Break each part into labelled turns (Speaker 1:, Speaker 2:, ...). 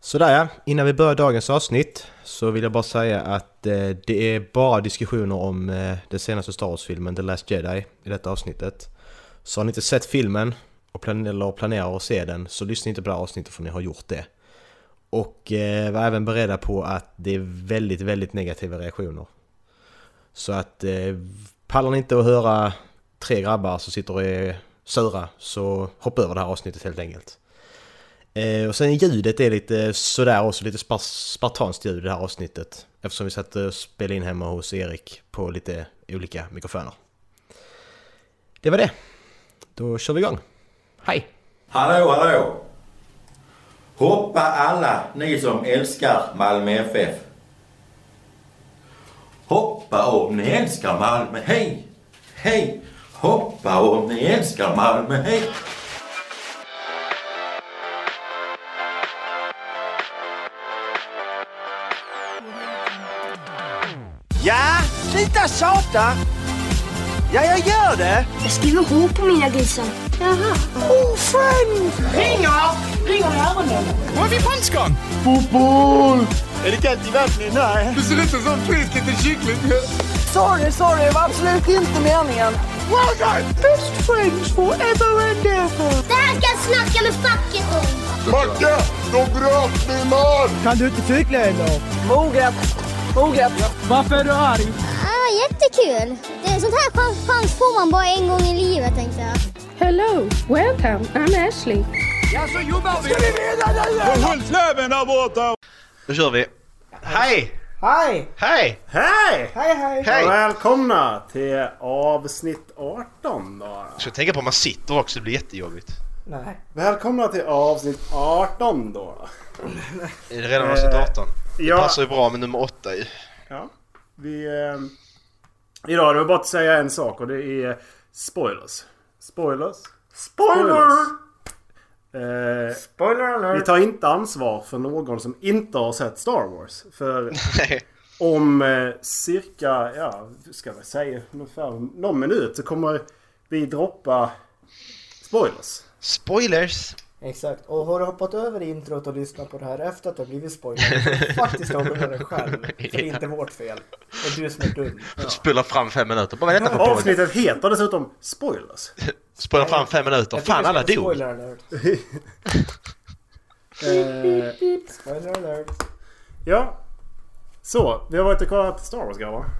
Speaker 1: Sådär ja, innan vi börjar dagens avsnitt så vill jag bara säga att eh, det är bara diskussioner om eh, den senaste Star Wars-filmen The Last Jedi i detta avsnittet. Så har ni inte sett filmen och plan- eller planerar att se den så lyssna inte på det här avsnittet för ni har gjort det. Och eh, var även beredda på att det är väldigt, väldigt negativa reaktioner. Så att eh, pallar ni inte att höra tre grabbar som sitter och är sura så hoppa över det här avsnittet helt enkelt. Eh, och sen ljudet är lite sådär också, lite spar spartanskt ljud i det här avsnittet. Eftersom vi satt och spelade in hemma hos Erik på lite olika mikrofoner. Det var det. Då kör vi igång. Hej!
Speaker 2: Hallå, hallå! Hoppa alla ni som älskar Malmö FF. Hoppa om ni älskar Malmö, hej! Hej! Hoppa om ni älskar Malmö, hej!
Speaker 3: Ja, sluta tjata! Ja, jag gör det!
Speaker 4: Jag skriver H på mina grisar. Jaha.
Speaker 3: Är det kallt i vattnet? Nej. Du ser ut som en frisk liten kyckling. Sorry, sorry, det var absolut inte meningen.
Speaker 4: Det här ska jag snacka med facket om.
Speaker 3: Moget, moget.
Speaker 4: Ah, jättekul. Det, sånt här chans, chans får man bara en gång i livet, tänkte jag.
Speaker 5: Hello, welcome. I'm Ashley.
Speaker 3: Alltså,
Speaker 6: Då kör vi. Hej!
Speaker 7: Hej!
Speaker 6: Hej!
Speaker 7: Hej! Hej hej!
Speaker 6: Hej!
Speaker 7: Välkomna till avsnitt 18 då.
Speaker 6: Jag ska tänka på att man sitter också, det blir jättejobbigt.
Speaker 7: Nej. Välkomna till avsnitt 18 då.
Speaker 6: Är det redan avsnitt
Speaker 7: Eh,
Speaker 6: 18? Det
Speaker 7: Ja,
Speaker 6: passar ju bra med nummer 8 ju.
Speaker 7: ja. Vi... Eh, idag är det bara att säga en sak och det är spoilers. Spoilers. Spoilers! Eh,
Speaker 8: Spoiler
Speaker 7: vi
Speaker 8: alert!
Speaker 7: tar inte ansvar för någon som inte har sett Star Wars. För
Speaker 6: Nej.
Speaker 7: Om eh, cirka, ja, ska vi säga ungefär någon minut så kommer vi droppa spoilers.
Speaker 6: Spoilers!
Speaker 8: Exakt, och har du hoppat över introt och lyssnat på det här efter att det har blivit spoiler får du faktiskt avgöra det själv, för det är inte vårt fel. Det är du som är dum.
Speaker 6: Spoilar fram fem minuter. Bara vänta på Avsnitt.
Speaker 7: Avsnittet heter dessutom spoilers.
Speaker 6: Spoilar fram fem minuter.
Speaker 8: Jag
Speaker 6: Fan,
Speaker 8: tycker
Speaker 6: alla
Speaker 8: vi ska-
Speaker 6: dog.
Speaker 8: Spoiler alert!
Speaker 7: Eh,
Speaker 8: Spoiler alert!
Speaker 7: ja, så vi har varit och kollat Star Wars grabbar.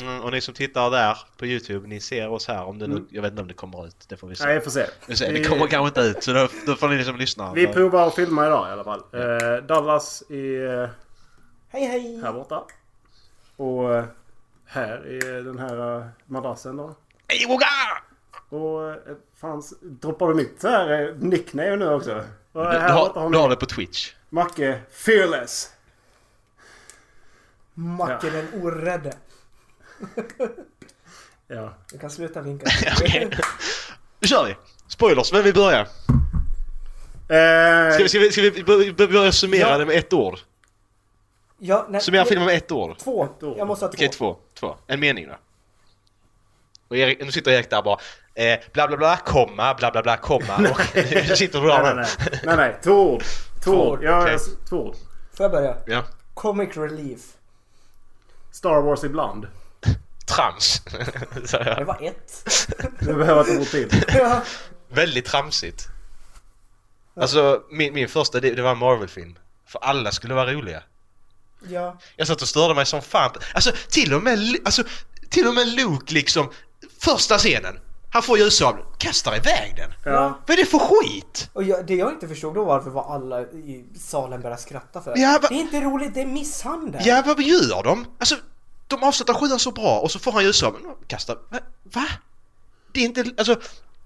Speaker 6: Mm, och ni som tittar där på YouTube, ni ser oss här. Om det
Speaker 8: Mm.
Speaker 6: nu, jag vet inte om det kommer ut. Det får vi se.
Speaker 7: Nej, jag får se.
Speaker 6: Vi får se,
Speaker 7: Vi-
Speaker 6: det kommer kanske inte ut, så då, då får ni liksom som lyssnar.
Speaker 7: Vi provar att filma idag i alla fall. Eh, Dallas är eh,
Speaker 8: Hej hej!
Speaker 7: här borta. Och eh, här är den här eh, madrassen då.
Speaker 6: Hej, Woga!
Speaker 7: Och eh, fanns, droppar du mitt så här eh, nickname nu också? Och eh,
Speaker 6: Du, du,
Speaker 7: här borta har
Speaker 6: har, du
Speaker 7: ni
Speaker 6: har det på Twitch.
Speaker 7: Macke Fearless.
Speaker 8: Macke den orädde!
Speaker 7: Ja.
Speaker 8: Du kan sluta vinka.
Speaker 6: Okej. Nu kör vi! Spoilers, men vi börjar.
Speaker 7: Eh,
Speaker 6: Ska vi, ska vi, ska vi bör- bör- börja summera
Speaker 8: Ja.
Speaker 6: det med ett ord?
Speaker 8: Ja, nej,
Speaker 6: Summera filmen med ett ord.
Speaker 8: Två!
Speaker 7: Två.
Speaker 8: Jag måste ha två.
Speaker 6: Okej, två. två. En mening då. Och Erik, nu sitter Erik där bara eh, bla bla bla, komma, bla bla bla, komma. Och så sitter du
Speaker 7: nej,
Speaker 6: där
Speaker 7: nej,
Speaker 6: med.
Speaker 7: nej. nej, nej. Två ord. Två ord. Ja,
Speaker 6: okej.
Speaker 7: jag- två ord.
Speaker 8: Får jag börja?
Speaker 6: Ja.
Speaker 8: Comic relief.
Speaker 7: Star Wars ibland.
Speaker 6: Trams. Så,
Speaker 8: Det
Speaker 6: ja.
Speaker 8: var ett.
Speaker 7: Du behöver ett ord till.
Speaker 8: Ja.
Speaker 6: Väldigt tramsigt. Alltså min, min första det, det var en Marvel-film. För alla skulle vara roliga.
Speaker 8: ja.
Speaker 6: Jag satt och störde mig som fan. Alltså till och med, Lu- alltså, till och med Luke liksom. Första scenen. Han får ljussabeln. Kastar iväg den.
Speaker 7: Ja.
Speaker 6: Vad är det för skit?
Speaker 8: Och jag, det jag inte förstod då varför var alla i salen började skratta för.
Speaker 6: Ja, va-
Speaker 8: Det är inte roligt, det är misshandel!
Speaker 6: Ja, vad gör de? Alltså, de avslutar sjuan så bra och så får han ljussabeln och kastar. Va? va? Det är inte... Alltså,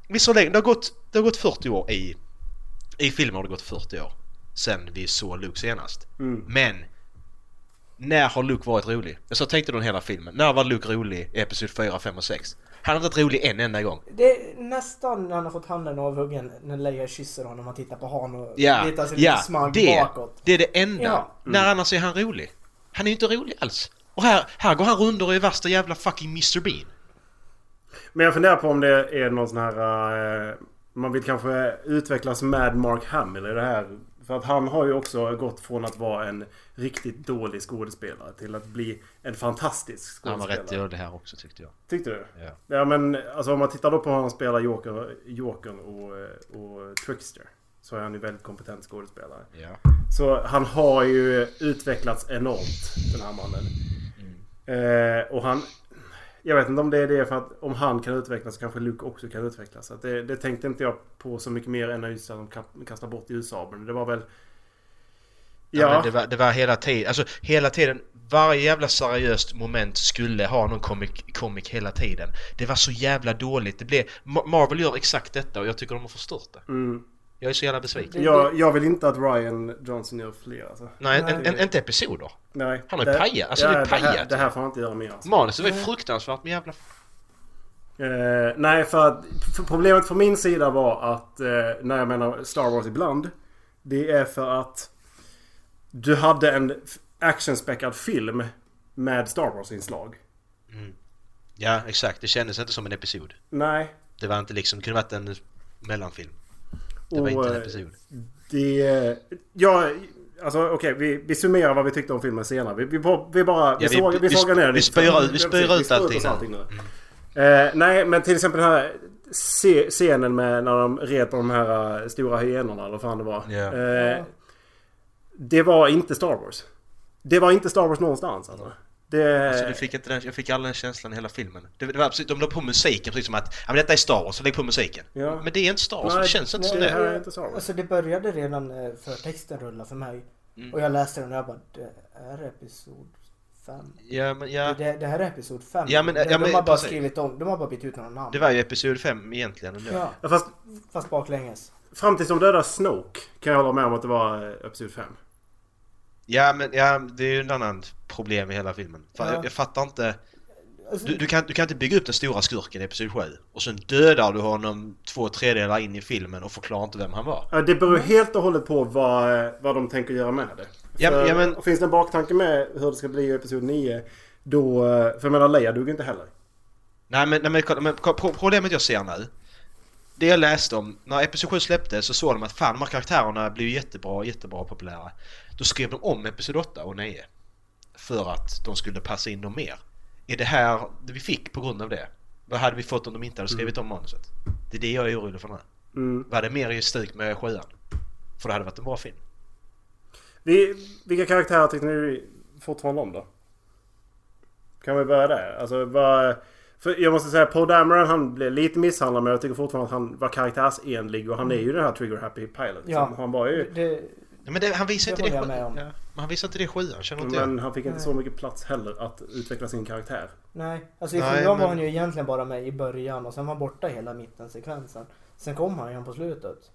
Speaker 6: vi så länge. Det har gått, det har gått 40 år i... I filmen har det gått 40 år sen vi såg Luke senast. Men... När har Luke varit rolig? Jag så tänkte du hela filmen. När var Luke rolig i Episod 4, 5 och 6? Han har inte varit rolig en enda gång.
Speaker 8: Det är nästan när han har fått handen avhuggen när Leia kysser honom. Han tittar på han och
Speaker 6: Ja,
Speaker 8: letar sig lite
Speaker 6: ja,
Speaker 8: smag
Speaker 6: det,
Speaker 8: bakåt.
Speaker 6: det är det enda. Mm.
Speaker 8: Ja.
Speaker 6: När annars är han rolig? Han är ju inte rolig alls. Och här, här går han runt och är värsta jävla fucking Mr Bean.
Speaker 7: Men jag funderar på om det är någon sån här... eh, man vill kanske utvecklas med Mark Hamill i det här För att han har ju också gått från att vara en riktigt dålig skådespelare till att bli en fantastisk
Speaker 6: Han var
Speaker 7: skådespelare.
Speaker 6: rätt dålig här också tyckte jag.
Speaker 7: Tyckte du?
Speaker 6: Ja.
Speaker 7: Ja men alltså om man tittar då på hur han spelar Joker, Jokern och, eh, och Trickster. Så är han ju väldigt kompetent skådespelare.
Speaker 6: Ja.
Speaker 7: Så han har ju utvecklats enormt den här mannen.
Speaker 6: Mm.
Speaker 7: Eh, och han... Jag vet inte om det är det för att om han kan utvecklas så kanske Luke också kan utvecklas. Så att det, det tänkte inte jag på så mycket mer än just att de ka- kastar bort USA. Men det var väl...
Speaker 6: Ja.
Speaker 7: Ja,
Speaker 6: men det, var, det var hela tiden, alltså hela tiden, varje jävla seriöst moment skulle ha någon comic, comic hela tiden. Det var så jävla dåligt, det blev, Ma- Marvel gör exakt detta och jag tycker de har förstört det.
Speaker 7: mm.
Speaker 6: Jag är så jävla besviken.
Speaker 7: jag, jag vill inte att Ryan Johnson gör fler alltså.
Speaker 6: Nej,
Speaker 8: Nej,
Speaker 6: en,
Speaker 8: det-
Speaker 6: en, inte episoder.
Speaker 7: Nej.
Speaker 6: Han har
Speaker 7: det-
Speaker 6: ju pajat. Alltså, det är
Speaker 7: Det här,
Speaker 6: pajat.
Speaker 7: det här får han inte göra mer. Alltså.
Speaker 6: Manuset var ju fruktansvärt men jävla...
Speaker 7: Eh, nej, för att för problemet från min sida var att eh, när jag menar Star Wars ibland. Det är för att du hade en f- actionspäckad film med Star Wars-inslag.
Speaker 6: Ja, exakt. Det kändes inte som en episod.
Speaker 7: Nej.
Speaker 6: Det var inte liksom, det kunde varit en mellanfilm. Det var
Speaker 7: och,
Speaker 6: inte en
Speaker 7: eh,
Speaker 6: episod.
Speaker 7: Det... Ja, alltså okej, vi, vi summerar vad vi tyckte om filmen senare. Vi, vi, bara- vi bara... Vi,
Speaker 6: Ja, vi-
Speaker 7: såg, vi,
Speaker 6: vi-
Speaker 7: sågar ner
Speaker 6: vi
Speaker 7: lite.
Speaker 6: spyr ut- vi
Speaker 7: Ja,
Speaker 6: spyr
Speaker 7: precis,
Speaker 6: ut
Speaker 7: vi
Speaker 6: allting
Speaker 7: oss
Speaker 6: här.
Speaker 7: nu. Eh, nej, men till exempel den här se- scenen med när de red på de här eh, stora hyenorna eller vad fan det var.
Speaker 6: Ja.
Speaker 7: Eh, det var inte Star Wars. Det var inte Star Wars någonstans alltså. Det...
Speaker 6: Alltså, du fick inte den, jag fick aldrig den känslan i hela filmen. Det, det var absolut, de la på musiken precis som att ja, men detta är Star Wars, så lägg på musiken.
Speaker 7: Ja.
Speaker 6: Men det är inte Star Wars,
Speaker 7: Nej,
Speaker 6: det känns inte som
Speaker 7: nej,
Speaker 6: det.
Speaker 7: här är inte Star Wars.
Speaker 8: Alltså det började redan eh, förtexten rulla för mig.
Speaker 6: Mm.
Speaker 8: Och jag läste den och jag bara, det är episod 5.
Speaker 6: Ja, men, ja,
Speaker 8: Det, det här är episod 5.
Speaker 6: Ja, men-
Speaker 8: de,
Speaker 6: ja,
Speaker 8: de
Speaker 6: men
Speaker 8: har bara
Speaker 6: precis.
Speaker 8: skrivit om, de har bara bytt ut några namn.
Speaker 6: det var ju Episod 5 egentligen. ändå.
Speaker 8: Ja,
Speaker 7: Ja, fast
Speaker 8: fast baklänges.
Speaker 7: fram tills de dödade Snoke kan jag hålla med om att det var eh, Episod 5.
Speaker 6: ja, men ja, det är ju en annan problem i hela filmen. Fan,
Speaker 8: Ja.
Speaker 6: jag, jag fattar inte.
Speaker 8: Alltså,
Speaker 6: Du, du, kan, du kan inte bygga upp den stora skurken i Episod 7 och sen dödar du honom två tredjedelar in i filmen och förklarar inte vem han var.
Speaker 7: Ja, Det beror helt och hållet på vad, vad de tänker göra med det.
Speaker 6: Ja,
Speaker 7: För
Speaker 6: ja, men-
Speaker 7: Finns det en baktanke med hur det ska bli i Episod 9 då... eh, För jag menar Leia duger inte heller.
Speaker 6: Nej men, nej, men, kolla, men kolla, pro- problemet jag ser nu. Det jag läste om, när Episod 7 släpptes så såg de att fan de här karaktärerna blev ju jättebra, jättebra populära. Då skrev de om Episod 8 och 9. För att de skulle passa in dem mer. Är det här det vi fick på grund av det? Vad hade vi fått om de inte hade skrivit
Speaker 8: Mm.
Speaker 6: om manuset? Det är det jag är orolig för nu.
Speaker 7: Mm.
Speaker 6: Var det mer i stuk med 7 För det hade varit en bra film.
Speaker 7: Vi, vilka karaktärer tyckte ni fortfarande om då? Kan vi börja där? Alltså vad... För jag måste säga Paul Dameron han blev lite misshandlad men jag tycker fortfarande att han var karaktärsenlig och han är ju den här Trigger Happy Pilot.
Speaker 8: Ja.
Speaker 7: Han var ju...
Speaker 8: det,
Speaker 6: Ja, men det, han visar
Speaker 8: Det
Speaker 6: inte det,
Speaker 8: håller jag med om.
Speaker 6: Ja, men han visar inte det i 7 känner inte jag.
Speaker 7: Men han fick inte så mycket plats heller att utveckla sin karaktär.
Speaker 8: nej, alltså i
Speaker 6: Nej,
Speaker 8: sjuan
Speaker 6: men-
Speaker 8: var han ju egentligen bara med i början och sen var han borta hela mittensekvensen. Sen kom han igen på slutet.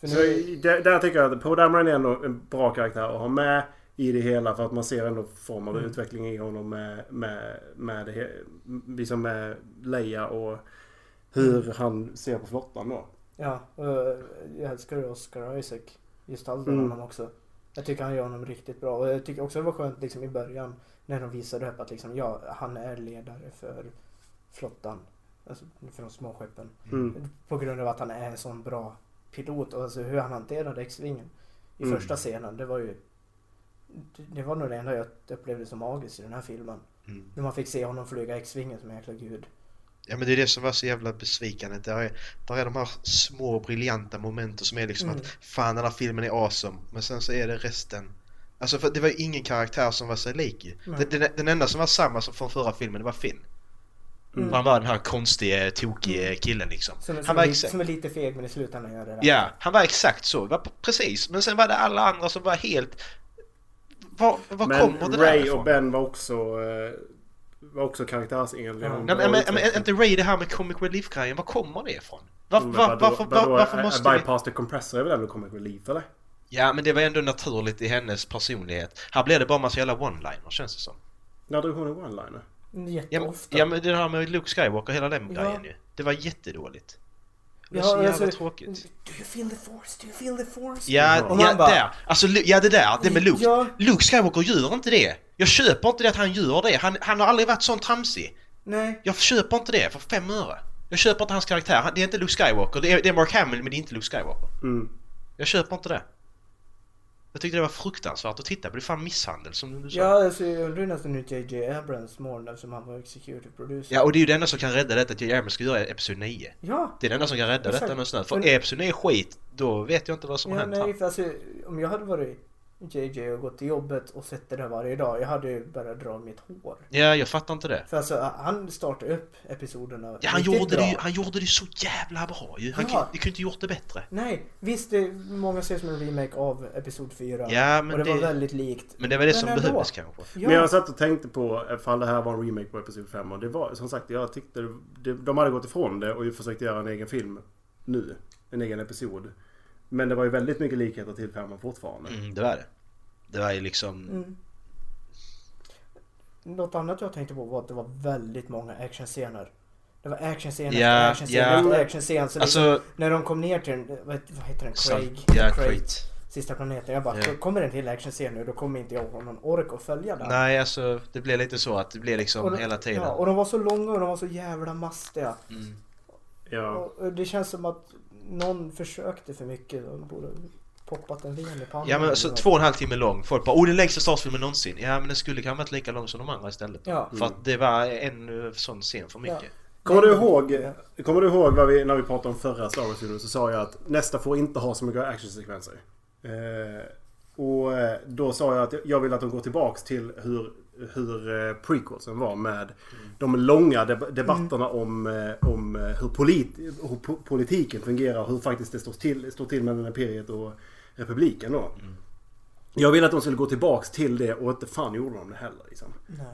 Speaker 8: För
Speaker 7: Så där, där tycker jag att Poe Dameron är ändå en bra karaktär att ha med i det hela för att man ser ändå form av utveckling i honom med, med, med, det, he- liksom med Leia och hur han ser på flottan då.
Speaker 8: Ja, eh, jag älskar ju Oscar Isaac. Gestaltar
Speaker 7: Mm.
Speaker 8: honom också. Jag tycker han gör honom riktigt bra. Och jag tycker också det var skönt liksom, i början när de visade upp att liksom, ja, han är ledare för flottan. Alltså för de små skeppen.
Speaker 7: Mm.
Speaker 8: På grund av att han är en sån bra pilot och alltså hur han hanterade X-Wingen i
Speaker 7: Mm.
Speaker 8: första scenen. Det var ju det- det var nog det enda jag upplevde som magiskt i den här filmen.
Speaker 6: Mm.
Speaker 8: När man fick se honom flyga X-Wingen som en jäkla gud.
Speaker 6: Ja men det är det som var så jävla besvikande. Där är, där är de här små briljanta momenten som är liksom
Speaker 8: Mm.
Speaker 6: att fan den här filmen är awesome. Men sen så är det resten. Alltså för det var ju ingen karaktär som var sig lik ju.
Speaker 8: Nej.
Speaker 6: Den, den, den enda som var samma som från förra filmen det var Finn.
Speaker 8: Mm.
Speaker 6: Han var den här konstiga, tokiga killen liksom.
Speaker 8: Som,
Speaker 6: han
Speaker 8: som,
Speaker 6: var
Speaker 8: är, li-
Speaker 6: exakt...
Speaker 8: som är lite feg men i slutändan gör det där.
Speaker 6: Ja, han var exakt så. Var p- precis. Men sen var det alla andra som var helt... Var, var kommer
Speaker 7: Men
Speaker 6: det
Speaker 7: Ray
Speaker 6: ifrån?
Speaker 7: och Ben var också, eh, var också karaktärsenliga.
Speaker 8: Mm.
Speaker 6: Nej, men, men, men, är inte Ray det här med comic relief-grejen, var kommer det ifrån? Var,
Speaker 7: Mm,
Speaker 6: var,
Speaker 7: vadå-
Speaker 6: varför, var,
Speaker 7: vadå,
Speaker 6: varför
Speaker 7: eh,
Speaker 6: måste vi...
Speaker 7: Bypass the compressor är väl ändå comic relief eller?
Speaker 6: Ja, men det var ändå naturligt i hennes personlighet. Här blir det bara massa jävla one-liners känns det som.
Speaker 7: När drog hon en
Speaker 6: Ja,
Speaker 7: one-liner?
Speaker 6: men,
Speaker 8: Jätteofta.
Speaker 6: ja, men det här med Luke Skywalker, hela den
Speaker 8: Ja.
Speaker 6: grejen ju. Det var jättedåligt. Det var
Speaker 8: Ja,
Speaker 6: så jävla
Speaker 8: alltså,
Speaker 6: tråkigt.
Speaker 8: Do you feel the force? Do you feel the force?
Speaker 6: Ja,
Speaker 8: Och
Speaker 6: ja
Speaker 8: man bara-
Speaker 6: där. Alltså, Lu- ja det där, det med Luke.
Speaker 8: Ja.
Speaker 6: Luke Skywalker gör inte det. Jag köper inte det att han gör det. Han, han har aldrig varit sån tramsig.
Speaker 8: Nej.
Speaker 6: Jag köper inte det för fem öre. Jag köper inte hans karaktär. Han, det är inte Luke Skywalker. Det är, det är Mark Hamill men det är inte Luke Skywalker.
Speaker 7: Mm.
Speaker 6: Jag köper inte det. Jag tyckte det var fruktansvärt att titta på. Det är fan misshandel som du sa.
Speaker 8: Ja, alltså, jag undrar ju nästan hur JJ Abrams mår nu som han var executive producer.
Speaker 6: ja, och det är ju det enda som kan rädda detta att J.J. Abrams ska göra Episod 9.
Speaker 8: Ja,
Speaker 6: Det är det enda som kan rädda
Speaker 8: Exakt.
Speaker 6: detta nu snart. För
Speaker 8: Men-
Speaker 6: är Episod 9 skit, då vet jag inte vad som har
Speaker 8: ja
Speaker 6: hänt här.
Speaker 8: nej, för alltså, om jag hade varit JJ och gått till jobbet och sett det där varje dag, jag hade ju börjat dra mitt hår.
Speaker 6: Ja, jag fattar inte det.
Speaker 8: För alltså, han startade upp episoderna
Speaker 6: Ja, han,
Speaker 8: riktigt
Speaker 6: gjorde det,
Speaker 8: bra.
Speaker 6: ju- han gjorde det så jävla bra ju. Han
Speaker 8: Ja.
Speaker 6: kunde, kunde inte gjort det bättre.
Speaker 8: Nej, visst det många ser som en remake av Episod 4.
Speaker 6: Ja, men
Speaker 8: och det,
Speaker 6: det-
Speaker 8: var väldigt likt.
Speaker 6: Men det var det
Speaker 8: Men
Speaker 6: som
Speaker 8: ändå.
Speaker 6: behövdes kanske.
Speaker 8: Ja,
Speaker 7: Men jag satt och tänkte på ifall det här var en remake på Episod 5 och det var som sagt jag tyckte det- det, de hade gått ifrån det och ju försökt göra en egen film nu. En egen episod. Men det var ju väldigt mycket likheter till femman fortfarande.
Speaker 6: Mm, det var det. Det var ju liksom...
Speaker 8: Mm. Något annat jag tänkte på var att det var väldigt många actionscener. Det var actionscener
Speaker 6: Ja,
Speaker 8: efter actionscen
Speaker 6: ja.
Speaker 8: efter actionscen. Så liksom,
Speaker 6: Alltså...
Speaker 8: när de kom ner till den, vad, het- vad heter den? Craig?
Speaker 6: Salt- Ja,
Speaker 8: Craig.
Speaker 6: Crate.
Speaker 8: Sista planeten. Jag bara,
Speaker 6: Ja.
Speaker 8: "Då kommer det en till actionscen nu då kommer inte jag ha någon ork att följa den.
Speaker 6: Nej, alltså det blev lite så att det blev liksom
Speaker 8: Och de-
Speaker 6: hela tiden.
Speaker 8: Ja, och de var så långa och de var så jävla mastiga.
Speaker 6: Mm.
Speaker 7: Ja.
Speaker 8: Och, och det känns som att någon försökte för mycket och borde poppat en ven i pannan.
Speaker 6: Ja men
Speaker 8: eller
Speaker 6: så
Speaker 8: något.
Speaker 6: två och en halv timme lång. Folk bara oh den längsta Star Wars-filmen någonsin. Ja men den skulle kanske varit lika lång som de andra istället.
Speaker 8: Ja.
Speaker 6: För att det var en eh, sån scen för mycket.
Speaker 7: Kommer du ihåg, kommer du ihåg vad vi, när vi pratade om förra Star Wars-filmen så sa jag att nästa får inte ha så mycket actionsekvenser. Eh, och eh, då sa jag att jag vill att de går tillbaks till hur, hur eh, prequelsen var med de långa deb- debatterna om, eh, om eh, hur, polit, hur po- politiken fungerar och hur faktiskt det står till, står till mellan imperiet och republiken då. Jag ville att de skulle gå tillbaks till det och inte fan gjorde de det heller. Liksom.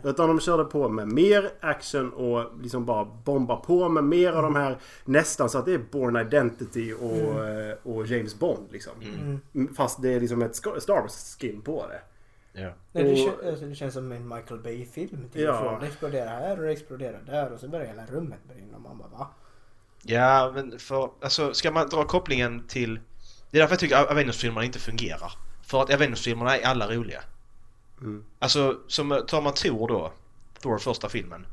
Speaker 7: Utan de körde på med mer action och liksom bara bomba på med mer av de här nästan så att det är Born Identity och, eh, och James Bond liksom. Fast det är liksom ett Scar- Star Wars-skin på det.
Speaker 6: Ja.
Speaker 8: Nej, det,
Speaker 7: Och-
Speaker 8: kän- alltså, det känns som en Michael Bay-film. till och
Speaker 7: Ja.
Speaker 8: från. Det exploderar här och det exploderar där och så börjar hela rummet brinna och man bara va?
Speaker 6: Ja men för alltså ska man dra kopplingen till... Det är därför jag tycker att Avengers-filmerna inte fungerar. För att Avengers-filmerna är alla roliga.
Speaker 7: Mm.
Speaker 6: Alltså som, tar man Thor då. Thor första filmen.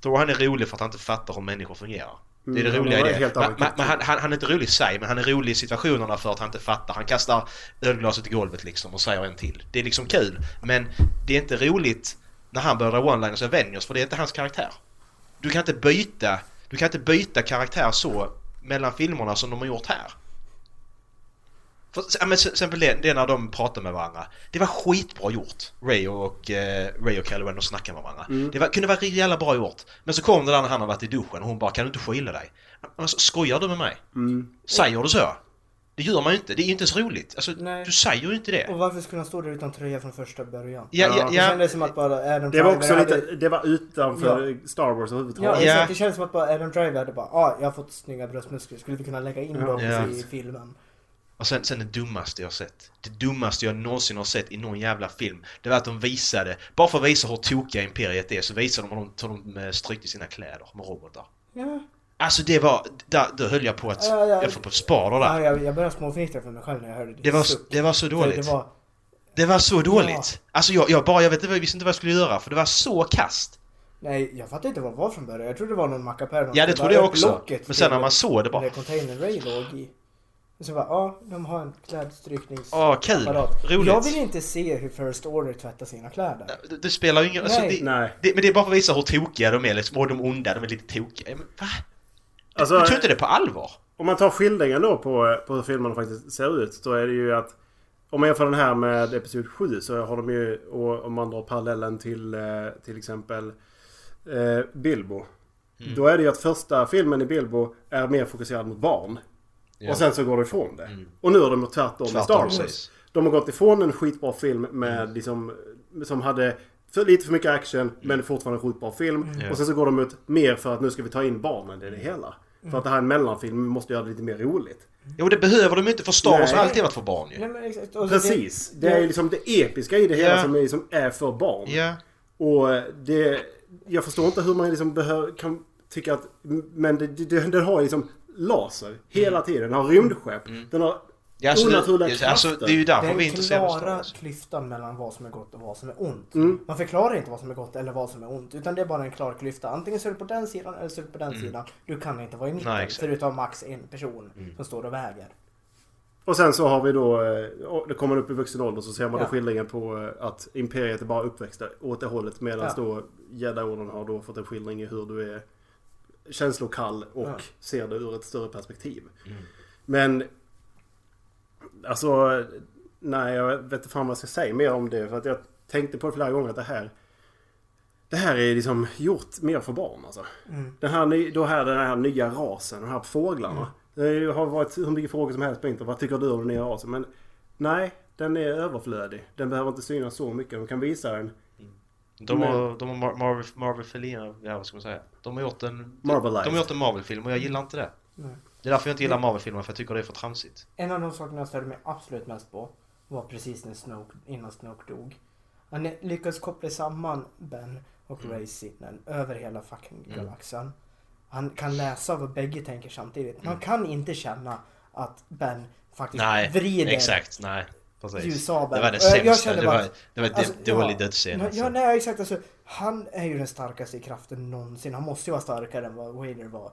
Speaker 6: Thor han är rolig för att han inte fattar hur människor fungerar. Det är det
Speaker 7: Mm,
Speaker 6: roliga i
Speaker 7: han
Speaker 6: det.
Speaker 7: har helt
Speaker 6: Men-
Speaker 7: annan
Speaker 6: men- men han, han, han är inte rolig i sig, men han är rolig i situationerna för att han inte fattar. Han kastar ölglaset i golvet liksom och säger en till. Det är liksom kul, men det är inte roligt när han börjar dra one-liners och Avengers, för det är inte hans karaktär. Du kan inte byta, du kan inte byta karaktär så mellan filmerna som de har gjort här. För, ja, men till exempel det, det när de pratar med varandra. Det var skitbra gjort. Ray och, eh, Ray och Kylo Ren och snackar med varandra.
Speaker 8: Mm.
Speaker 6: Det var, kunde vara riktigt jävla bra gjort. Men så kom det där när han har varit i duschen och hon bara kan du inte skylla dig? Alltså, skojar du med mig?
Speaker 8: Mm.
Speaker 6: Säger du så? Det gör man ju inte. Det är ju inte ens roligt. Alltså,
Speaker 8: Nej.
Speaker 6: du säger ju inte det.
Speaker 8: Och varför skulle han stå där utan tröja från första början?
Speaker 6: Ja, ja,
Speaker 8: Det
Speaker 6: ja.
Speaker 8: kändes som att bara Adam
Speaker 7: Det var också
Speaker 8: Driver
Speaker 7: lite,
Speaker 8: hade...
Speaker 7: det var utanför Star Wars
Speaker 8: Ja,
Speaker 7: överhuvudtaget.
Speaker 6: Ja.
Speaker 8: Exakt, det kändes som att bara Adam Driver hade bara ah, jag har fått snygga bröstmuskler, skulle vi kunna lägga in dem
Speaker 6: Ja.
Speaker 8: i filmen?
Speaker 6: Och sen, sen det dummaste jag har sett. Det dummaste jag någonsin har sett i någon jävla film. Det var att de visade, bara för att visa hur tokiga Imperiet är, så visade de hur de, hur de strykte sina kläder med robotar.
Speaker 8: Ja.
Speaker 6: Alltså det var, där, då höll jag på att,
Speaker 8: Ja, ja.
Speaker 6: jag får på ett spar då
Speaker 8: Ja,
Speaker 6: där.
Speaker 8: jag, jag började småfnittra för mig själv när jag hörde ditt
Speaker 6: Det var,
Speaker 8: suck.
Speaker 6: det var så
Speaker 8: För
Speaker 6: dåligt.
Speaker 8: Det var,
Speaker 6: Det var så dåligt! Alltså jag, jag bara, jag, vet, jag visste inte vad jag skulle göra för det var så kast.
Speaker 8: nej, jag fattade inte vad det var från början. Jag trodde det var någon mackapär.
Speaker 6: Ja det trodde jag också. Men sen när man såg det
Speaker 8: Bara...
Speaker 6: bara,
Speaker 8: Container Ray låg i. Och så bara, ja, de har en klädstrykningsapparat.
Speaker 6: åh kul, roligt.
Speaker 8: Jag vill inte se hur First Order tvättar sina kläder.
Speaker 6: Det, det spelar ju ingen alltså,
Speaker 8: Nej.
Speaker 6: det,
Speaker 7: Nej.
Speaker 6: det, Men det är bara för att visa hur tokiga de är liksom, och de onda, de är lite tokiga. Ja, Men, va?
Speaker 7: Alltså,
Speaker 6: Du tog inte det på allvar?
Speaker 7: Om man tar skildringen då på, på hur filmerna faktiskt ser ut. Då är det ju att om man jämför den här med Episod 7 så har de ju, och om man drar parallellen till eh, till exempel eh, Bilbo.
Speaker 6: Mm.
Speaker 7: Då är det ju att första filmen i Bilbo är mer fokuserad mot barn.
Speaker 6: Ja. Mm.
Speaker 7: Och sen så går de ifrån det. Och nu har de gjort tvärtom med Star
Speaker 6: Tvärtom,
Speaker 7: Wars.
Speaker 6: precis.
Speaker 7: De har gått ifrån en skitbra film med
Speaker 6: Mm.
Speaker 7: liksom, som hade för, lite för mycket action men fortfarande en skitbra film.
Speaker 6: Mm.
Speaker 7: Och sen så går de ut mer för att nu ska vi ta in barnen i det hela.
Speaker 6: Mm.
Speaker 7: För att det här är en mellanfilm, vi måste göra det lite mer roligt.
Speaker 6: Jo det behöver de ju inte för Star Wars har
Speaker 7: Nej.
Speaker 6: alltid varit för barn ju.
Speaker 8: Nej, men exakt. Och så
Speaker 7: Precis! Det är ju liksom det episka i det hela
Speaker 6: Ja.
Speaker 7: som, är, som är för barn.
Speaker 6: Ja.
Speaker 7: Och det... Jag förstår inte hur man liksom behöver, kan tycka att... Men det, det, det, den har ju liksom laser hela tiden. Den har rymdskepp. Den har
Speaker 6: Mm. Ja, alltså,
Speaker 7: onaturliga
Speaker 6: det, alltså,
Speaker 7: krafter.
Speaker 6: det är ju därför
Speaker 8: Den
Speaker 6: vi är intresserade av Star
Speaker 8: klara
Speaker 6: Wars.
Speaker 8: klyftan mellan vad som är gott och vad som är ont.
Speaker 7: Mm.
Speaker 8: Man förklarar inte vad som är gott eller vad som är ont. Utan det är bara en klar klyfta. Antingen så är du på den sidan eller så
Speaker 6: Mm.
Speaker 8: är du på den sidan. Du kan inte vara i mitten.
Speaker 6: Nej, exakt. Mm.
Speaker 8: förutom max en person som står och väger.
Speaker 7: Och sen så har vi då, eh, och det kommer upp i vuxen ålder så ser man
Speaker 8: Ja.
Speaker 7: då skildringen på eh, att Imperiet är bara uppväxta åt det hållet medan
Speaker 8: Ja.
Speaker 7: då Jedi-orden har då fått en skildring i hur du är känslokall och
Speaker 8: Ja.
Speaker 7: ser det ur ett större perspektiv. Men alltså, nej jag vet inte fan vad jag ska säga mer om det för att jag tänkte på det flera gånger att det här det här är liksom gjort mer för barn alltså.
Speaker 8: Mm.
Speaker 7: Den här, ny- då här, den här nya rasen, de här fåglarna. Det har varit hur mycket frågor som helst på internet. Vad tycker du om den nya rasen? Men nej, den är överflödig. Den behöver inte synas så mycket. De kan visa den.
Speaker 6: De har, de har Mar- Marvel, Marvel Felina, ja, vad ska man säga? De har gjort en...
Speaker 7: Marvelized.
Speaker 6: De har gjort en Marvel-film och jag gillar inte det.
Speaker 8: Nej.
Speaker 6: Det är därför jag inte gillar Marvel-filmer, för jag tycker det är för tramsigt.
Speaker 8: En av de sakerna jag störde mig absolut mest på var precis när Snoke, innan Snoke dog. Han lyckades koppla samman Ben och
Speaker 6: Mm.
Speaker 8: Ray Sinnen över hela fucking galaxen. Han kan läsa vad bägge tänker samtidigt. Man kan inte känna att Ben faktiskt
Speaker 6: Mm. Nej,
Speaker 8: vrider
Speaker 6: exakt, nej. Precis.
Speaker 8: ljusabeln.
Speaker 6: Det var det
Speaker 8: Och jag- jag
Speaker 6: sämsta,
Speaker 8: kände
Speaker 6: det
Speaker 8: bara
Speaker 6: var,
Speaker 8: att-
Speaker 6: det var
Speaker 8: Alltså,
Speaker 6: alltså, dålig dödsscen.
Speaker 8: Ja,
Speaker 6: Alltså.
Speaker 8: ja, nej, exakt. Alltså, han är ju den starkaste i kraften någonsin. Han måste ju vara starkare än vad Wader var.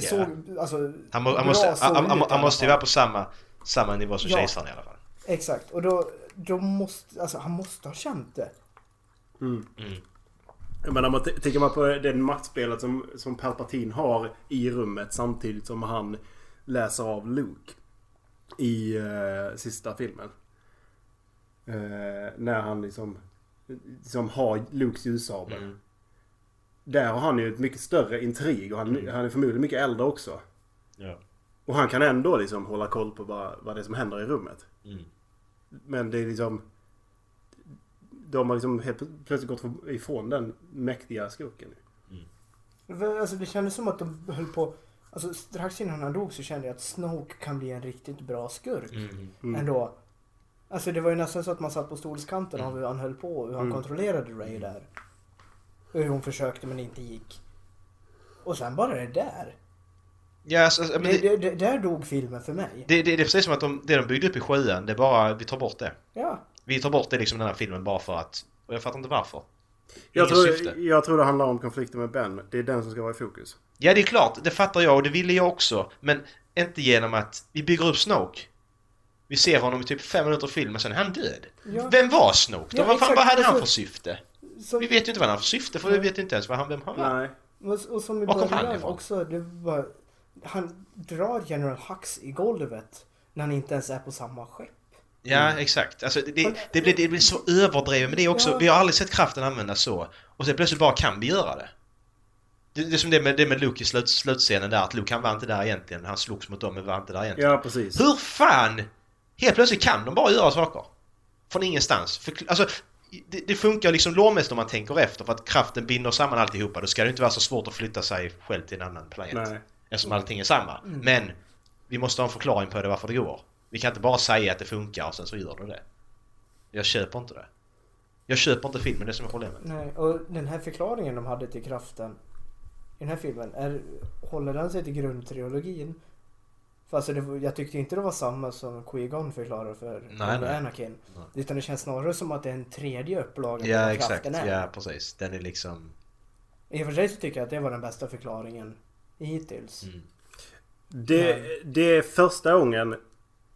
Speaker 6: Ja.
Speaker 8: såg alltså,
Speaker 6: Han, må,
Speaker 8: bra
Speaker 6: han, måste,
Speaker 8: såg
Speaker 6: han,
Speaker 8: ut
Speaker 6: han,
Speaker 8: i
Speaker 6: han,
Speaker 8: alla
Speaker 6: måste ju
Speaker 8: fall.
Speaker 6: vara på samma, samma nivå som
Speaker 8: Ja.
Speaker 6: kejsaren i alla fall.
Speaker 8: Exakt, och då, då måste, alltså han måste ha känt det.
Speaker 7: Jag menar, man t- tänker man på det maktspelet som, som Palpatine har i rummet samtidigt som han läser av Luke i eh, sista filmen. Eh, när han liksom, liksom har Lukes ljussabel.
Speaker 6: Mm.
Speaker 7: Där har han ju ett mycket större intrig och han, han är förmodligen mycket äldre också.
Speaker 6: Mm. Ja.
Speaker 7: Och han kan ändå liksom hålla koll på vad, vad det är som händer i rummet.
Speaker 6: Mm.
Speaker 7: Men det är liksom... De har liksom helt plötsligt gått ifrån den mäktiga skurken.
Speaker 8: För, Alltså det kändes som att de höll på, alltså strax innan han dog så kände jag att Snoke kan bli en riktigt bra skurk
Speaker 6: Mm,
Speaker 8: ändå. Alltså det var ju nästan så att man satt på stolskanten
Speaker 6: Mm.
Speaker 8: av hur han höll på och hur han kontrollerade Ray där. Och hur hon försökte men inte gick. Och sen bara det där.
Speaker 6: Ja, alltså, alltså, men
Speaker 8: Det,
Speaker 6: det,
Speaker 8: det, det, där dog filmen för mig.
Speaker 6: det, det, det är precis som att de, det de byggde upp i sjuan, det är bara, vi tar bort det.
Speaker 8: Ja.
Speaker 6: Vi tar bort det liksom i den här filmen bara för att, och jag fattar inte varför.
Speaker 7: Jag
Speaker 6: Inget
Speaker 7: tror,
Speaker 6: syfte.
Speaker 7: jag tror det handlar om konflikten med Ben. Det är den som ska vara i fokus.
Speaker 6: Ja, det är klart, det fattar jag och det ville jag också. Men inte genom att vi bygger upp Snoke. Vi ser honom i typ fem minuter film och sen är han död.
Speaker 8: Ja.
Speaker 6: Vem var Snoke då?
Speaker 8: Ja,
Speaker 6: vad, fan,
Speaker 8: exakt,
Speaker 6: vad hade han
Speaker 8: alltså-
Speaker 6: för syfte?
Speaker 8: Så-
Speaker 6: Vi vet ju inte vad han har för syfte för vi vet ju inte ens vad han, vem han var.
Speaker 7: Nej.
Speaker 8: Och, och som i
Speaker 6: Var kom han
Speaker 8: början
Speaker 6: ifrån?
Speaker 8: också, det var, han drar General Hux i golvet när han inte ens är på samma skepp.
Speaker 6: Ja, exakt. Alltså, det, det, det, blir, det blir så överdrivet men det är också,
Speaker 8: Ja.
Speaker 6: vi har aldrig sett kraften användas så. Och sen plötsligt bara kan vi göra det. Det, det är som det med, det med Luke i slut, slutscenen där, att Luke han var inte där egentligen, han slogs mot dem men var inte där egentligen.
Speaker 7: Ja, precis.
Speaker 6: Hur fan? Helt plötsligt kan de bara göra saker. Från ingenstans. För, alltså, det, det funkar liksom lågmässigt om man tänker efter för att kraften binder samman alltihopa. Då ska det inte vara så svårt att flytta sig själv till en annan planet.
Speaker 7: Nej. Mm.
Speaker 6: Eftersom allting är samma. Men vi måste ha en förklaring på det varför det går. Vi kan inte bara säga att det funkar och sen så gör det det. Jag köper inte det. Jag köper inte filmen, det är som är problemet.
Speaker 8: Nej, och den här förklaringen de hade till kraften i den här filmen, är, håller den sig till grundtrilogin? För alltså det, var- jag tyckte inte det var samma som Qui-Gon förklarar för
Speaker 6: Nej, nej.
Speaker 8: Anakin. Utan det känns snarare som att det är en tredje upplaga på
Speaker 6: Ja,
Speaker 8: vad
Speaker 6: exakt.
Speaker 8: kraften är.
Speaker 6: Ja, precis. Den är liksom...
Speaker 8: I och för sig så tycker jag att det var den bästa förklaringen
Speaker 6: Mm.
Speaker 8: hittills.
Speaker 7: Det, det är första gången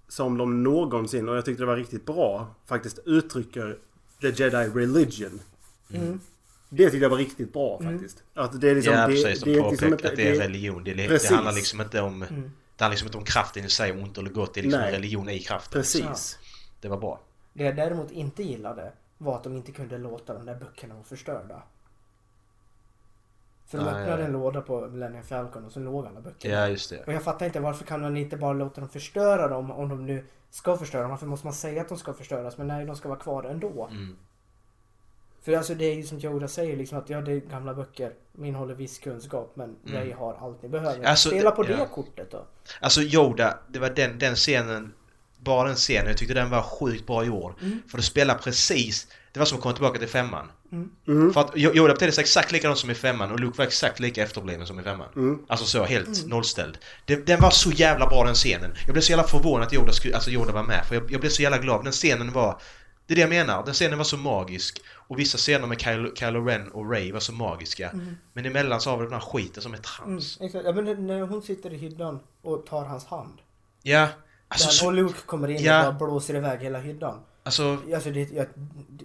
Speaker 7: som de någonsin, och jag tyckte det var riktigt bra, faktiskt uttrycker the jedi religion. Mm. Det tyckte jag var riktigt bra faktiskt. Att det är liksom...
Speaker 6: Mm. ja,
Speaker 7: det,
Speaker 6: precis. De
Speaker 7: det är
Speaker 6: påpekar
Speaker 7: liksom inte-
Speaker 6: att det är
Speaker 7: det-
Speaker 6: religion. Det, är-
Speaker 7: Precis.
Speaker 6: det handlar liksom inte om...
Speaker 8: Mm.
Speaker 6: Det handlar liksom inte om kraften i sig och ont eller gott. Det är liksom
Speaker 7: Nej.
Speaker 6: religion i kraften.
Speaker 7: Precis.
Speaker 6: Det var bra.
Speaker 8: Det jag däremot inte gillade var att de inte kunde låta de där böckerna vara förstörda. För de
Speaker 6: Nej.
Speaker 8: öppnade en låda på Millennium Falcon och så låg alla böckerna.
Speaker 6: Ja, just det.
Speaker 8: Och jag fattar inte varför kan man inte bara låta dem förstöra dem om de nu ska förstöra dem? Varför måste man säga att de ska förstöras? Men nej, de ska vara kvar ändå.
Speaker 6: Mm.
Speaker 8: För alltså det är ju som Yoda säger liksom att ja, det är gamla böcker. De innehåller viss kunskap men Ray har allt ni behöver.
Speaker 6: Mm. Alltså,
Speaker 8: Spela på
Speaker 6: ja.
Speaker 8: det kortet då.
Speaker 6: Alltså Yoda, det var den, den scenen, bara den scenen, jag tyckte den var sjukt bra gjord. För det spelar precis, det var som att komma tillbaka till femman. För att Yo- Yoda betedde sig exakt likadant som i femman och Luke var exakt lika efterbliven som i femman. Alltså så, helt nollställd. Den, den var så jävla bra den scenen. Jag blev så jävla förvånad att Yoda, skulle, alltså Yoda var med, för jag, jag blev så jävla glad. Den scenen var, det är det jag menar, den scenen var så magisk. Och vissa scener med Kylo, Kylo Ren och Ray var så magiska. Men emellan så har vi den här
Speaker 8: Mm.
Speaker 6: skiten som är trams.
Speaker 8: Exakt. Ja, men när hon sitter i hyddan och tar hans hand.
Speaker 6: Ja, Alltså,
Speaker 8: där,
Speaker 6: så-
Speaker 8: och Luke kommer in
Speaker 6: Ja.
Speaker 8: och bara blåser iväg hela hyddan.
Speaker 6: Alltså,
Speaker 8: Alltså, det, jag,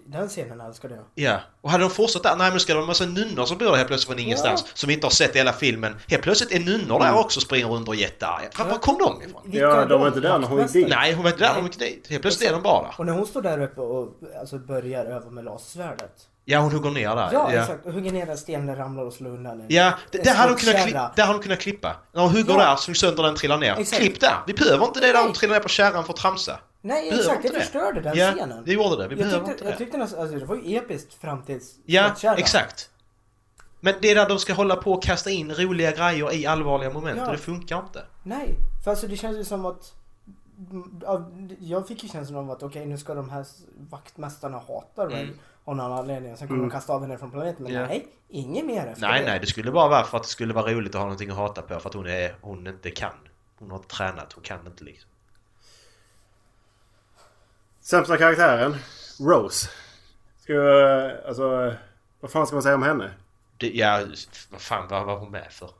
Speaker 8: den scenen älskade jag.
Speaker 6: ja. Och hade de fortsatt där, nej men ska det vara en massa nunnor som bor där helt plötsligt från ingenstans, som vi inte har sett i hela filmen. Helt plötsligt är nunnor
Speaker 8: Mm.
Speaker 6: där också springer runt och jättar. Var, var kom de ifrån?
Speaker 8: Vilka
Speaker 7: de
Speaker 8: är
Speaker 7: var inte där när hon gick dit.
Speaker 6: Nej, hon var inte där, hon gick dit. Helt plötsligt är de bara där.
Speaker 8: Och när hon står där uppe och alltså, börjar öva med lasersvärdet.
Speaker 6: Ja, hon hugger ner där.
Speaker 8: Ja, exakt. Och hugger ner en sten där ramlar och slår undan en-
Speaker 6: Ja, det,
Speaker 8: en
Speaker 6: där, hade hon kunnat
Speaker 8: skottkärra.
Speaker 6: kli- där hade hon kunnat klippa. När hon hugger
Speaker 8: Ja.
Speaker 6: där så sönder den trillar ner.
Speaker 8: Exakt.
Speaker 6: Klipp där! Vi behöver inte det där hon trillar ner på kärran för att tramsa.
Speaker 8: Nej,
Speaker 6: Behöver
Speaker 8: exakt.
Speaker 6: inte
Speaker 8: Det förstörde den
Speaker 6: ja,
Speaker 8: scenen.
Speaker 6: det gjorde det. Vi
Speaker 8: Jag
Speaker 6: behöver
Speaker 8: tyckte,
Speaker 6: inte
Speaker 8: jag
Speaker 6: det.
Speaker 8: tyckte nästan, alltså det var ju episkt fram till
Speaker 6: Ja,
Speaker 8: skottkärran.
Speaker 6: exakt. Men det är där de ska hålla på och kasta in roliga grejer i allvarliga moment
Speaker 8: Ja.
Speaker 6: och det funkar inte.
Speaker 8: Nej, för alltså det känns ju som att... mm, ja, Jag fick ju känslan av att okej nu ska de här vaktmästarna hata Ray av någon anledning. Sen kommer de kasta av henne från planeten. Men
Speaker 6: Mm. Ja.
Speaker 8: nej, inget mer efter
Speaker 6: Nej,
Speaker 8: det.
Speaker 6: nej, det skulle bara vara för att det skulle vara roligt att ha någonting att hata på för att hon, är, hon inte kan. Hon har inte tränat, hon kan inte liksom.
Speaker 7: Sämsta karaktären? Rose. Ska jag, alltså, vad fan ska man säga om henne?
Speaker 6: Det, ja, vad fan, vad var hon med för?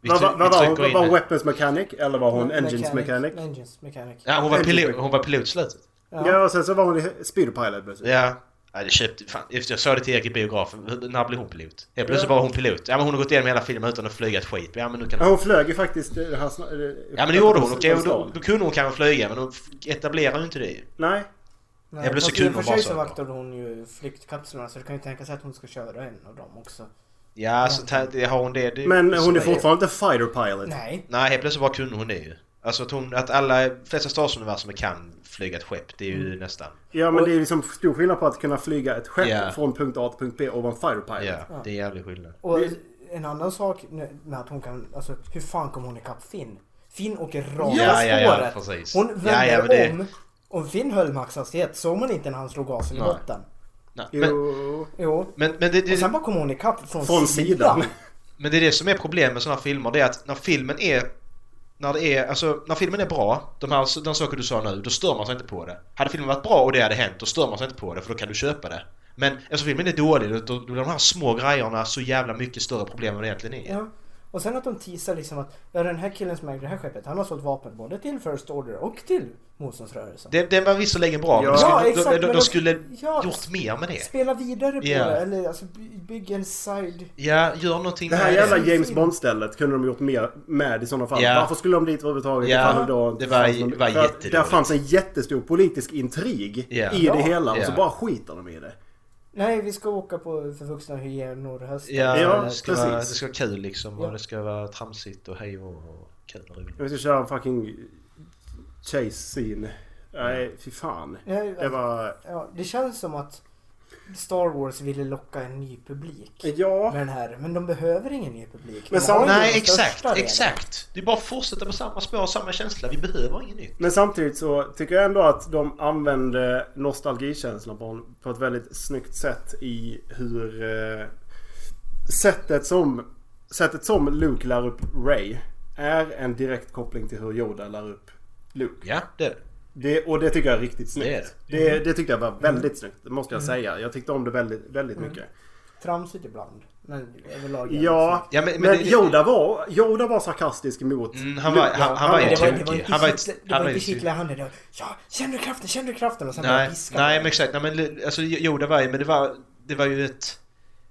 Speaker 6: Vi
Speaker 7: Vad
Speaker 6: try-
Speaker 7: vad-
Speaker 6: vi
Speaker 7: vad var hon?
Speaker 6: trycker in
Speaker 7: Var hon
Speaker 6: en-
Speaker 7: Weapons Mechanic? Eller var hon Engines Mechanic?
Speaker 8: Engines mechanic.
Speaker 6: Ja, hon var
Speaker 7: Engine
Speaker 6: pilot,
Speaker 7: mechanic.
Speaker 6: hon var pilot i slutet.
Speaker 8: Ja.
Speaker 7: Ja, och sen så var hon i Speed Pilot plötsligt.
Speaker 6: Ja. Ja, det köpte, fan, just det, jag sa det till Erik i biografen. Hur- När blev hon pilot? Helt plötsligt var hon pilot. Ja, men hon har gått igenom hela filmen utan att flyga ett skit. Ja, men nu kan
Speaker 7: Ja, Hon flög ju faktiskt... eh, Hans, eh,
Speaker 6: Ja, men det gjorde hon. Och det,
Speaker 7: Hans-
Speaker 6: då, då kunde hon kanske flyga, men hon f- etablerar ju inte det.
Speaker 7: Nej.
Speaker 8: Nej,
Speaker 6: Jag blev så
Speaker 8: fast
Speaker 6: kul
Speaker 8: I och för
Speaker 6: när hon
Speaker 8: sig
Speaker 6: bara
Speaker 8: så
Speaker 6: sa det.
Speaker 8: vaktade hon ju flyktkapslarna så det kan ju tänka sig att hon ska köra en av dem också.
Speaker 6: Ja, så ta- det, har hon det... det
Speaker 7: Men hon är
Speaker 6: så-
Speaker 7: fortfarande inte Fighter Pilot.
Speaker 8: Nej.
Speaker 6: Nej, helt plötsligt bara kunde hon det ju. Alltså att, hon, att alla, flesta starsuniversumer kan flyga ett skepp. Det är
Speaker 7: Mm.
Speaker 6: ju nästan...
Speaker 7: Ja, men det är liksom stor skillnad på att kunna flyga ett skepp
Speaker 6: Ja.
Speaker 7: från punkt A till punkt B och vara en Fighter Pilot.
Speaker 6: Ja, det är jävligt skillnad.
Speaker 8: Och en annan sak med att hon kan, alltså hur fan kom hon ikapp Finn? Finn åker rakt
Speaker 6: Ja,
Speaker 8: av
Speaker 6: ja, ja,
Speaker 8: spåret.
Speaker 6: precis.
Speaker 8: hon
Speaker 6: Ja,
Speaker 8: vänder
Speaker 6: ja, men det-
Speaker 8: om. Om Finn höll maxhastighet såg man inte när han slog gasen i
Speaker 6: Nej.
Speaker 8: botten.
Speaker 6: Nej, men,
Speaker 7: Jo.
Speaker 8: Jo.
Speaker 6: men, men, det,
Speaker 8: Och
Speaker 6: det,
Speaker 8: sen bara kom hon ikapp från,
Speaker 7: Från sidan.
Speaker 6: men det är det som är problemet med sådana filmer. Det är att när filmen är... När, det är, alltså, när filmen är bra, de här, den saker du sa nu, då stör man sig inte på det. Hade filmen varit bra och det hade hänt, då stör man sig inte på det för då kan du köpa det. Men eftersom filmen är dålig, då, då blir de här små grejerna så jävla mycket större problem än det egentligen är.
Speaker 8: Ja. Och sen att de teasar liksom att ja, den här killen som äger det här skeppet han har sålt vapen både till First Order och till motståndsrörelsen.
Speaker 6: Det, den var visserligen bra, men
Speaker 7: Ja.
Speaker 6: de skulle,
Speaker 8: Ja,
Speaker 6: de-
Speaker 8: exakt,
Speaker 6: de, de,
Speaker 8: men
Speaker 6: de
Speaker 8: de-
Speaker 6: skulle
Speaker 8: ja.
Speaker 6: gjort mer med det.
Speaker 8: Spela vidare på
Speaker 6: Ja.
Speaker 8: det eller alltså, by- bygg en side...
Speaker 6: Ja, gör någonting
Speaker 7: Det här
Speaker 6: med
Speaker 7: jävla
Speaker 8: det-
Speaker 7: James Bond-stället kunde de gjort mer med i sådana fall.
Speaker 6: Ja.
Speaker 7: Varför skulle de dit överhuvudtaget?
Speaker 6: Ja,
Speaker 7: ifall då inte
Speaker 6: det var-
Speaker 7: fanns någon-
Speaker 6: var
Speaker 7: för att
Speaker 6: jättedåligt.
Speaker 7: Där fanns en jättestor politisk intrig
Speaker 6: Ja.
Speaker 7: i
Speaker 8: Ja.
Speaker 7: det hela och så
Speaker 6: Ja.
Speaker 7: bara skiter de i det.
Speaker 8: Nej, vi ska åka på förvuxna hyenor i höst.
Speaker 6: Ja,
Speaker 7: Ja,
Speaker 6: det, ska vara, det
Speaker 7: precis.
Speaker 6: ska vara kul liksom
Speaker 8: Ja.
Speaker 6: och det ska vara tramsigt och hej och, och kul och roligt.
Speaker 7: Vi ska köra en fucking chase scene. Nej, fy fan.
Speaker 8: Nej,
Speaker 7: Det var...
Speaker 8: ja, det känns som att Star Wars ville locka en ny publik.
Speaker 7: Ja.
Speaker 8: Med den här. Men de behöver ingen ny publik. De
Speaker 7: Men sam-
Speaker 8: har ju
Speaker 6: Nej,
Speaker 8: den största
Speaker 6: exakt,
Speaker 8: redan.
Speaker 6: exakt. Det är bara att fortsätta med samma spår och samma känsla. Vi behöver inget nytt.
Speaker 7: Men samtidigt så tycker jag ändå att de använde nostalgikänslan på, på ett väldigt snyggt sätt i hur... Eh, sättet som... Sättet som Luke lär upp Ray är en direkt koppling till hur Yoda lär upp Luke.
Speaker 6: Ja, det är det.
Speaker 7: Det, och det tycker jag är riktigt
Speaker 6: Det Mm. är
Speaker 7: snyggt. Det, det, tyckte jag var väldigt snyggt, det måste jag säga. Jag tyckte om det väldigt, väldigt mycket.
Speaker 8: Tramsigt ibland. Men överlag.
Speaker 7: Ja,
Speaker 6: Ja,
Speaker 7: men,
Speaker 6: men- men det-
Speaker 7: Yoda, var, Yoda var sarkastisk mot...
Speaker 6: Mm, han var-
Speaker 7: Luke.
Speaker 6: han- han var ju
Speaker 8: Det var, det
Speaker 6: Tokig.
Speaker 8: var inte
Speaker 6: Han var-
Speaker 8: kittla- det
Speaker 6: han
Speaker 8: var
Speaker 6: var
Speaker 8: inte
Speaker 6: ju-
Speaker 8: kittla i handen. Det var, ja, känner du kraften, känner du kraften? Och sen bara
Speaker 6: Nej,
Speaker 8: piska.
Speaker 6: nej men
Speaker 7: liksom.
Speaker 6: exakt. Nej, men, li- alltså, jo, det var ju, men det var, det var ju ett...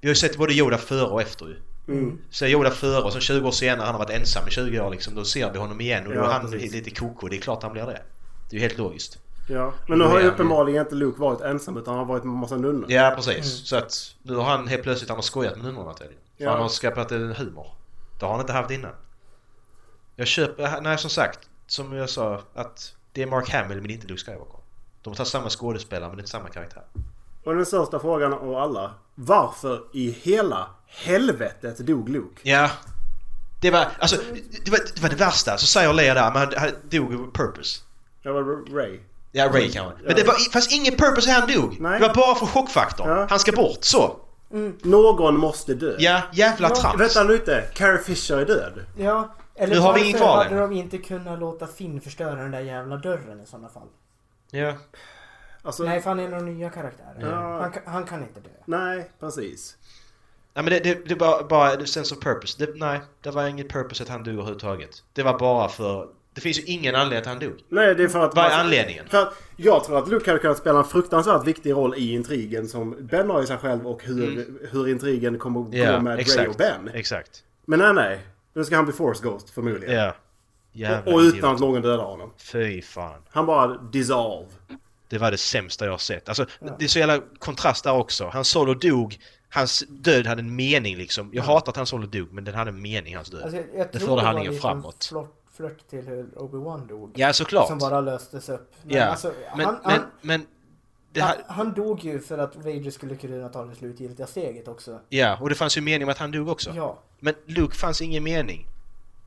Speaker 6: Vi har ju sett både Yoda före och efter ju.
Speaker 7: Mm.
Speaker 6: Så Yoda före och sen 20 år senare, han har varit ensam i 20 år liksom, då ser vi honom igen och då
Speaker 7: Ja,
Speaker 6: är han
Speaker 7: precis. Mm.
Speaker 6: lite koko. Det är klart han blir det. Det är ju helt logiskt.
Speaker 7: Ja, men nu har
Speaker 6: Nej,
Speaker 7: ju
Speaker 6: han-
Speaker 7: uppenbarligen inte Luke varit ensam utan han har varit med en massa nunnor.
Speaker 6: Ja, precis. Så att nu har han helt plötsligt han har skojat med numren tydligen. För
Speaker 7: Ja.
Speaker 6: Han har skapat en humor. Det har han inte haft innan. Jag köper, nej som sagt, som jag sa att det är Mark Hamill men inte Luke Skywalker. De tar samma skådespelare men inte samma karaktär.
Speaker 7: Och den största frågan av alla. Varför i hela helvetet dog Luke?
Speaker 6: Ja. Det var, alltså, det var det, var det värsta. Så säger Leia där, men han- han dog av purpose.
Speaker 7: Det var Ray.
Speaker 6: Ja, Ray kanske. Men
Speaker 7: Ja.
Speaker 6: det var, fanns ingen purpose i han dog.
Speaker 7: Nej.
Speaker 6: Det var bara för chockfaktorn.
Speaker 7: Ja.
Speaker 6: Han ska bort, så.
Speaker 7: Någon måste dö.
Speaker 6: Ja, jävla trams.
Speaker 7: Vänta nu inte. Carrie Fisher är död.
Speaker 8: Ja, eller
Speaker 6: Nu har vi ingen
Speaker 8: varför
Speaker 6: kvar
Speaker 8: hade
Speaker 6: längre.
Speaker 8: de inte kunnat låta Finn förstöra den där jävla dörren i sådana fall?
Speaker 6: Ja.
Speaker 7: Alltså,
Speaker 8: Nej,
Speaker 7: nej.
Speaker 8: för han är några nya karaktärer.
Speaker 7: Ja.
Speaker 8: Han, kan- han kan inte dö.
Speaker 7: precis.
Speaker 6: Nej men det, det, det var bara det sense of purpose. Det, nej, det var inget purpose att han dog överhuvudtaget. Det var bara för Det finns ju ingen anledning att han dog.
Speaker 7: Nej, det är för att...
Speaker 6: Vad är anledningen?
Speaker 7: För att jag tror att Luke hade kunnat spela en fruktansvärt viktig roll i intrigen som Ben har i sig själv och hur, hur intrigen kommer att gå med Ray och Ben.
Speaker 6: Mm. Exakt.
Speaker 7: Men nej, nej. Nu ska han bli Force Ghost förmodligen.
Speaker 6: Ja. Jävla
Speaker 7: och utan
Speaker 6: idiot.
Speaker 7: att någon dödar honom.
Speaker 6: Fy fan.
Speaker 7: Han bara dissolve.
Speaker 6: Det var det sämsta jag har sett. Alltså, Det är så jävla kontrast där också. Han Solo dog. Hans död hade en mening liksom. Jag hatar att han Solo dog, men den hade en mening, hans död.
Speaker 8: Alltså, jag, jag
Speaker 6: det
Speaker 8: tror
Speaker 6: förde
Speaker 8: var liksom
Speaker 6: handlingen
Speaker 8: en liten
Speaker 6: framåt.
Speaker 8: flört- Flört till hur Obi-Wan dog.
Speaker 6: Ja, såklart.
Speaker 8: Som bara löstes upp. Men,
Speaker 6: ja.
Speaker 8: alltså,
Speaker 6: men,
Speaker 8: han,
Speaker 6: men,
Speaker 8: han,
Speaker 6: men... Det
Speaker 8: han,
Speaker 6: här...
Speaker 8: han dog ju för att Vader skulle kunna ta det slutgiltiga steget också.
Speaker 6: Ja, och det fanns ju mening med att han dog också.
Speaker 8: Ja.
Speaker 6: Men Luke fanns ingen mening.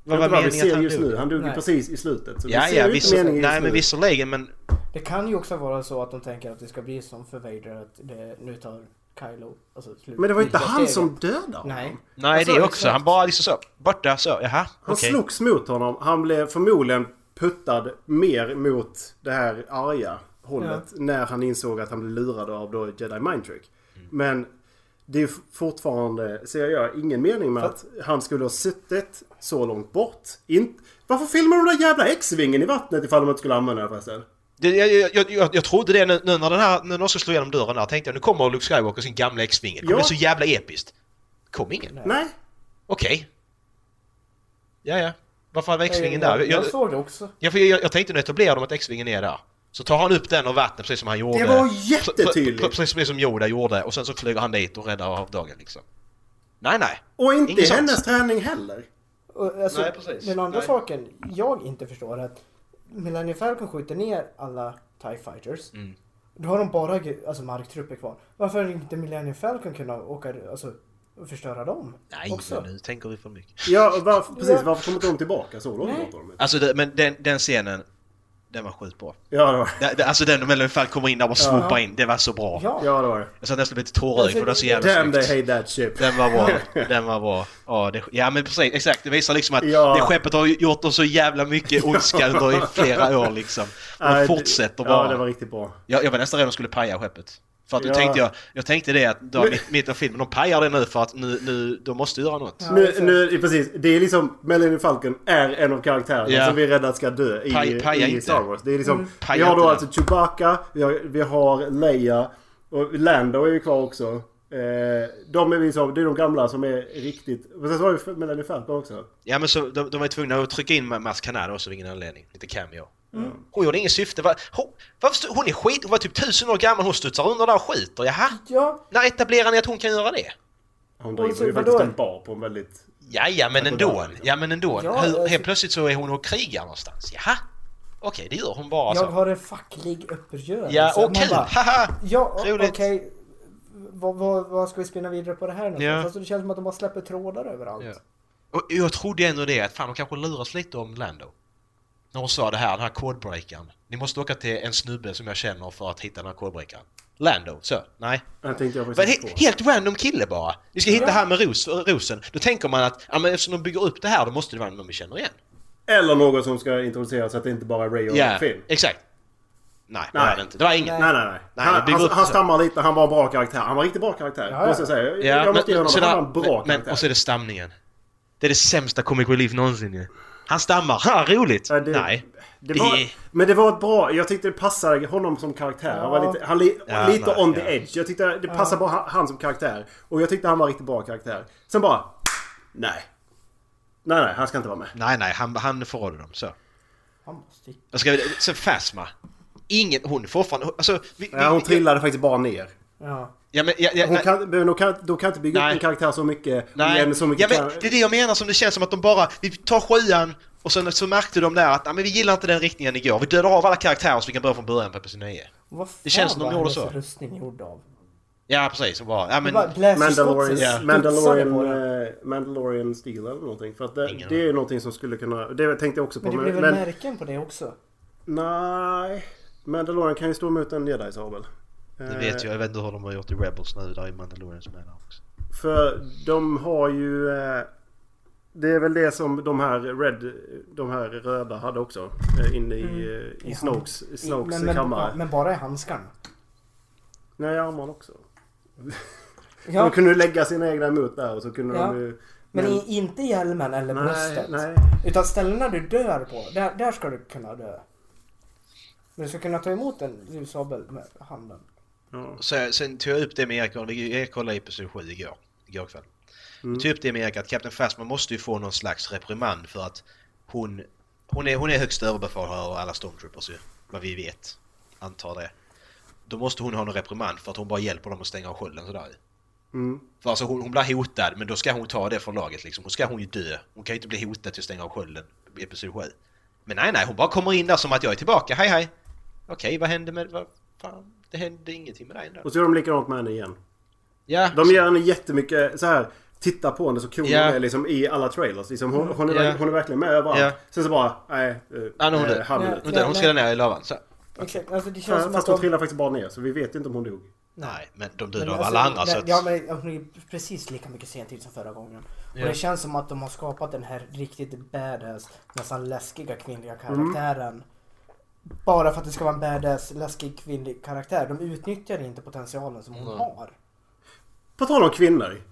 Speaker 6: Vad
Speaker 7: Vad
Speaker 6: var
Speaker 7: inte vad vi
Speaker 6: meningen att
Speaker 7: ser
Speaker 6: han
Speaker 7: just nu.
Speaker 6: dog?
Speaker 7: Han dog ju
Speaker 8: Nej.
Speaker 7: precis i slutet. Så
Speaker 6: Ja,
Speaker 7: vi ser
Speaker 6: ja,
Speaker 7: ju
Speaker 6: visst,
Speaker 7: inte meningen
Speaker 6: nej
Speaker 7: just
Speaker 6: men
Speaker 7: nu.
Speaker 6: visserligen men...
Speaker 8: Det kan ju också vara så att de tänker att det ska bli som för Vader att det, nu tar Kylo alltså, slut-
Speaker 7: Men det var ju inte
Speaker 8: sista
Speaker 7: han
Speaker 8: steget.
Speaker 7: som dödade honom.
Speaker 8: Nej.
Speaker 6: Nej
Speaker 7: Alltså,
Speaker 6: det också,
Speaker 7: exakt.
Speaker 6: han bara liksom så, borta så, jaha,
Speaker 7: Han
Speaker 6: okej.
Speaker 7: slogs mot honom. Han blev förmodligen puttad mer mot det här arga hållet när han insåg att han blev lurad av då Jedi Mind Trick. Men det är f- fortfarande, ser jag, ingen mening med att han skulle ha suttit så långt bort. In... Varför filmar de den där jävla X-vingen i vattnet ifall de inte skulle använda den förresten?
Speaker 6: Det, jag, jag, jag, jag trodde det nu, nu när den här, när någon ska slå igenom dörren där tänkte jag nu kommer Luke Skywalker och sin gamla X-vinge. Det kommer
Speaker 7: Ja.
Speaker 6: bli så jävla episkt. Kom ingen.
Speaker 7: Nej.
Speaker 6: Okej. Ja, ja. Varför hade vi X-vingen där?
Speaker 8: Eh, Jag,
Speaker 6: Jag,
Speaker 8: jag, såg det också.
Speaker 6: jag, för jag, jag tänkte nu etablera dem att X-vingen är där. Så tar han upp den av vattnet precis som han gjorde.
Speaker 7: Det var
Speaker 6: Pre-
Speaker 7: jättetydligt!
Speaker 6: pre- Precis, precis som Yoda gjorde och sen så flyger han dit och räddar dagen liksom. Nej, nej.
Speaker 7: Och inte i
Speaker 6: Inget
Speaker 7: hennes
Speaker 6: sånt.
Speaker 7: träning heller.
Speaker 8: Och, alltså,
Speaker 6: Nej, precis.
Speaker 8: Den andra
Speaker 6: Nej.
Speaker 8: saken jag inte förstår är att Millennium Falcon skjuter ner alla TIE Fighters.
Speaker 6: Mm.
Speaker 8: Då har de bara gre- alltså, marktrupper kvar. Varför har inte Millennium Falcon kunnat åka alltså, och förstöra dem?
Speaker 6: Nej,
Speaker 8: också?
Speaker 6: nu tänker vi för mycket.
Speaker 7: Ja, varför, precis.
Speaker 8: Ja.
Speaker 7: Varför kommer inte de tillbaka så långt
Speaker 8: Nej.
Speaker 7: bort? de är?
Speaker 6: Alltså det, men den, den scenen, den var sjukt bra.
Speaker 7: Ja, det var
Speaker 6: Det, det, alltså den när Melvin Falk kommer in där och bara swoopar in, det var så bra.
Speaker 8: Ja.
Speaker 7: Ja, det var det.
Speaker 6: Jag satt nästan lite tårögd
Speaker 7: Alltså,
Speaker 6: för det var så jävla
Speaker 7: Damn they
Speaker 6: snyggt.
Speaker 7: hate that ship.
Speaker 6: Den var bra. Den var bra. Ja, det, ja men precis, exakt. Det visar liksom att
Speaker 7: Ja.
Speaker 6: det skeppet har ju gjort dem så jävla mycket ondska under i flera år liksom.
Speaker 7: Nej,
Speaker 6: De
Speaker 7: det-
Speaker 6: fortsätter
Speaker 7: Ja,
Speaker 6: bara.
Speaker 7: det var riktigt bra.
Speaker 6: jag, jag var nästan rädd att de skulle paja skeppet. För att då
Speaker 7: Ja.
Speaker 6: tänkte jag, jag tänkte det att då, mitt, mitt av filmen, de pajar det nu för att nu, nu de måste göra något.
Speaker 7: Nu,
Speaker 8: exakt.
Speaker 7: nu, det- precis. Det är liksom Melanie Falcon är en av karaktärerna
Speaker 6: Ja.
Speaker 7: som vi är rädda ska dö i,
Speaker 6: Paj- paja
Speaker 7: i
Speaker 6: inte.
Speaker 7: Star Wars. Det är liksom,
Speaker 8: Mm.
Speaker 7: vi
Speaker 6: Paja
Speaker 7: har då
Speaker 6: inte
Speaker 7: alltså Chewbacca, vi har, vi har Leia och Lando är ju kvar också. Eh, de är liksom, det är de gamla som är riktigt... Men sen så har vi Melanie Falcon också.
Speaker 6: Ja men så de, de var tvungna att trycka in Ma- Mas Kanada också av ingen anledning. Lite cameo.
Speaker 7: Mm.
Speaker 6: Hon gjorde ingen syfte. Va, hon, varför, stod- hon är skit... Hon var typ tusen år gammal. Hon studsar under där och skiter. Jaha?
Speaker 8: Ja,
Speaker 6: När etablerar ni att hon kan göra det?
Speaker 7: Hon
Speaker 8: så
Speaker 7: driver ju
Speaker 8: vadå?
Speaker 7: faktiskt en bar på en väldigt...
Speaker 6: Ja, ja men ändå. Ja men ändå.
Speaker 8: Ja,
Speaker 6: Hur,
Speaker 8: alltså-
Speaker 6: helt plötsligt så är hon och krigar någonstans. Jaha? Okej, det gör hon bara
Speaker 8: jag
Speaker 6: så.
Speaker 8: har en facklig uppgörelse.
Speaker 6: Alltså. Ja,
Speaker 8: Man
Speaker 6: och kul!
Speaker 8: bara,
Speaker 6: Haha!
Speaker 8: Ja, o- okej.
Speaker 6: Roligt.
Speaker 8: Vad, vad, vad ska vi spinna vidare på det här någonstans?
Speaker 6: Ja.
Speaker 8: Alltså, det känns som att de bara släpper trådar överallt.
Speaker 6: Ja. Och jag trodde ändå det att fan de kanske luras lite om Lando. När hon sa det här, den här kodbreakaren. Ni måste åka till en snubbe som jag känner för att hitta den här kodbreakaren. Lando, så. Nej.
Speaker 7: Den tänkte jag
Speaker 6: Men
Speaker 7: faktiskt
Speaker 6: he
Speaker 7: inte på.
Speaker 6: helt random kille bara. Vi ska hitta här med ros, rosen. Då tänker man att ja, men eftersom de bygger upp det här då måste det vara någon vi känner igen.
Speaker 7: Eller någon som ska introduceras så att det inte bara är Ray och
Speaker 6: Ja,
Speaker 7: Finn.
Speaker 6: exakt. Nej, det
Speaker 7: Nej.
Speaker 6: var det inte. Det var inget.
Speaker 7: Nej, nej, nej.
Speaker 6: Nej, det
Speaker 7: han,
Speaker 6: bygger
Speaker 7: han,
Speaker 6: upp
Speaker 7: han
Speaker 6: så.
Speaker 7: stammar lite. Han var en bra karaktär. Han var en riktigt bra karaktär.
Speaker 8: Ja, ja.
Speaker 7: Måste jag säga. Jag-
Speaker 6: Ja,
Speaker 7: jag måste ge honom
Speaker 6: så
Speaker 7: att
Speaker 6: där-
Speaker 7: han var en bra
Speaker 6: men,
Speaker 7: karaktär.
Speaker 6: men, och så är det stamningen. Det är det sämsta Comic Relief någonsin ju. Han stammar. Ha, roligt!
Speaker 7: Ja, det-
Speaker 6: nej.
Speaker 7: det var,
Speaker 6: det-
Speaker 7: Men det var ett bra... Jag tyckte det passade honom som karaktär. Han var
Speaker 8: Ja.
Speaker 7: lite, han li,
Speaker 6: Ja,
Speaker 7: lite
Speaker 6: nej,
Speaker 7: on the
Speaker 6: ja.
Speaker 7: edge. Jag tyckte det passade bra han, han som karaktär. Och jag tyckte han var en riktigt bra karaktär. Sen bara... Nej. Nej, nej. Han ska inte vara med.
Speaker 6: Nej, nej, han, han förrådde dem. Så.
Speaker 8: Han bara sticker.
Speaker 6: Jag ska, sen Fasma. Ingen, hon är fortfarande... Alltså, vi,
Speaker 7: Ja, hon
Speaker 6: vi,
Speaker 7: trillade faktiskt bara ner.
Speaker 8: Ja.
Speaker 6: Ja, men, ja, ja,
Speaker 7: Hon
Speaker 6: nej.
Speaker 7: kan, men hon kan, då kan inte bygga
Speaker 6: Nej.
Speaker 7: upp en karaktär så mycket.
Speaker 6: Nej,
Speaker 7: igen, så mycket
Speaker 6: ja, men
Speaker 7: kar-
Speaker 6: det är det jag menar som det känns som att de bara, vi tar sjuan och sen så märkte de där att "Nej, men vi gillar inte den riktningen igår. Vi dödar av alla karaktärer så vi kan börja från början på episod 9.
Speaker 8: Vad fan
Speaker 6: Det känns som de
Speaker 8: var
Speaker 6: gjorde
Speaker 8: hennes
Speaker 6: så.
Speaker 8: rustning gjord av?
Speaker 6: Ja precis, och bara, ja men...
Speaker 8: Bara bläser
Speaker 7: Mandalorian,
Speaker 8: skott så
Speaker 7: ja.
Speaker 8: studsar det på
Speaker 7: Mandalorian,
Speaker 8: den.
Speaker 7: eh, Mandalorian Steel eller någonting. För att det,
Speaker 6: Ingen
Speaker 7: det är ju någonting som skulle kunna... Det tänkte jag också på.
Speaker 8: Men det blir
Speaker 7: Men,
Speaker 8: väl
Speaker 7: men,
Speaker 8: märken på det också?
Speaker 7: nej. Mandalorian kan ju stå emot en jedi-sabel.
Speaker 6: Det vet
Speaker 7: Eh,
Speaker 6: jag, jag vet inte hur de har gjort i Rebels nu, där är Mandalorian som är där också.
Speaker 7: För de har ju... eh, Det är väl det som de här, red, de här röda hade också. eh, Inne i, eh, i
Speaker 8: Mm. Ja.
Speaker 7: Snokes, Snokes
Speaker 8: men, men,
Speaker 7: kammare.
Speaker 8: ja, men bara i handskarna.
Speaker 7: Nej, armarna också.
Speaker 8: Ja,
Speaker 7: De kunde lägga sina egna emot där och så kunde
Speaker 8: Ja.
Speaker 7: de ju...
Speaker 8: Men i, inte hjälmen eller
Speaker 7: Nej,
Speaker 8: bröstet.
Speaker 7: nej.
Speaker 8: Utan ställena du dör på, där, där ska du kunna dö. Men du ska kunna ta emot en ljussabel med handen.
Speaker 7: Ja.
Speaker 6: Så, sen tog jag upp det med Erik, och vi- Erik kollade i episod 7 igår, igår kväll.
Speaker 7: Mm.
Speaker 6: Jag tog upp Typ det med Erik att Kapten Phasma måste ju få någon slags reprimand för att hon, hon, är, hon är högst överbefälhavare av alla stormtroopers ju, vad vi vet. Antar det. Då måste hon ha någon reprimand för att hon bara hjälper dem att stänga av skölden sådär ju.
Speaker 7: Mm.
Speaker 6: För alltså hon, hon blir hotad men då ska hon ta det från laget liksom. Då ska hon ju dö. Hon kan ju inte bli hotad till att stänga av skölden i episod 7. Men nej nej, hon bara kommer in där som att jag är tillbaka, hej hej! Okej, vad hände med... Vad fan? Det hände ingenting med dig ändå.
Speaker 7: Och så gör de likadant med henne igen.
Speaker 6: Ja,
Speaker 7: De ger henne jättemycket så här. Titta på henne så cool
Speaker 6: Ja.
Speaker 7: hon är liksom i alla trailers. Liksom, hon, hon, är,
Speaker 6: Ja.
Speaker 7: hon är verkligen med överallt.
Speaker 6: Ja.
Speaker 7: Sen så bara, nej. eh,
Speaker 6: Ja, nu är hon
Speaker 7: eh,
Speaker 6: död.
Speaker 7: halv
Speaker 8: Ja.
Speaker 7: minut.
Speaker 6: Vänta, hon skulle ner i lavan. Så.
Speaker 8: Exakt, alltså det känns
Speaker 7: Ja,
Speaker 8: som
Speaker 7: Fast
Speaker 8: att
Speaker 7: hon
Speaker 8: de-
Speaker 7: trillar faktiskt bara ner så vi vet ju inte om hon dog.
Speaker 6: Nej, men de
Speaker 8: Men
Speaker 6: dödade av
Speaker 8: alltså,
Speaker 6: alla andra
Speaker 8: det-
Speaker 6: så att...
Speaker 8: Ja men hon är precis lika mycket sent ut som förra gången.
Speaker 6: Ja.
Speaker 8: Och det känns som att de har skapat den här riktigt badass, nästan läskiga kvinnliga karaktären. Bara för att det ska vara en badass, läskig kvinnlig karaktär. De utnyttjar inte potentialen som hon har.
Speaker 7: På tal om kvinnor.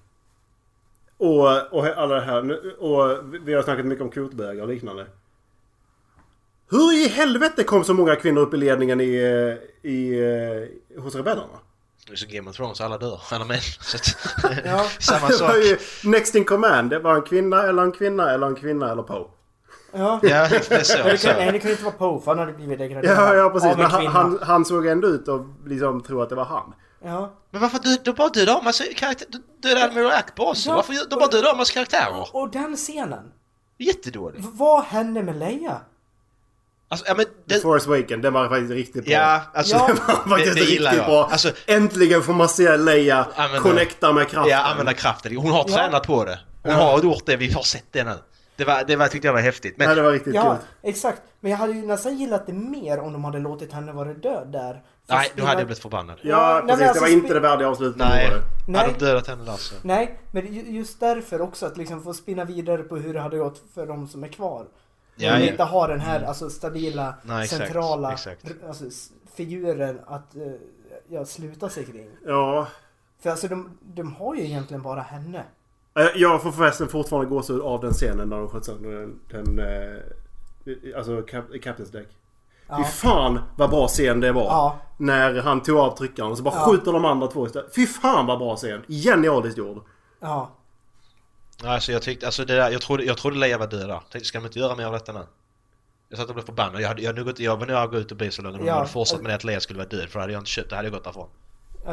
Speaker 7: Och, och alla det här. nu- Och vi har snackat mycket om kvotbögar och liknande. Hur i helvete kom så många kvinnor upp i ledningen i, eh, i, eh, hos rebellerna?
Speaker 6: Det är så Game of Thrones, alla dör, alla män. Så att...
Speaker 8: Ja.
Speaker 6: Samma
Speaker 7: Det
Speaker 6: sak.
Speaker 7: var ju next in command. Det var en kvinna eller en kvinna eller en kvinna eller Poe.
Speaker 8: Ja.
Speaker 6: Ja, det är
Speaker 8: Men
Speaker 6: så.
Speaker 8: det kan, nej
Speaker 6: så.
Speaker 8: det kan ju inte vara Poe för han hade blivit degraderad.
Speaker 7: Ja, ja precis.
Speaker 8: Av en
Speaker 7: Men han,
Speaker 8: kvinna.
Speaker 7: han, han såg ändå ut och liksom tro att det var han.
Speaker 8: Ja.
Speaker 6: Men varför dö- Alltså, de bara dödar av massa karaktärer? De dödar Admiral Ackbar också.
Speaker 8: Ja.
Speaker 6: Varför gör- de bara dödar av massa karaktärer?
Speaker 8: Och den scenen.
Speaker 6: Jättedålig.
Speaker 8: V- Vad hände med Leia?
Speaker 6: Alltså, ja men...
Speaker 7: The
Speaker 6: Den...
Speaker 7: Force Awaken, den var faktiskt riktigt bra.
Speaker 6: Ja, alltså...
Speaker 8: Ja.
Speaker 7: Den var faktiskt
Speaker 6: det gillar
Speaker 7: riktigt
Speaker 6: jag.
Speaker 7: bra.
Speaker 6: Alltså-
Speaker 7: Äntligen får man se Leia
Speaker 6: Använda-
Speaker 7: connecta med kraften.
Speaker 6: Ja, använda kraften. Hon har
Speaker 8: Ja.
Speaker 6: tränat på det. Hon har gjort det, vi har sett det nu. Det, var, det var, tyckte jag var häftigt. Men
Speaker 7: Nej, det var riktigt
Speaker 8: Ja,
Speaker 7: kul.
Speaker 8: exakt. Men jag hade ju nästan gillat det mer om de hade låtit henne vara död där.
Speaker 6: nej,
Speaker 8: Fast
Speaker 6: då hade
Speaker 8: innan-
Speaker 6: jag blivit förbannad.
Speaker 8: Ja, nej,
Speaker 7: Ja,
Speaker 8: men
Speaker 7: precis.
Speaker 8: alltså,
Speaker 7: det var
Speaker 8: spe-
Speaker 7: inte det värdiga avslutet.
Speaker 6: Nej.
Speaker 7: på det.
Speaker 8: Nej.
Speaker 6: Hade de dödat henne där så...
Speaker 8: Nej, men ju- just därför också att liksom få spinna vidare på hur det hade gått för de som är
Speaker 6: Ja,
Speaker 8: kvar. Om vi
Speaker 6: ja. Mm.
Speaker 8: inte har den här alltså, stabila,
Speaker 6: Nej, exakt,
Speaker 8: centrala
Speaker 6: exakt.
Speaker 8: r- Alltså, s- figuren att eh, ja, sluta sig kring.
Speaker 7: Ja.
Speaker 8: För alltså de, de har ju egentligen bara henne.
Speaker 7: Eh, Jag får förresten fortfarande gåshud av den scenen när de sköt sönder den... den eh, alltså kap- Captain's Deck. Fy fan vad bra scen det var.
Speaker 8: Ja.
Speaker 7: När han tog av tryckaren och så bara
Speaker 8: Ja.
Speaker 7: skjuter de andra två istället. Fy fan vad bra scen. Genialiskt gjord.
Speaker 8: Ja.
Speaker 6: Nej, Alltså jag tyckte, alltså det där, jag trodde, jag trodde Leia var död där. Jag Tänkte, ska de inte göra mer av detta nu? Jag satt och blev förbannad. Jag, hade, jag, hade nog gått, jag var nära att gå ut och bli så lugn om de
Speaker 8: Ja.
Speaker 6: hade fortsatt med det att Leia skulle vara död. För då hade jag inte köpt, då hade jag gått därifrån.
Speaker 8: Ja,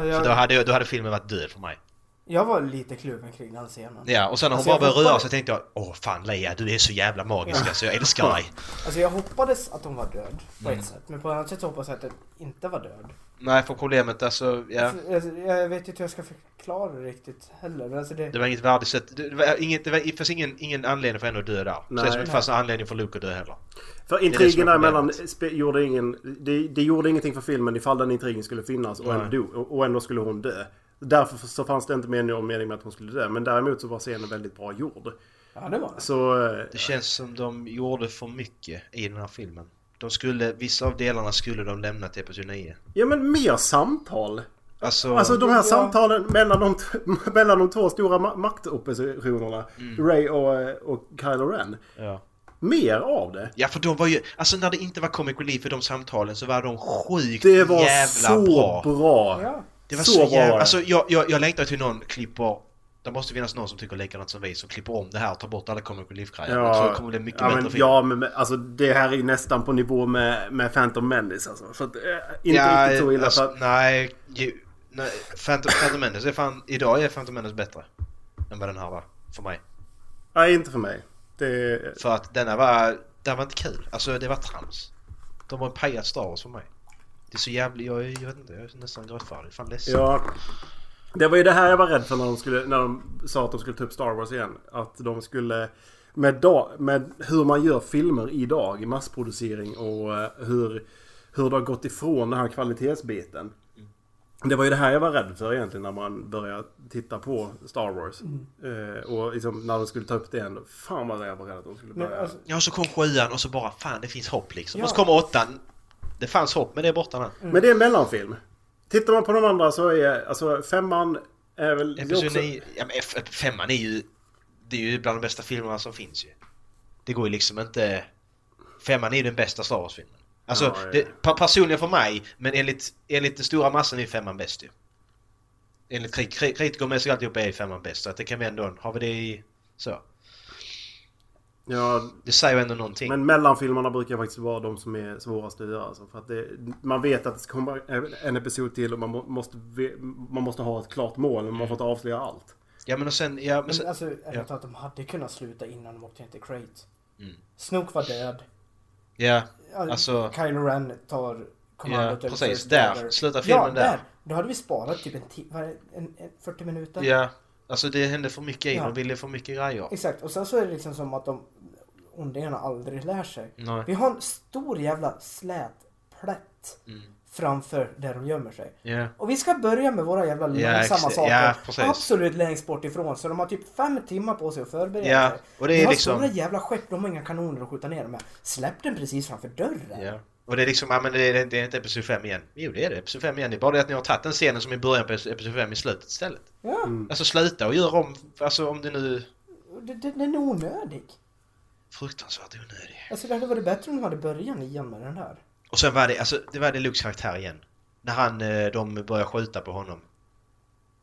Speaker 6: För då
Speaker 8: Jag,
Speaker 6: hade, jag- då hade filmen varit död för mig.
Speaker 8: jag var lite kluven kring den scenen.
Speaker 6: Ja, och sen när hon
Speaker 8: Alltså,
Speaker 6: bara
Speaker 8: jag
Speaker 6: började
Speaker 8: hoppade-
Speaker 6: röra sig tänkte jag Åh fan Leia, du är så jävla magisk alltså, jag älskar dig.
Speaker 8: Alltså jag hoppades att hon var död på
Speaker 6: Mm.
Speaker 8: ett sätt. Men på ett annat sätt så hoppas jag att den inte var död.
Speaker 6: Nej, för problemet alltså, ja.
Speaker 8: Alltså, jag, jag vet inte hur jag ska förklara det riktigt heller. Men alltså det,
Speaker 6: Det var inget värdigt sätt. Det, det, var inget, det, var, det fanns ingen, ingen anledning för henne att dö där.
Speaker 7: Nej.
Speaker 6: Precis som det inte fanns någon anledning för Luke att dö heller.
Speaker 7: För
Speaker 6: det som
Speaker 7: intrigen
Speaker 6: är
Speaker 7: däremellan
Speaker 6: problemet.
Speaker 7: spe- gjorde ingen... Det, det gjorde ingenting för filmen ifall den intrigen skulle finnas och ändå, och och ändå skulle hon dö. Därför så fanns det inte mer någon mening med att hon skulle dö. Men däremot så var scenen väldigt bra gjord.
Speaker 8: ja, det var det.
Speaker 7: Så... eh,
Speaker 6: Det känns som de gjorde för mycket i den här filmen. De skulle, vissa av delarna skulle de lämna till Episod 9.
Speaker 7: Ja men mer samtal.
Speaker 6: Alltså,
Speaker 7: Alltså de här
Speaker 8: Ja.
Speaker 7: samtalen mellan de, t- mellan de två stora ma- maktoppositionerna. Ray och, eh, och Kylo Ren.
Speaker 6: Mm. ja.
Speaker 7: Mer av det.
Speaker 6: ja för de var ju, alltså när det inte var comic relief i de samtalen så var de sjukt
Speaker 7: Det var
Speaker 6: jävla
Speaker 7: så bra.
Speaker 6: bra.
Speaker 8: Ja.
Speaker 6: Det var
Speaker 7: så
Speaker 6: så,
Speaker 7: bra var
Speaker 6: jävla,
Speaker 7: det.
Speaker 6: alltså jag, jag, jag längtar till någon klipper det måste finnas någon som tycker likadant som vi som klipper om det här och tar bort alla comic relief-grejer. Jag tror det kommer bli mycket
Speaker 7: ja,
Speaker 6: bättre
Speaker 7: men,
Speaker 6: film.
Speaker 7: ja, men men, alltså, det här är nästan på nivå med, med Phantom Menace. Alltså. Så att, eh, inte riktigt så illa.
Speaker 6: alltså,
Speaker 7: för att,
Speaker 6: Nej, ju, nej Phantom, Phantom Menace är fan, idag är Phantom Menace bättre. Än vad den här var, för mig.
Speaker 7: nej, inte för mig. Det,
Speaker 6: För att denna var, den var inte kul. Alltså det var trams. De har pajat Star Wars för mig. Det är så jävligt, jag, jag vet inte, jag är nästan gråtfärdig. Fan ledsen.
Speaker 7: ja, det var ju det här jag var rädd för när de, skulle, när de sa att de skulle ta upp Star Wars igen. Att de skulle... Med, da, med hur man gör filmer idag i massproducering och eh, hur, hur det har gått ifrån den här kvalitetsbiten. Det var ju det här jag var rädd för egentligen när man började titta på Star Wars. Eh, och liksom, när de skulle ta upp det igen. Fan vad jag var rädd att de skulle
Speaker 8: Men,
Speaker 7: börja.
Speaker 8: alltså,
Speaker 6: Ja, och så kom sjuan och så bara fan det finns hopp liksom.
Speaker 8: Ja.
Speaker 6: Och så kommer åttan. Det fanns hopp men det är borta nu.
Speaker 7: Men det är en mellanfilm. Tittar man på de andra så är alltså femman är väl... det är
Speaker 6: Episod
Speaker 7: också-
Speaker 6: 9, ja men F- femman är ju det är ju bland de bästa filmerna som finns ju. Det går ju liksom inte... Femman är ju den bästa Star Wars-filmen. Alltså,
Speaker 7: Ja, ja.
Speaker 6: Det, per- personligen för mig, men enligt, enligt den stora massan är femman bäst ju. Enligt kri- kri- kritikermässigt alltihopa är femman bäst, så att det kan vi ändå... Har vi det i... Så.
Speaker 7: Ja,
Speaker 6: Det säger ju ändå någonting.
Speaker 7: men mellanfilmerna brukar faktiskt vara de som är svårast att göra. Alltså, för att det, man vet att det ska komma en episod till och man må- måste, ve- man måste ha ett klart mål. Men man får inte avslöja allt.
Speaker 6: Ja men och sen... Ja, men
Speaker 8: Men
Speaker 6: sen
Speaker 8: alltså, jag
Speaker 6: ja.
Speaker 8: att de hade kunnat sluta innan de åkte in till Crate.
Speaker 6: Mm.
Speaker 8: Snoke var död.
Speaker 6: ja.
Speaker 8: Ja,
Speaker 6: Alltså-
Speaker 8: Kylo Ren tar kommandot
Speaker 6: Ja,
Speaker 8: över
Speaker 6: precis.
Speaker 8: First
Speaker 6: Där.
Speaker 8: Order.
Speaker 6: Sluta
Speaker 8: Ja,
Speaker 6: filmen
Speaker 8: där.
Speaker 6: där.
Speaker 8: Då hade vi sparat typ en, ti- vad är det? en, en 40 minuter.
Speaker 6: Ja. Alltså det hände för mycket i
Speaker 8: Ja.
Speaker 6: ja. De ville för mycket grejer.
Speaker 8: Exakt. Och sen så är det liksom som att de ondingarna aldrig lär sig.
Speaker 6: Nej.
Speaker 8: Vi har en stor jävla slät plätt framför där de gömmer sig.
Speaker 6: Mm. Ja.
Speaker 8: Och vi ska börja med våra jävla
Speaker 6: Ja,
Speaker 8: långsamma
Speaker 6: exa-
Speaker 8: saker.
Speaker 6: ja, precis.
Speaker 8: Absolut längst bort ifrån. Så de har typ fem timmar på sig att förbereda
Speaker 6: Ja,
Speaker 8: sig.
Speaker 6: och det är
Speaker 8: de har
Speaker 6: liksom-
Speaker 8: stora jävla skepp, de har inga kanoner att skjuta ner dem med. Släpp den precis framför dörren.
Speaker 6: Ja. Och det är liksom, ja men det är, det är inte Episod 5 igen. Jo det är det, Episod 5 igen. Det är bara det att ni har tagit den scenen som är i början på Episod 5 i slutet istället.
Speaker 8: Ja,
Speaker 6: Alltså sluta och gör om, alltså om det nu...
Speaker 8: det- det- den är onödig.
Speaker 6: Fruktansvärt onödig.
Speaker 8: Alltså det hade varit bättre om de hade börjat igen med den här.
Speaker 6: Och sen var det, alltså det var det Lukes karaktär igen. När han, eh, de började skjuta på honom.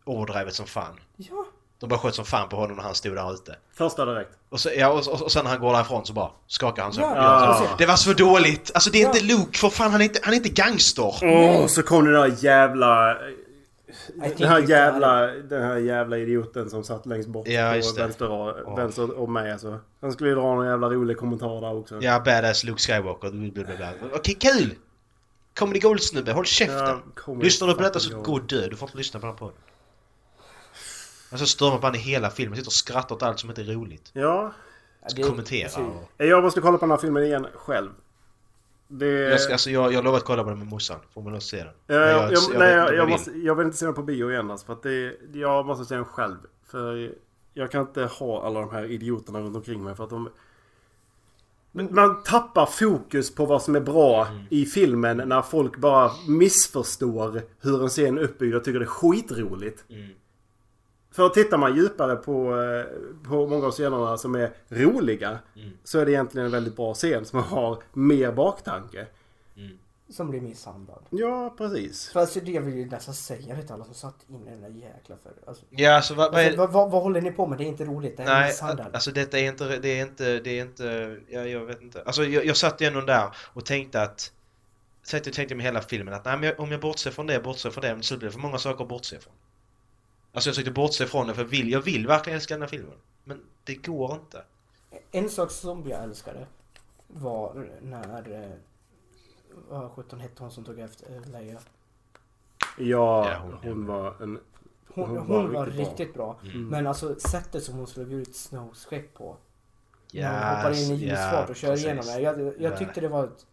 Speaker 6: Overdrivet som fan.
Speaker 8: Ja,
Speaker 6: De bara sköt som fan på honom när han stod där ute.
Speaker 7: Första direkt.
Speaker 6: Och, så, ja, och, och, och sen när han går därifrån så bara skakar han så.
Speaker 8: Ja,
Speaker 7: Ja.
Speaker 8: precis.
Speaker 6: Det var så dåligt! Alltså det är
Speaker 8: Ja.
Speaker 6: inte Luke, för fan han är inte, han är inte gangster!
Speaker 7: Åh, så kom den där jävla... eh,
Speaker 8: think
Speaker 7: Den här
Speaker 8: it's
Speaker 7: jävla, den här jävla idioten som satt längst bort
Speaker 6: Ja, just
Speaker 7: på
Speaker 6: det.
Speaker 7: vänster,
Speaker 6: Ja.
Speaker 7: och, vänster om mig alltså. Han skulle ju dra någon jävla rolig kommentar där också.
Speaker 6: Ja, badass Luke Skywalker. blablabla. Okej, kul! Comedy Gold-snubbe, håll käften!
Speaker 7: Ja, Comedy
Speaker 6: Lyssnar du på detta så
Speaker 7: fucking
Speaker 6: gå och dö, du får inte lyssna på den podden. Alltså stör mig på han i hela filmen, sitter och skrattar åt allt som inte är roligt.
Speaker 7: Ja.
Speaker 8: det-
Speaker 7: Mm,
Speaker 6: Kommentera
Speaker 8: alltså,
Speaker 6: och...
Speaker 7: Jag måste kolla på den här filmen igen själv. Det...
Speaker 6: Jag, ska, alltså, jag, jag lovar att kolla på den med morsan, får man också se den.
Speaker 7: Ja,
Speaker 6: Men
Speaker 7: Eh,
Speaker 6: jag-
Speaker 7: jag,
Speaker 6: jag
Speaker 7: jag,
Speaker 6: vet inte
Speaker 7: nej, jag,
Speaker 6: om
Speaker 7: jag,
Speaker 6: vill.
Speaker 7: måste, jag vill inte se den på bio igen alltså, för att det, Jag måste se den själv. För jag kan inte ha alla de här idioterna runt omkring mig för att de... Man tappar fokus på vad som är bra
Speaker 6: Mm.
Speaker 7: i filmen när folk bara missförstår hur en scen är uppbyggd och tycker det är skitroligt.
Speaker 6: Mm.
Speaker 7: För tittar man djupare på, eh, på många av scenerna som är roliga
Speaker 6: Mm.
Speaker 7: så är det egentligen en väldigt bra scen som har mer baktanke.
Speaker 8: Som blir misshandlad.
Speaker 7: Ja, precis.
Speaker 8: För alltså det vill ju nästan säga det till alla som satt inne i den där jäkla för. Alltså,
Speaker 6: Ja, alltså vad, vad
Speaker 8: alltså,
Speaker 6: är...
Speaker 8: vad, vad, vad håller ni på med? Det är inte roligt. Det är
Speaker 6: Nej,
Speaker 8: misshandel.
Speaker 6: alltså detta är inte, det är inte, det är inte, jag, jag vet inte. Alltså jag, jag satt ju ändå där och tänkte att, satt och tänkte med hela filmen att nej, men jag, om jag bortser från det, bortser från det, men så blir det för många saker att bortse från. Alltså jag försökte bortse från det för jag vill, jag vill verkligen älska den här filmen. Men det går inte.
Speaker 8: En sak som jag älskade var när... eh, Vad sjutton hette hon som tog efter eh, Leia?
Speaker 7: Ja,
Speaker 6: Ja, hon-
Speaker 7: hon, var en...
Speaker 8: Hon, hon, var riktigt, bra. Men alltså sättet som hon slog ut Snows skepp på. När hon hoppar in i
Speaker 6: Yes, ja,
Speaker 8: isfart och kör
Speaker 6: precis.
Speaker 8: igenom det. Jag, jag
Speaker 6: Ja.
Speaker 8: tyckte det var... ett-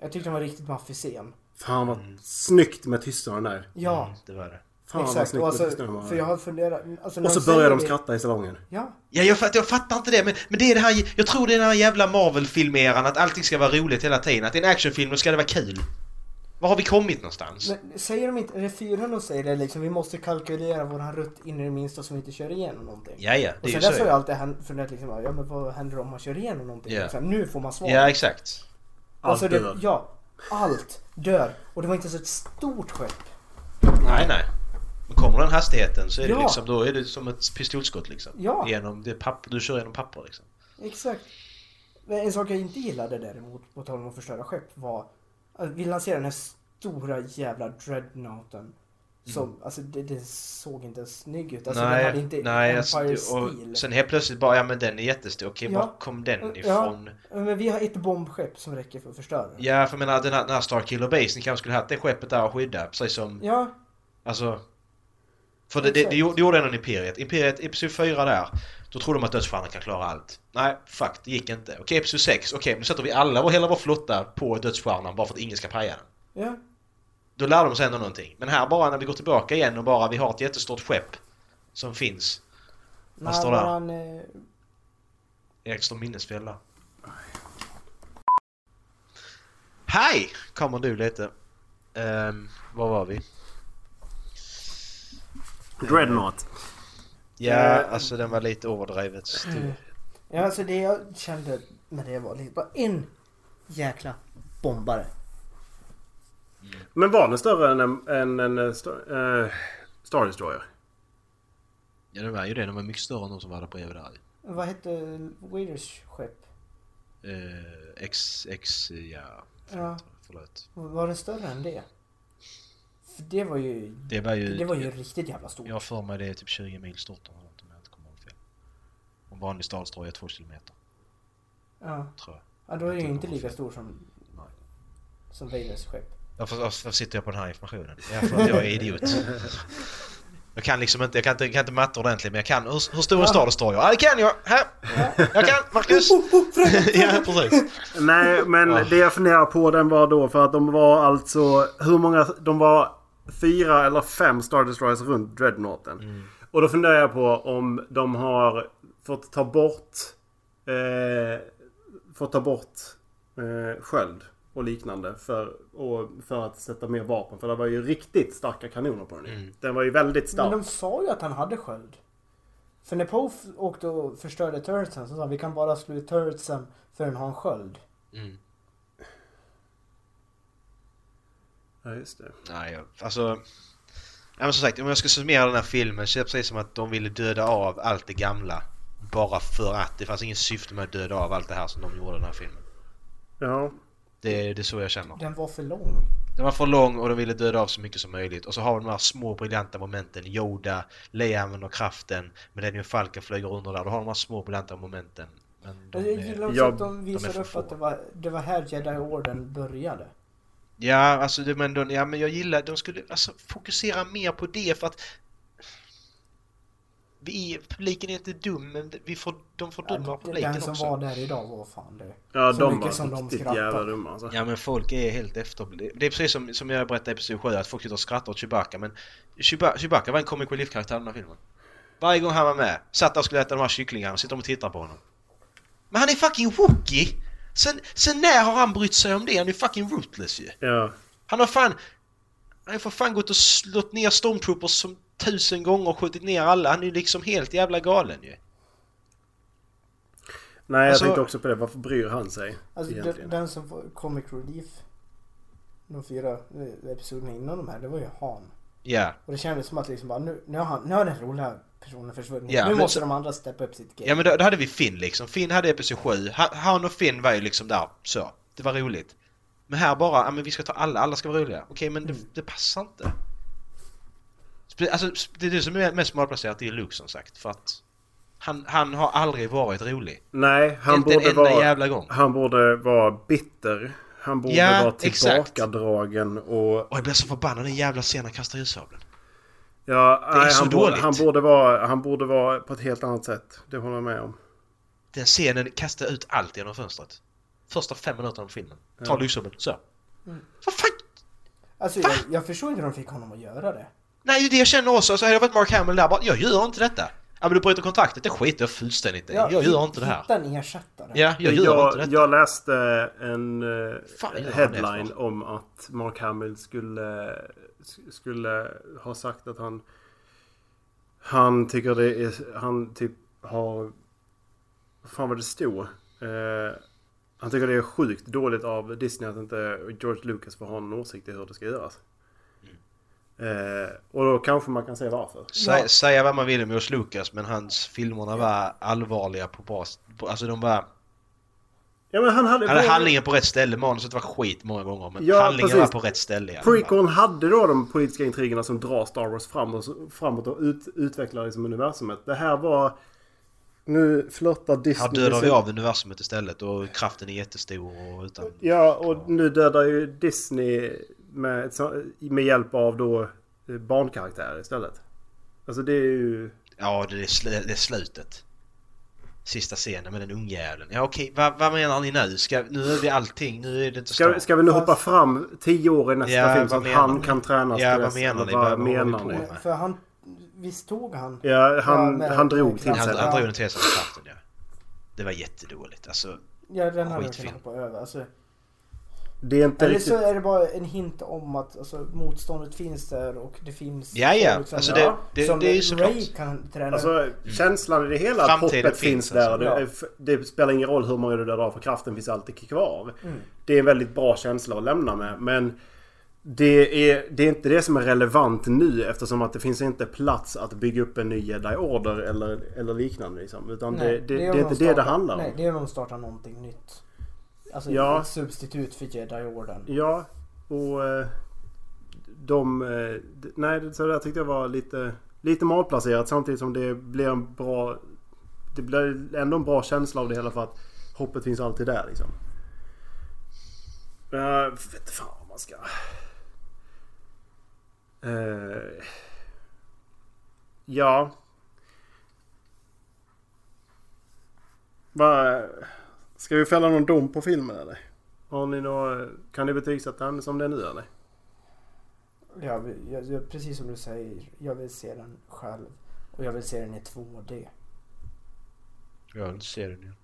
Speaker 8: Jag tyckte det var riktigt maffig scen.
Speaker 7: Fan vad snyggt med tystarna där.
Speaker 8: Ja,
Speaker 6: Mm, det var det.
Speaker 7: Fan vad
Speaker 8: exakt.
Speaker 7: snyggt
Speaker 8: Och,
Speaker 7: med
Speaker 8: alltså,
Speaker 7: tystarna var.
Speaker 8: för jag har funderat... Alltså, när de
Speaker 7: Och så
Speaker 8: säger
Speaker 7: börjar de
Speaker 8: det-
Speaker 7: skratta i salongen.
Speaker 8: Ja.
Speaker 6: Ja, jag, fatt, jag fattar inte det, men, men det är det här, jag tror det är den här jävla Marvel-filmeran att allting ska vara roligt hela tiden. Att det är en actionfilm, då ska det vara kul. Var har vi kommit någonstans?
Speaker 8: Men säger de inte, är det fyran och säger det liksom, vi måste kalkylera våran rutt in i det minsta så vi inte kör igenom någonting.
Speaker 6: Ja, ja,
Speaker 8: och
Speaker 6: det är
Speaker 8: sen
Speaker 6: ju
Speaker 8: dess
Speaker 6: så.
Speaker 8: har jag
Speaker 6: ju.
Speaker 8: alltid hän- funderat liksom, ja men vad händer om man kör igenom någonting?
Speaker 6: Ja.
Speaker 8: Liksom, nu får man svar.
Speaker 6: Ja, exakt.
Speaker 8: alltså,
Speaker 7: allt
Speaker 8: det,
Speaker 7: dör.
Speaker 8: Ja, allt dör. Och det var inte så ett stort skepp.
Speaker 6: Nej, nej. Men kommer den hastigheten så är det
Speaker 8: Ja.
Speaker 6: liksom, då är det som ett pistolskott liksom.
Speaker 8: Ja.
Speaker 6: Genom det papper, du kör genom papper liksom.
Speaker 8: Exakt. Men en sak jag inte gillade däremot, på tal om att förstöra skepp, var att vi lanserade den här stora jävla dreadnoughten. Som, alltså det, det såg inte ens snygg ut. Alltså den hade inte
Speaker 6: Mm. nej, alltså,
Speaker 8: Empire
Speaker 6: det- och
Speaker 8: Steel.
Speaker 6: sen helt plötsligt bara, ja men den är jättestor, okej
Speaker 8: Ja.
Speaker 6: var kom den
Speaker 8: Ja.
Speaker 6: ifrån?
Speaker 8: Ja, Men vi har ett bombskepp som räcker för att förstöra. den.
Speaker 6: Ja, för jag menar den här, den här Starkiller Base, ni kanske skulle haft det skeppet där och skydda, precis som,
Speaker 8: Ja,
Speaker 6: alltså... För det, det, det,
Speaker 8: Exakt.
Speaker 6: gjorde- det gjorde ändå Imperiet. Imperiet, Episod 4 där, då tror de att dödsstjärnan kan klara allt. Nej, fuck, det gick inte. Okej, Episod 6, okej, nu sätter vi alla, vår- hela vår flotta på dödsstjärnan bara för att ingen ska paja den.
Speaker 8: ja.
Speaker 6: Då lär de sig ändå någonting. Men här bara när vi går tillbaka igen och bara vi har ett jättestort skepp som finns.
Speaker 8: När
Speaker 6: står där?
Speaker 8: våran, eh,
Speaker 6: Erik står minnesfel där. Hej! Kommer du lite. Ehm, Um, var var vi?
Speaker 7: Dreadnought.
Speaker 6: Ja,
Speaker 7: Eh.
Speaker 6: alltså den var lite överdrivet stor.
Speaker 8: Ja, alltså det jag kände med det var lite bara en jäkla bombare.
Speaker 7: Men var den större än en, än en, eh, Star, eh, Star Destroyer?
Speaker 6: Ja, den var ju det. Den var mycket större än de som var där bredvid där.
Speaker 8: Vad hette Waders skepp?
Speaker 6: Eh, X, X, ja.
Speaker 8: Ja.
Speaker 6: Förlåt.
Speaker 8: Var den större än det? För det var ju...
Speaker 6: Det var ju...
Speaker 8: Det var ju riktigt jävla stort.
Speaker 6: Jag har för mig det är typ 20 mil stort eller något, om jag inte kommer ihåg fel. Och vanlig stadsdra är 2 kilometer,
Speaker 8: Ja.
Speaker 6: tror jag.
Speaker 8: ja, då är det ju inte lika stor som... Som Vaders skepp.
Speaker 6: Varför, varför varför sitter jag på den här informationen? Ja, för att jag är idiot. Jag kan liksom inte, jag kan inte, jag kan inte matte ordentligt men jag kan hur, hur stor en stad står jag? Ja det kan jag! Här! Jag kan!
Speaker 8: Oh,
Speaker 6: Marcus! Ja precis!
Speaker 7: Nej, men
Speaker 6: Ah.
Speaker 7: det jag funderar på den var då för att de var alltså... Hur många... De var fyra eller fem Star Destroyers runt Dreadnoughten. Och då funderar jag på om de har fått ta bort... Eh, fått ta bort eh, sköld och liknande för, och för att sätta mer vapen. För det var ju riktigt starka kanoner på den. ju. Den var ju väldigt
Speaker 8: Men
Speaker 7: stark.
Speaker 8: de sa ju att han hade sköld. För när Poe f- åkte och förstörde turretsen så sa han vi kan bara slå ut turretsen förrän han har en sköld.
Speaker 7: Ja, just det.
Speaker 6: Nej, jag- alltså... Ja, men som sagt, om jag ska summera den här filmen så är det precis som att de ville döda av allt det gamla. Bara för att. Det fanns ingen syfte med att döda av allt det här som de gjorde i den här filmen.
Speaker 7: Ja.
Speaker 6: Det, det är så jag känner.
Speaker 8: Den var för lång.
Speaker 6: Den var för lång och de ville döda av så mycket som möjligt. Och så har vi de här små briljanta momenten. Yoda, Leia använder kraften, Millennium Falcon flyger under där. Då har de här små briljanta momenten. Men de
Speaker 8: jag gillar
Speaker 6: är...
Speaker 8: också
Speaker 7: ja,
Speaker 8: att de visar
Speaker 6: de är för
Speaker 8: upp att det var, det var här Jedi Orden började.
Speaker 6: Ja, alltså det, men, de, ja, men jag gillar... De skulle alltså, fokusera mer på det för att... Vi, publiken är inte dum, men vi får, de fördummar publiken
Speaker 8: Den som
Speaker 6: också.
Speaker 8: var där idag var fan det.
Speaker 7: Ja,
Speaker 8: Så
Speaker 7: de
Speaker 8: mycket
Speaker 7: var
Speaker 8: som de
Speaker 7: riktigt
Speaker 8: skrattar.
Speaker 7: jävla dumma alltså.
Speaker 6: Ja men folk är helt efter... Det det är precis som, som jag berättade i episod 7 att folk sitter och skrattar åt Chewbacca men Chewba- Chewbacca var en comic relief-karaktär i den här filmen. Varje gång han var med satt där och skulle äta de här kycklingarna sitter de och tittar på honom. Men han är fucking wookie! Sen, sen när har han brytt sig om det? Han är fucking rootless ju.
Speaker 7: Ja.
Speaker 6: Han har fan... Han har för fan gått och slått ner stormtroopers som tusen gånger och skjutit ner alla. Han är ju liksom helt jävla galen ju.
Speaker 7: Nej, jag
Speaker 6: Alltså-
Speaker 7: tänkte också på det. Varför bryr han sig?
Speaker 8: Alltså
Speaker 7: egentligen?
Speaker 8: den, den som var Comic Relief de fyra eh, episoderna innan de här, det var ju Han.
Speaker 6: Ja.
Speaker 8: Och det kändes som att liksom bara, nu, nu, har, han, nu har den roliga personen försvunnit.
Speaker 6: Ja,
Speaker 8: nu
Speaker 6: men
Speaker 8: måste
Speaker 6: så-
Speaker 8: de andra steppa upp sitt game.
Speaker 6: Ja men då, då hade vi Finn liksom. Finn hade episod 7. Han, han och Finn var ju liksom där så. Det var roligt. Men här bara, ja men vi ska ta alla, alla ska vara roliga. Okej men det, det passar inte. Spe- Alltså sp- det är det som är mest malplacerat, det är Luke som sagt. För att han, han har aldrig varit rolig.
Speaker 7: Nej, han
Speaker 6: Inte en
Speaker 7: borde
Speaker 6: enda
Speaker 7: vara...
Speaker 6: jävla gång.
Speaker 7: Han borde vara bitter. Han borde
Speaker 6: Ja,
Speaker 7: vara
Speaker 6: exakt.
Speaker 7: tillbakadragen och...
Speaker 6: Och jag blev så förbannad den jävla scenen han kastar ljussabeln.
Speaker 7: Ja,
Speaker 6: Det är
Speaker 7: nej,
Speaker 6: så
Speaker 7: han, borde,
Speaker 6: dåligt.
Speaker 7: han, borde vara, han borde vara på ett helt annat sätt. Det håller jag med om.
Speaker 6: Den scenen kastar ut allt genom fönstret. Första fem minuterna av filmen. Ta ljussabeln, så. Vad fan?
Speaker 8: Alltså jag, jag förstår inte hur de fick honom att göra det.
Speaker 6: Nej, det är det jag känner också. Så hade jag varit Mark Hamill där bara, jag gör inte detta. Ja, men du bryter kontraktet, det skiter jag fullständigt i. jag gör inte det här.
Speaker 8: Hitta en ersättare.
Speaker 6: Ja, jag gör inte
Speaker 7: Jag,
Speaker 6: detta.
Speaker 7: jag läste en eh,
Speaker 6: Fan, gör han det
Speaker 7: headline
Speaker 6: för?
Speaker 7: om att Mark Hamill skulle, skulle ha sagt att han... Han tycker det är... Han typ har... Vad fan var det stod? Eh, han tycker det är sjukt dåligt av Disney att inte George Lucas får ha en åsikt i hur det ska göras.
Speaker 6: Mm.
Speaker 7: Eh, och då kanske man kan se varför.
Speaker 6: Sä, Säga vad man vill om George Lucas, men hans filmerna var allvarliga på bra... På, alltså de var...
Speaker 7: Ja, men han hade...
Speaker 6: Han hade handlingen på rätt ställe, manuset var skit många gånger, men
Speaker 7: Ja,
Speaker 6: handlingen
Speaker 7: precis.
Speaker 6: var på rätt ställe. ja.
Speaker 7: Prequeln hade då de politiska intrigerna som drar Star Wars framåt, framåt och ut, utvecklar liksom universumet. Det här var... Nu flörtar Disney...
Speaker 6: Här dödar
Speaker 7: med
Speaker 6: vi
Speaker 7: sin-
Speaker 6: av universumet istället och kraften är jättestor och utan...
Speaker 7: Ja, och nu dödar ju Disney med, ett så- med hjälp av då eh, barnkaraktärer istället. Alltså det är ju...
Speaker 6: Ja, det är, sl- det är slutet. Sista scenen med den ungjäveln. Ja okej, vad, vad menar ni nu? Ska, nu är vi allting, nu är det inte
Speaker 7: Ska,
Speaker 6: Star-
Speaker 7: ska vi nu
Speaker 8: Fast-
Speaker 7: hoppa fram tio år i nästa
Speaker 6: Ja,
Speaker 7: film så
Speaker 6: vad
Speaker 7: att
Speaker 6: menar
Speaker 7: han
Speaker 6: ni?
Speaker 7: kan tränas
Speaker 6: Ja,
Speaker 7: till
Speaker 6: vad
Speaker 7: dess?
Speaker 6: menar ni?
Speaker 7: Eller
Speaker 6: Vad- vad håller vi på
Speaker 7: ni?
Speaker 6: med?
Speaker 8: Men- För han, visst tog han?
Speaker 7: Ja,
Speaker 8: Ja,
Speaker 7: han,
Speaker 8: men-
Speaker 7: han drog till
Speaker 6: Han,
Speaker 7: sig.
Speaker 6: han drog den till sig med kraften ja. Det var jättedåligt. Alltså,
Speaker 8: Ja, den hade jag
Speaker 6: Skitfilm.
Speaker 8: kunnat hoppa över. Alltså,
Speaker 7: Det är inte
Speaker 8: Eller
Speaker 7: riktigt...
Speaker 8: så är det bara en hint om att alltså, motståndet finns där och det finns
Speaker 6: Ja, ja.
Speaker 8: folk som-
Speaker 6: Alltså, det- det-
Speaker 8: som
Speaker 6: det är ju
Speaker 8: Ray
Speaker 6: såklart.
Speaker 8: kan träna
Speaker 7: Alltså
Speaker 8: upp.
Speaker 7: känslan i det hela att
Speaker 6: Framtiden
Speaker 7: hoppet finns,
Speaker 6: finns
Speaker 7: där.
Speaker 6: alltså.
Speaker 7: Det, det spelar ingen roll hur många du dödar för kraften finns alltid kvar. Det är en väldigt bra känsla att lämna med. Men det är, det är inte det som är relevant nu eftersom att det finns inte plats att bygga upp en ny Jedi Order eller, eller liknande. Liksom. Utan
Speaker 8: Nej,
Speaker 7: det, det, det
Speaker 8: om
Speaker 7: är inte
Speaker 8: de
Speaker 7: det det
Speaker 8: startar-
Speaker 7: handlar om.
Speaker 8: Nej, det är om de startar någonting nytt. Alltså
Speaker 7: Ja.
Speaker 8: ett substitut för Jedi-orden.
Speaker 7: Ja, och eh, de... eh, d- Nej, det- så det där tyckte jag var lite, lite malplacerat samtidigt som det blir en bra... Det blir ändå en bra känsla av det hela för att hoppet finns alltid där liksom. Men jag vet inte fan vad man ska... Eh, ja. Vad... Ska vi fälla någon dom på filmen eller? Har ni några, kan ni betygsätta den som det är nu eller?
Speaker 8: Jag, vill- jag, jag, precis som du säger, jag vill se den själv. Och jag vill se den i 2D.
Speaker 6: Jag vill se den igen.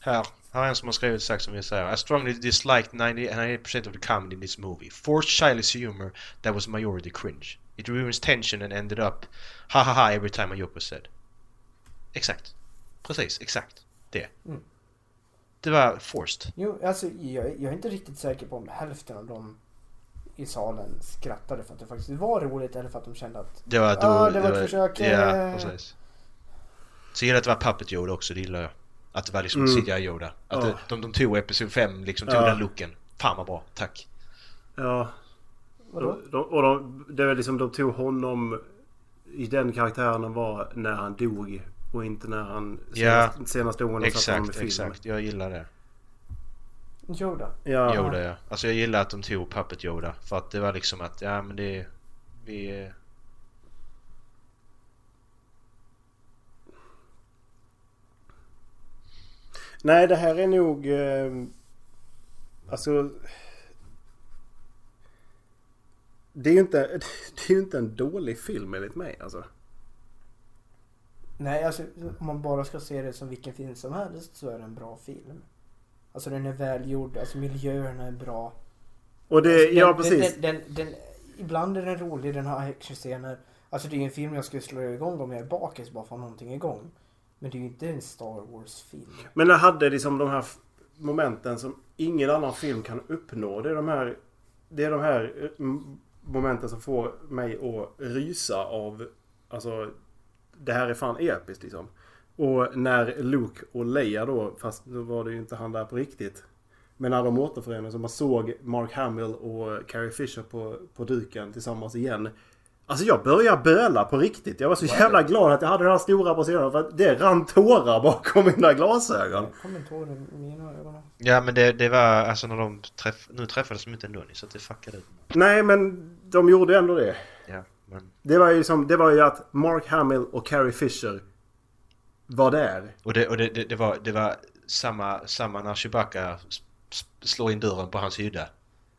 Speaker 6: Här. Här är en som har skrivit sagt som vi säger. I strongly disliked 90 98% of the comedy in this movie. Forced childish humor that was majority cringe. It ruins tension and ended up ha ha ha every time a joke was said. Exakt. Precis, exakt. Det.
Speaker 8: Mm.
Speaker 6: Det var forced.
Speaker 8: Jo, alltså jag, jag är inte riktigt säker på om hälften av dem i salen skrattade för att det faktiskt var roligt eller för att de kände att...
Speaker 6: Det var då...
Speaker 8: Ja, det var ett försök,
Speaker 6: Ja,
Speaker 8: eh.
Speaker 6: precis. Så gillar jag att det var Puppet Yoda också, det gillar jag. Att det var liksom
Speaker 7: Mm.
Speaker 6: CGI Yoda. Att det,
Speaker 7: Ja.
Speaker 6: de, de tog Episod 5, liksom tog
Speaker 7: Ja.
Speaker 6: den looken. Fan vad bra, tack.
Speaker 7: Ja,
Speaker 8: Vadå?
Speaker 7: de, och de, det var liksom de tog honom i den karaktären han var när han dog och inte när han
Speaker 6: Ja.
Speaker 7: senast, senast dog när de satte honom i
Speaker 6: Exakt,
Speaker 7: film.
Speaker 6: exakt. Jag gillar det.
Speaker 8: Yoda.
Speaker 7: Ja,
Speaker 6: Yoda ja. Alltså jag gillar att de tog Puppet Yoda. För att det var liksom att, ja men det... Vi... eh,
Speaker 7: Nej, det här är nog... Eh, alltså... Det är ju inte, det är ju inte en dålig film enligt mig alltså.
Speaker 8: Nej, alltså om man bara ska se det som vilken film som helst så är det en bra film. Alltså den är välgjord, alltså miljöerna är bra.
Speaker 7: Och det,
Speaker 8: Alltså,
Speaker 7: ja
Speaker 8: den-
Speaker 7: precis.
Speaker 8: Den, den, den, ibland är den rolig, den har actionscener. Alltså det är ju en film jag skulle slå igång om jag är bakis bara för att ha någonting igång. Men det är ju inte en Star Wars-film.
Speaker 7: Men den hade liksom de här f- momenten som ingen annan film kan uppnå. Det är de här, det är de här eh, m- momenten som får mig att rysa av... Alltså, det här är fan episkt liksom. Och när Luke och Leia då, fast då var det ju inte han där på riktigt. Men när de återförenades och man såg Mark Hamill och Carrie Fisher på, på duken tillsammans igen. Alltså jag började böla på riktigt. Jag var så jävla glad att jag hade den här stora på sidan för att det rann tårar bakom mina glasögon.
Speaker 8: Jag kommer inte ihåg det i mina ögon.
Speaker 6: Ja men det, det var alltså när de träff... Nu träffades de inte ändå ni, så att det fuckade ut.
Speaker 7: Nej men de gjorde ändå det.
Speaker 6: Ja, men...
Speaker 7: Det var ju, som, det var ju att Mark Hamill och Carrie Fisher var där.
Speaker 6: Och det, och det, det, det, var, det var samma, samma när Chewbacca s- s- slår in dörren på hans hydda.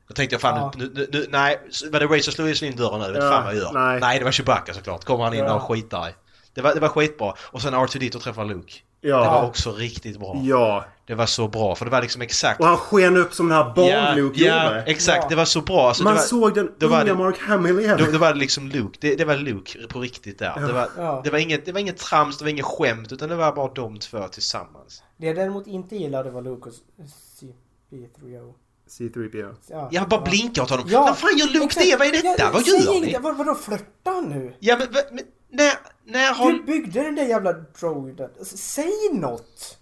Speaker 6: Jag tänkte fan
Speaker 8: Ja.
Speaker 6: nu, nu, nu, nej, s- var det Ray som slog in dörren nu? Jag vet
Speaker 7: Ja,
Speaker 6: fan vad jag gör.
Speaker 7: nej.
Speaker 6: det var Chewbacca såklart. Kommer han in
Speaker 8: Ja.
Speaker 6: och skitar det var, det var skitbra. Och sen R2D2 träffar Luke. Det
Speaker 7: Ja.
Speaker 6: var också riktigt bra.
Speaker 7: Ja.
Speaker 6: Det var så bra, för det var liksom exakt...
Speaker 7: Och han sken upp som den här barn-Luke
Speaker 6: ja,
Speaker 7: gjorde.
Speaker 6: exakt.
Speaker 8: Ja.
Speaker 6: Det var så bra. Alltså,
Speaker 7: Man
Speaker 6: det var,
Speaker 7: såg den
Speaker 6: det var
Speaker 7: unga
Speaker 6: det-
Speaker 7: Mark Hamill igen.
Speaker 6: då, då var det liksom Luke. Det, det var Luke på riktigt där. Det, var,
Speaker 8: Ja.
Speaker 6: det, var inget, det var inget trams, det var inget skämt, utan det var bara de två tillsammans.
Speaker 8: Det jag däremot inte gillade var Lucas CP3O.
Speaker 7: C3PO.
Speaker 6: Jag bara blinkar åt honom.
Speaker 8: Ja,
Speaker 6: Vad fan gör Luke
Speaker 8: exakt.
Speaker 6: det? Vad är detta?
Speaker 8: Ja,
Speaker 6: Vad
Speaker 8: säg
Speaker 6: gör
Speaker 8: inget.
Speaker 6: ni?
Speaker 8: Vad, vadå flörta nu?
Speaker 6: Ja men, va- men när, när
Speaker 8: Du
Speaker 6: har...
Speaker 8: byggde den där jävla droiden. Alltså, säg något!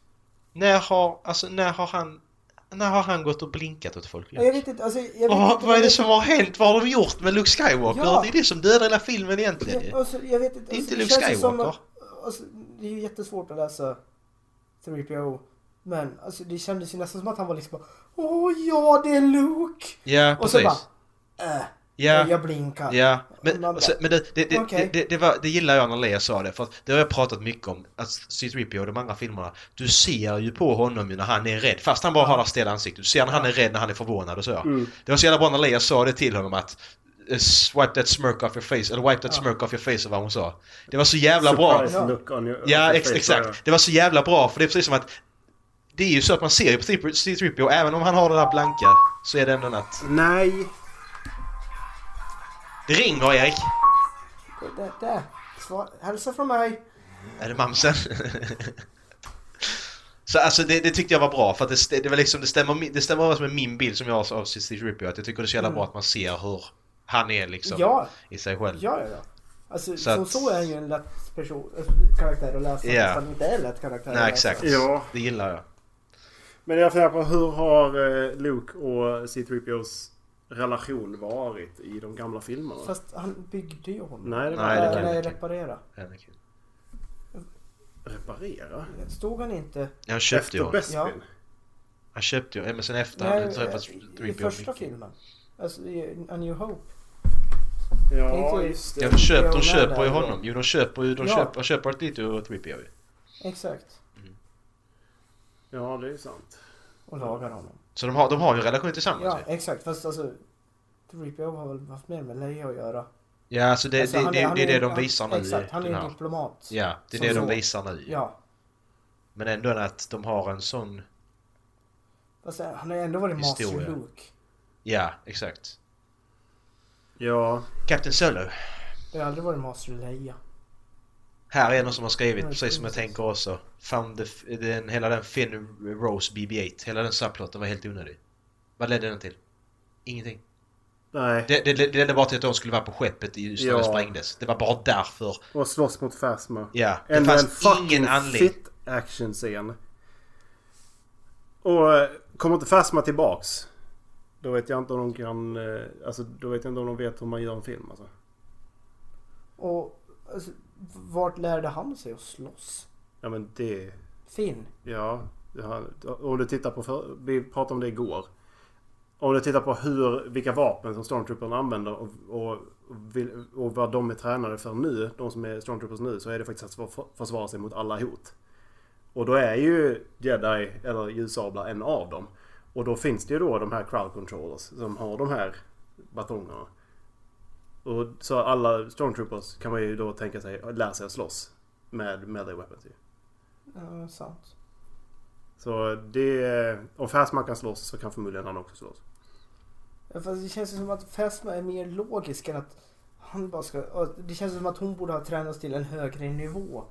Speaker 6: När har, alltså när har han... När har han gått och blinkat åt folk?
Speaker 8: Ja, Jag vet inte, alltså, jag vet
Speaker 6: Åh,
Speaker 8: inte
Speaker 6: vad är det som har hänt? Vad har de gjort med Luke Skywalker?
Speaker 8: Ja.
Speaker 6: Det är det som dödar hela filmen egentligen.
Speaker 8: Ja, alltså, jag vet inte.
Speaker 6: Det är
Speaker 8: alltså,
Speaker 6: inte Luke
Speaker 8: känns ju som
Speaker 6: Skywalker.
Speaker 8: att- Alltså, det är ju jättesvårt att läsa 3PO. Men alltså, det kändes ju nästan som att han var liksom bara, Åh ja, det är Luke!
Speaker 6: Ja,
Speaker 8: Och så
Speaker 6: precis.
Speaker 8: bara äh,
Speaker 6: Ja.
Speaker 8: Jag blinkar.
Speaker 6: Ja,
Speaker 8: Och
Speaker 6: men,
Speaker 8: man bara,
Speaker 6: alltså, men det, det, det,
Speaker 8: Okej.
Speaker 6: det, det, det, var, det gillar jag när Leia sa det, för att det har jag pratat mycket om, att C-3PO och de andra filmerna, du ser ju på honom ju när han är rädd, fast han bara har det här stela ansiktet, du ser när han är rädd, när han är förvånad och så. Det var så jävla bra när Leia sa det till honom att eh, Swipe that smirk off your face, eller wipe that smirk off your face, eller vad hon sa. Det var så jävla bra.
Speaker 7: Surprise look on your- on
Speaker 6: Ja,
Speaker 7: your
Speaker 6: ex
Speaker 7: face,
Speaker 6: exakt. Det var så jävla bra, för det är precis som att det är ju så att man ser ju på C-3PO, även om han har det där blanka, så är det ändå natt.
Speaker 7: Nej!
Speaker 6: Det ringer Erik!
Speaker 8: Där, där. Svar, hälsa från mig.
Speaker 6: Är det mamsen? så alltså det, det tyckte jag var bra för att det, st- det var liksom, det stämmer, mi- det stämmer överens med min bild som jag har av C-3PO, att jag tycker det är så jävla bra att man ser hur han är liksom
Speaker 8: Mm. Ja,
Speaker 6: i sig själv.
Speaker 8: ja, ja. ja. Alltså,
Speaker 6: Så
Speaker 8: så,
Speaker 6: att-
Speaker 8: så är han ju en lätt person, äh, karaktär att läsa.
Speaker 6: Ja.
Speaker 8: Yeah. Han inte är lätt karaktär
Speaker 6: Nej
Speaker 8: att läsa.
Speaker 6: exakt,
Speaker 7: Ja.
Speaker 6: det gillar jag.
Speaker 7: Men jag funderar på hur har eh, Luke och C-3POs relation varit i de gamla filmerna?
Speaker 8: Fast han byggde ju honom.
Speaker 7: Nej, det var
Speaker 6: Nej, det kan
Speaker 8: Eller
Speaker 6: jag inte.
Speaker 8: reparera.
Speaker 6: Anakin.
Speaker 7: reparera.
Speaker 8: Stod han inte...
Speaker 6: Han köpte ju
Speaker 7: Efter
Speaker 6: honom.
Speaker 7: Best
Speaker 8: Ja.
Speaker 7: Bin.
Speaker 6: Han köpte ju honom, men sen efter han
Speaker 8: Nej, eh,
Speaker 6: träffats
Speaker 8: i
Speaker 6: 3PO
Speaker 8: första
Speaker 6: mycket.
Speaker 8: filmen. Alltså, i A New Hope.
Speaker 7: Ja,
Speaker 8: Inte-
Speaker 7: just
Speaker 6: Ja,
Speaker 7: det.
Speaker 6: de, köp, de
Speaker 8: Jag
Speaker 6: köper ju
Speaker 8: menar,
Speaker 6: honom. Jo, de köper ju... De
Speaker 8: Ja.
Speaker 6: köper, köper alltid och 3PO ju.
Speaker 8: Exakt.
Speaker 7: Ja, det är sant.
Speaker 8: Och lagar honom.
Speaker 6: Så de har, de har ju en relation tillsammans
Speaker 8: Ja,
Speaker 6: ju.
Speaker 8: exakt. Fast alltså... Reaper har väl haft mer med Leia att göra.
Speaker 6: Ja, alltså det,
Speaker 8: alltså,
Speaker 6: det,
Speaker 8: han
Speaker 6: det,
Speaker 8: han
Speaker 6: det är det
Speaker 8: ju-
Speaker 6: de
Speaker 8: han-
Speaker 6: visar nu i
Speaker 8: Exakt, han är
Speaker 6: den
Speaker 8: ju
Speaker 6: här.
Speaker 8: diplomat.
Speaker 6: Ja, det är
Speaker 8: Som
Speaker 6: det de
Speaker 8: så.
Speaker 6: visar nu ju.
Speaker 8: Ja.
Speaker 6: Men ändå att de har en sån...
Speaker 8: Fast eh, han har ju ändå varit
Speaker 6: Historia.
Speaker 8: Master Luke.
Speaker 6: Ja, exakt.
Speaker 7: Ja,
Speaker 6: Captain Solo.
Speaker 8: Det har aldrig varit Master Leia.
Speaker 6: Här är någon som har skrivit,
Speaker 8: Ja,
Speaker 6: precis som jag
Speaker 8: precis.
Speaker 6: tänker också. Found the, den, hela den Finn Rose BB-8, hela den subplotten var helt onödig. Vad ledde den till? Ingenting.
Speaker 7: nej.
Speaker 6: Det, det, det ledde bara till att de skulle vara på skeppet i- just när
Speaker 7: Ja.
Speaker 6: det sprängdes. Det var bara därför.
Speaker 7: Och slåss mot Phasma.
Speaker 6: Ja, det
Speaker 7: Ändå en
Speaker 6: fanns
Speaker 7: fucking
Speaker 6: ingen anledning.
Speaker 7: fit action-scen. Och eh, kommer inte Phasma tillbaks? Då vet jag inte om de kan... eh, Alltså, då vet jag inte om de vet hur man gör en film alltså.
Speaker 8: Och alltså, vart lärde han sig att slåss?
Speaker 7: Ja, men det...
Speaker 8: Finn?
Speaker 7: Ja, det har- om du tittar på... För, vi pratade om det igår. Om du tittar på hur, vilka vapen som Stormtroopers använder och, och, vil- och vad de är tränade för nu, de som är Stormtroopers nu, så är det faktiskt att försva- försvara sig mot alla hot. Och då är ju Jedi, eller ljussablar, en av dem. Och då finns det ju då de här crowd controllers som har de här batongerna. Och så alla Stormtroopers kan man ju då tänka sig lära sig att slåss med melee weapons ju.
Speaker 8: Ja, sant.
Speaker 7: Så det... Om Färsman kan slåss så kan förmodligen han också slåss.
Speaker 8: Ja, Fast det känns ju som att Phasma är mer logisk än att han bara ska... och Det känns som att hon borde ha tränats till en högre nivå.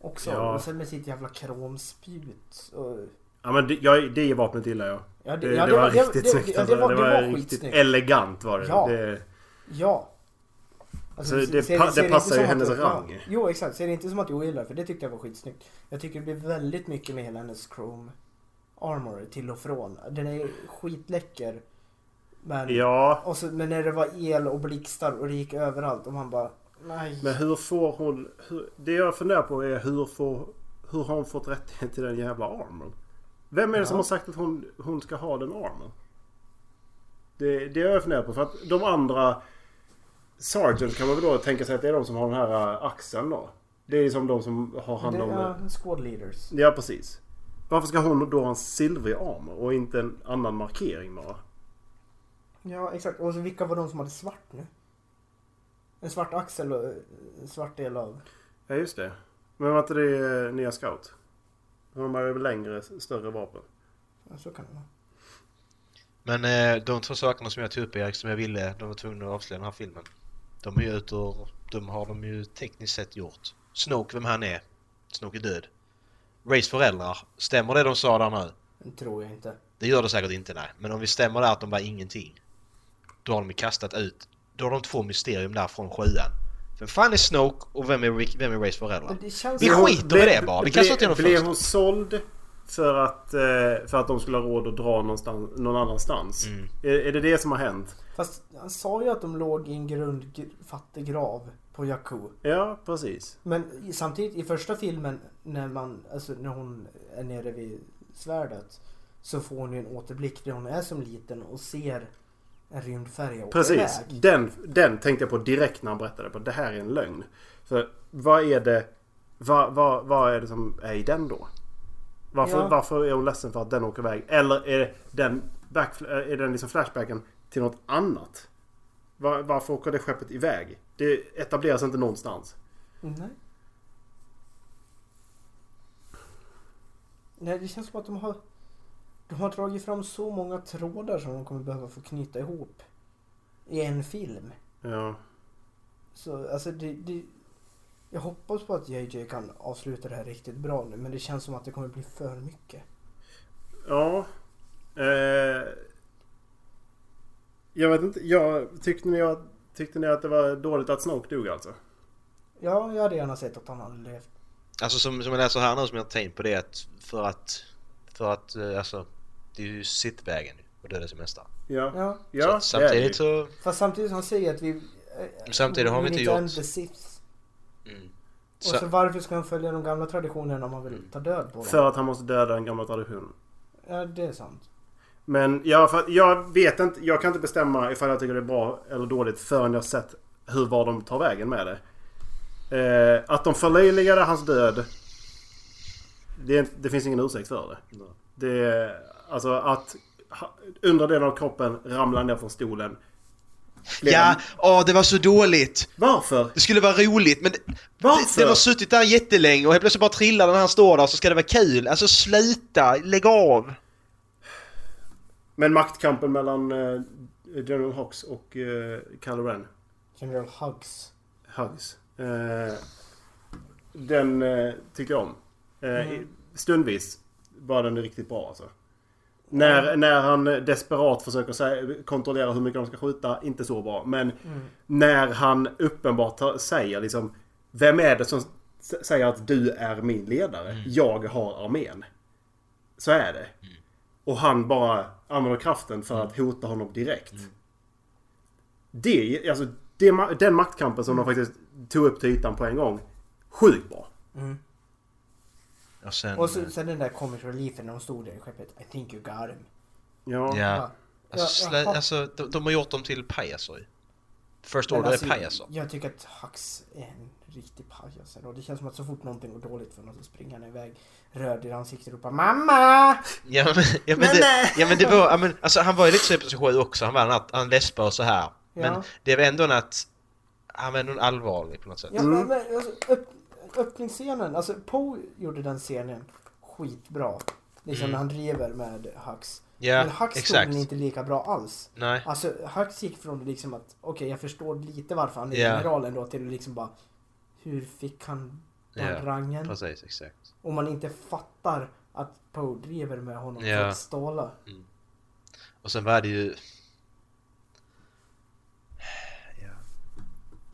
Speaker 8: Också.
Speaker 7: Ja.
Speaker 8: Och sen med sitt jävla kromspjut. Och...
Speaker 7: Ja men det, jag, det vapnet gillar jag.
Speaker 8: Ja,
Speaker 7: Det, det, var riktigt snyggt
Speaker 8: Ja,
Speaker 7: alltså.
Speaker 8: det var, det var,
Speaker 7: riktigt
Speaker 8: skitsnyggt.
Speaker 7: elegant var det.
Speaker 8: Ja.
Speaker 7: det
Speaker 8: Ja. Alltså,
Speaker 7: Så det
Speaker 8: ser-
Speaker 7: pa-
Speaker 8: ser
Speaker 7: det
Speaker 8: inte
Speaker 7: passar
Speaker 8: som
Speaker 7: ju
Speaker 8: att-
Speaker 7: hennes
Speaker 8: ja.
Speaker 7: rang.
Speaker 8: Jo exakt, ser det inte som att jag gillar det, för det tyckte jag var skitsnyggt. Jag tycker det blir väldigt mycket med hela hennes chrome armor till och från. Den är skitläcker. Men,
Speaker 7: ja.
Speaker 8: och så, men när det var el och blixtar och det gick överallt och man bara nej.
Speaker 7: Men hur får hon... Hur, det jag funderar på är hur, får, hur har hon fått rättighet till den jävla armen? Vem är det som
Speaker 8: Ja.
Speaker 7: har sagt att hon, hon ska ha den armen? Det, det har jag funderat på. För att de andra... Sergeant kan man väl då tänka sig att det är de som har den här äh, axeln då. Det är liksom de som har hand
Speaker 8: det
Speaker 7: om...
Speaker 8: är squad leaders.
Speaker 7: Ja, precis. Varför ska hon då ha en silvrig armor och inte en annan markering bara?
Speaker 8: Ja exakt, och så vilka var de som hade svart nu? En svart axel och eh, en svart del av...
Speaker 7: Ja, just det. Men var inte det eh, nya scout? Hon har väl längre, större vapen?
Speaker 8: Ja, så kan det vara.
Speaker 6: Men eh, de två sakerna som jag tog upp Erik, som jag ville, de var tvungna att avslöja den här filmen. De är ju ute ur, de har de ju tekniskt sett gjort. Snoke, vem han är. Snoke är död. Rays föräldrar, stämmer det de sa där nu?
Speaker 8: Det tror jag inte.
Speaker 6: Det gör det säkert inte nej, men om vi stämmer där att de var ingenting. Då har de ju kastat ut, då har de två mysterium där från sjuan. Vem fan är Snoke och vem är, Rick- vem är Rays föräldrar?
Speaker 8: Men det känns
Speaker 6: Vi
Speaker 8: som-
Speaker 7: Hon
Speaker 6: skiter i det bara, vi kastar ut
Speaker 7: blev,
Speaker 6: genom fönstret.
Speaker 7: blev hon såld för att, eh, för att de skulle ha råd att dra någonstans, någon annanstans?
Speaker 6: Mm.
Speaker 7: Är, är det det som har hänt?
Speaker 8: Fast han sa ju att de låg i en grundfattig grav på Jakku.
Speaker 7: Ja, precis.
Speaker 8: Men i- samtidigt i första filmen när man, alltså när hon är nere vid svärdet så får hon ju en återblick där hon är som liten och ser en rymdfärja åka
Speaker 7: Precis.
Speaker 8: iväg.
Speaker 7: Den, den tänkte jag på direkt när han berättade på det här är en lögn. För vad är det, vad, vad, vad är det som är i den då? Varför,
Speaker 8: Ja.
Speaker 7: varför är hon ledsen för att den åker iväg? Eller är den, back, är den liksom flashbacken till något annat? Var, varför åker det skeppet iväg? Det etableras inte någonstans.
Speaker 8: Nej. Nej, det känns som att de har... De har dragit fram så många trådar som de kommer behöva få knyta ihop. I en film.
Speaker 7: Ja.
Speaker 8: Så alltså det... det jag hoppas på att JJ kan avsluta det här riktigt bra nu men det känns som att det kommer bli för mycket.
Speaker 7: Ja. Eh, jag vet inte. Jag, tyckte, ni att, tyckte ni att det var dåligt att Snoke dog alltså?
Speaker 8: Ja, jag hade gärna sett att han hade levt.
Speaker 6: Alltså som, som jag läser här nu som jag har tänkt på det är att för att... För att eh, alltså... Det är ju sittvägen och döda sin mästare.
Speaker 7: Ja.
Speaker 8: Ja.
Speaker 7: Ja,
Speaker 6: så
Speaker 7: det är
Speaker 6: att samtidigt
Speaker 7: det ju.
Speaker 6: så...
Speaker 8: Fast samtidigt han säger att vi... eh,
Speaker 6: Samtidigt har vi inte
Speaker 8: militären
Speaker 6: gjort-
Speaker 8: besitts.
Speaker 6: Mm.
Speaker 8: Och
Speaker 6: Så, Mm.
Speaker 8: så varför ska han följa de gamla traditionerna om han vill ta död på dem?
Speaker 7: För att han måste döda den gamla traditionen.
Speaker 8: Ja, det är sant.
Speaker 7: Men jag, för, jag vet inte. Jag kan inte bestämma ifall jag tycker det är bra eller dåligt förrän jag sett hur var de tar vägen med det. Eh, att de förlöjligade hans död. Det, är inte- det finns ingen ursäkt för det. det alltså att ha, undre delen av kroppen ramlar ner från stolen. Blev
Speaker 6: ja,
Speaker 7: en-
Speaker 6: åh det var så dåligt!
Speaker 7: Varför?
Speaker 6: Det skulle vara roligt men... det-
Speaker 7: Varför?
Speaker 6: Den har suttit där jättelänge och helt plötsligt bara trillar den här står där så ska det vara kul. Alltså sluta! Lägg av!
Speaker 7: Men maktkampen mellan eh, General Hux och eh, Kylo Ren.
Speaker 8: General Hugs.
Speaker 7: Hux. Eh, den eh, tycker jag om. Eh, i- Stundvis var den riktigt bra alltså. När, när han eh, desperat försöker sä- kontrollera hur mycket de ska skjuta, inte så bra. Men när han uppenbart ta- säger liksom Vem är det som s- säger att du är min ledare? Jag har armén. Så är det. Och han bara använder kraften för att hota honom direkt. Det, alltså, det, ma- den maktkampen som de faktiskt tog upp till ytan på en gång. Sjukt bra.
Speaker 6: Och sen...
Speaker 8: Och så, sen den där comic reliefen när de stod där i skeppet. I think you got him.
Speaker 7: Ja.
Speaker 6: Ja. Alltså,
Speaker 8: Ja,
Speaker 6: slä,
Speaker 8: jaha.
Speaker 6: alltså de, de har gjort dem till pajaser ju. First
Speaker 8: Men
Speaker 6: Order
Speaker 8: alltså,
Speaker 6: är pajaser.
Speaker 8: Jag tycker att Hux är en riktig pajas. ändå. Det känns som att så fort någonting går dåligt för honom så springer han iväg röd i ansiktet och ropar MAMMA!
Speaker 6: Ja men, ja, men, det, ja, men det var, ja, men, alltså, han var ju lite så i position sju också, han var en, att- han läspade och så här. Men
Speaker 8: Ja.
Speaker 6: det var ändå en att, han var ändå en allvarlig på något sätt.
Speaker 8: Ja, men, men, alltså, öpp, öppningsscenen, alltså Poe gjorde den scenen skitbra. Liksom när han driver med Hux.
Speaker 6: Mm. Ja,
Speaker 8: men Hux
Speaker 6: exakt.
Speaker 8: stod den inte lika bra alls.
Speaker 6: Nej.
Speaker 8: Alltså Hux gick från liksom att okej jag förstår lite varför han är
Speaker 6: Ja.
Speaker 8: general ändå till att liksom bara hur fick han den
Speaker 6: Ja,
Speaker 8: rangen?
Speaker 6: Precis, exakt.
Speaker 8: Om man inte fattar att Poe driver med honom
Speaker 6: Ja.
Speaker 8: för att ståla.
Speaker 6: Och sen var det ju... Ja.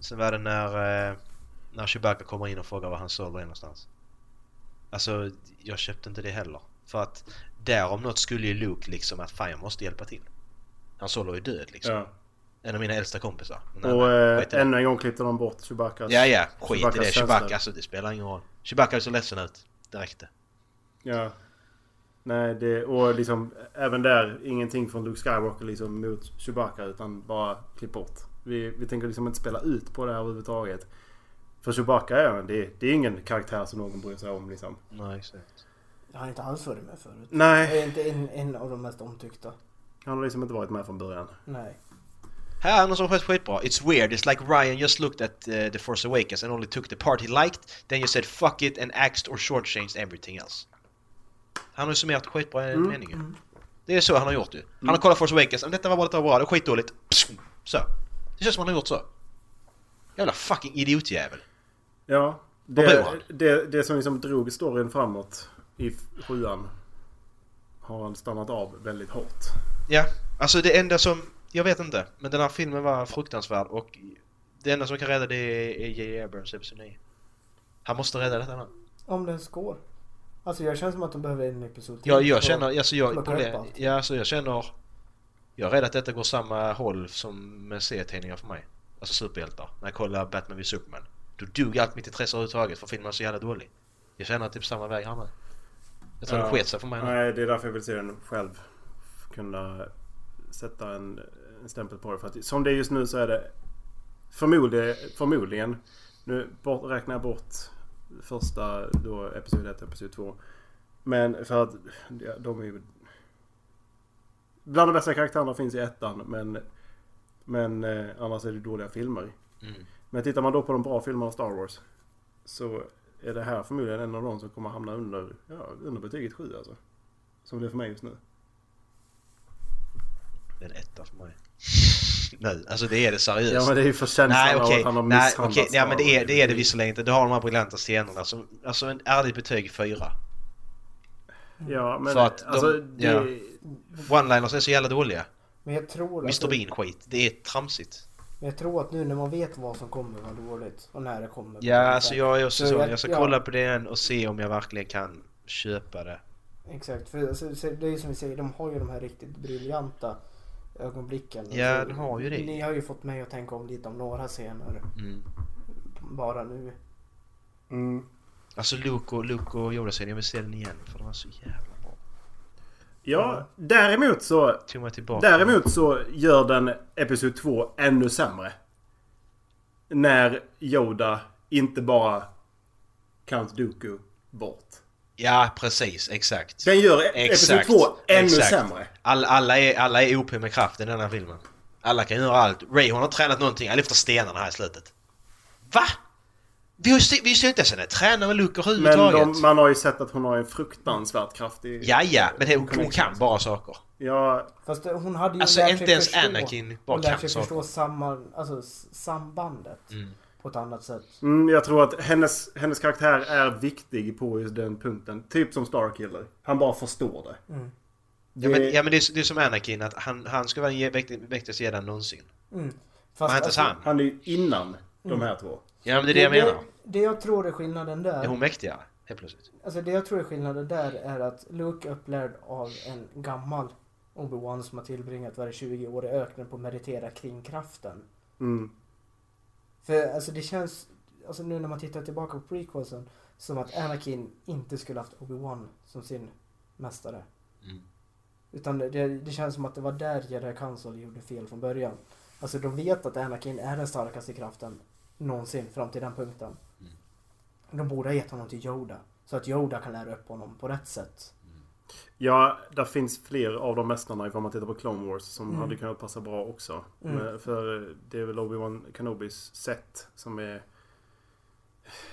Speaker 6: Sen var det när, eh, när Chewbacca kommer in och frågar var han Solo är någonstans. Alltså, jag köpte inte det heller. För att där om något skulle ju Luke liksom att fan jag måste hjälpa till. Han Solo är ju död liksom.
Speaker 7: Ja.
Speaker 6: En av mina äldsta kompisar. Men
Speaker 7: Och
Speaker 6: nej,
Speaker 7: eh,
Speaker 6: skit i det.
Speaker 7: ännu en gång klippte de bort Chewbacca.
Speaker 6: Ja, ja. Skit i det.
Speaker 7: Chewbaccas
Speaker 6: Chewbacca,
Speaker 7: känslor.
Speaker 6: alltså det spelar ingen roll. Chewbacca såg ledsen ut. Det räckte.
Speaker 7: Ja. Nej, det, och liksom även där ingenting från Luke Skywalker liksom mot Chewbacca utan bara klipp bort. Vi, vi tänker liksom inte spela ut på det här överhuvudtaget. För Chewbacca är det, det är ingen karaktär som någon bryr sig om liksom.
Speaker 6: Nej, exakt.
Speaker 8: Det har han inte alls varit med förut. Det
Speaker 7: Nej,
Speaker 8: är inte en, en av de mest omtyckta.
Speaker 7: han har liksom inte varit med från början.
Speaker 8: Nej.
Speaker 6: Här är någon som skett skitbra. It's weird. It's like Ryan just looked at uh, The Force Awakens and only took the part he liked. Then you said fuck it and axed or shortchanged everything else. Han har ju summerat skitbra i en mening ju. Det är så han har gjort ju. Han har kollat Force Awakens. "Men Detta var bra, detta var bra. Det var skitdåligt. Pssum. Så. Det känns som han har gjort så. Jävla fucking idiotjävel.
Speaker 7: Ja,
Speaker 6: blev
Speaker 7: det,
Speaker 6: han?
Speaker 7: det, det som liksom drog storyn framåt i f- sjuan har han stannat av väldigt hårt.
Speaker 6: Ja, alltså det enda som... Jag vet inte, men den här filmen var fruktansvärd och det enda som kan rädda det är J.J. Abrams episod 9. Han måste rädda detta nu.
Speaker 8: Om den går. Alltså jag känner som att de behöver en episod till.
Speaker 6: Jag, jag
Speaker 8: Så-
Speaker 6: känner... Alltså jag,
Speaker 8: plocka upp
Speaker 6: problem,
Speaker 8: allt.
Speaker 6: ja, alltså jag känner... Jag är rädd att detta går samma håll som med serietidningar för mig. Alltså superhjältar. När jag kollar Batman vs Superman. Då dog allt mitt intresse överhuvudtaget för filmen är så jävla dålig. Jag känner typ samma väg här med. Jag tror
Speaker 7: Ja.
Speaker 6: det sket sig för mig nu.
Speaker 7: Nej, det är därför jag vill se den själv. Kunna sätta en, en stämpel på det. För att, som det är just nu så är det förmodligen, förmodligen nu bort, räknar jag bort första då episod 1 och episod 2. Men för att ja, de är ju... Bland de bästa karaktärerna finns i ettan men, men eh,
Speaker 6: Mm.
Speaker 7: annars är det dåliga filmer. Men tittar man då på de bra filmerna Star Wars så är det här förmodligen en av de som kommer hamna under, ja, under betyget 7 alltså. Som det är för mig just nu.
Speaker 6: Det är en etta för mig. Nej, alltså det är det seriöst.
Speaker 7: Ja men det är ju för känslan
Speaker 6: Nej
Speaker 7: av
Speaker 6: okej,
Speaker 7: att han har
Speaker 6: nej
Speaker 7: misshandlats.
Speaker 6: okej, ja men det är det, är det
Speaker 7: visst.
Speaker 6: visserligen inte. Det har de här briljanta scenerna som, alltså en ärligt betyg 4.
Speaker 7: Ja men
Speaker 6: För att de-
Speaker 7: alltså det...
Speaker 6: ja. One-liners är så jävla dåliga.
Speaker 8: Men jag tror att...
Speaker 6: Mr Bean-skit, det är tramsigt.
Speaker 8: Men jag tror att nu när man vet vad som kommer vara dåligt och när det kommer.
Speaker 6: Ja, alltså jag är också
Speaker 8: Så
Speaker 6: så.
Speaker 8: jag-
Speaker 6: Jag ska
Speaker 8: ja.
Speaker 6: kolla på det igen och se om jag verkligen kan köpa det.
Speaker 8: Exakt, för alltså, så det är ju som vi säger, de har ju de här riktigt briljanta ögonblicken.
Speaker 6: Ja,
Speaker 8: Alltså,
Speaker 6: de har ju det. Mm.
Speaker 8: Ni har ju fått mig att tänka om lite om några scener bara nu.
Speaker 7: Mm.
Speaker 6: Alltså Luke och, Luke och Yoda-scenen, jag vill se den igen för den var så jävla bra.
Speaker 7: ja däremot så
Speaker 6: Tog mig tillbaka.
Speaker 7: Däremot så gör den Episod 2 ännu sämre. När Yoda inte bara Count Dooku bort.
Speaker 6: Ja, precis, exakt.
Speaker 7: Den gör Episod
Speaker 6: Exakt.
Speaker 7: 2 ännu
Speaker 6: exakt.
Speaker 7: sämre.
Speaker 6: Alla, alla, är, alla är OP med kraft i den här filmen. Alla kan göra allt. Ray hon har inte tränat någonting. Han lyfter stenarna här i slutet. Va? Vi har ju se- vi har ju inte ens henne träna med Luke
Speaker 7: Men
Speaker 6: överhuvudtaget.
Speaker 7: de, man har ju sett att hon har en fruktansvärt kraftig...
Speaker 6: Ja, ja, men hon, hon kan bara saker.
Speaker 7: Ja,
Speaker 8: Fast det- hon hade ju
Speaker 6: Alltså,
Speaker 8: lärt
Speaker 6: inte
Speaker 8: sig
Speaker 6: ens
Speaker 8: förstå,
Speaker 6: Anakin bara
Speaker 8: Hon lär
Speaker 6: kan
Speaker 8: sig
Speaker 6: saker.
Speaker 8: förstå samman, alltså, s- sambandet
Speaker 6: Mm.
Speaker 8: på ett annat sätt.
Speaker 7: mm, jag tror att hennes, hennes karaktär är viktig på just den punkten. Typ som Starkiller. Han bara förstår det.
Speaker 6: Ja, men, ja, men det, är, det är som Anakin, att han, han ska vara den vä- mäktigaste gäddan någonsin. Men
Speaker 8: Fast, alltså,
Speaker 6: han är inte ens han.
Speaker 7: Han är ju innan de här två.
Speaker 6: Ja, men det är det jag
Speaker 8: det,
Speaker 6: menar.
Speaker 8: det jag tror är skillnaden
Speaker 6: Är
Speaker 8: där.
Speaker 6: hon mäktigare? Helt plötsligt.
Speaker 8: Alltså det jag tror är skillnaden där är att Luke är upplärd av en gammal Obi-Wan som har tillbringat varje 20 år i öknen på att meditera kring kraften.
Speaker 7: Mm.
Speaker 8: För alltså det känns, alltså nu när man tittar tillbaka på prequelsen, som att Anakin inte skulle haft Obi-Wan som sin mästare. Utan det- det, det känns som att det var där Jedi Council gjorde fel från början. Alltså de vet att Anakin är den starkaste kraften någonsin fram till den punkten. De borde ha gett honom till Yoda. Så att Yoda kan lära upp honom på rätt sätt.
Speaker 7: Ja, där finns fler av de mästarna ifall man tittar på Clone Wars som hade kunnat passa bra också. Men, för det är väl Obi-Wan Kenobis sätt som är...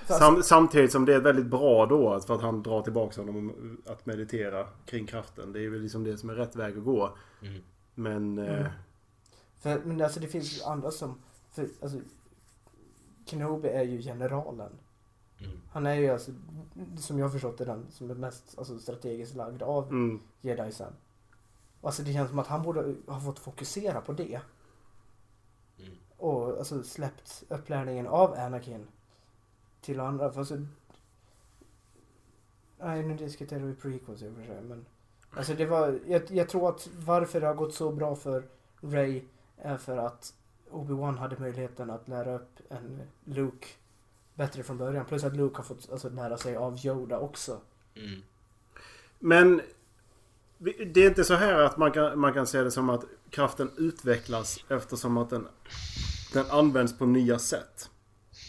Speaker 8: Fast-
Speaker 7: Sam, samtidigt som det är väldigt bra då alltså för att han drar tillbaka honom att meditera kring kraften. Det är väl liksom det som är rätt väg att gå. Men... eh,
Speaker 8: För, men alltså det finns ju andra som... För, alltså, Kenobi är ju generalen. Han är ju alltså, som jag har förstått det, den som är mest alltså, strategiskt lagd av
Speaker 7: Mm.
Speaker 8: jedisen. Alltså det känns som att han borde ha fått fokusera på det. Och alltså släppt upplärningen av Anakin till andra. För alltså... Nej, nu diskuterar vi prequels i och för sig. Men... Alltså det var... Jag, jag tror att varför det har gått så bra för Ray är för att Obi-Wan hade möjligheten att lära upp en Luke bättre från början. Plus att Luke har fått alltså, lära sig av Yoda också.
Speaker 7: Men vi- det är inte så här att man kan, man kan se det som att kraften utvecklas eftersom att den, den används på nya sätt.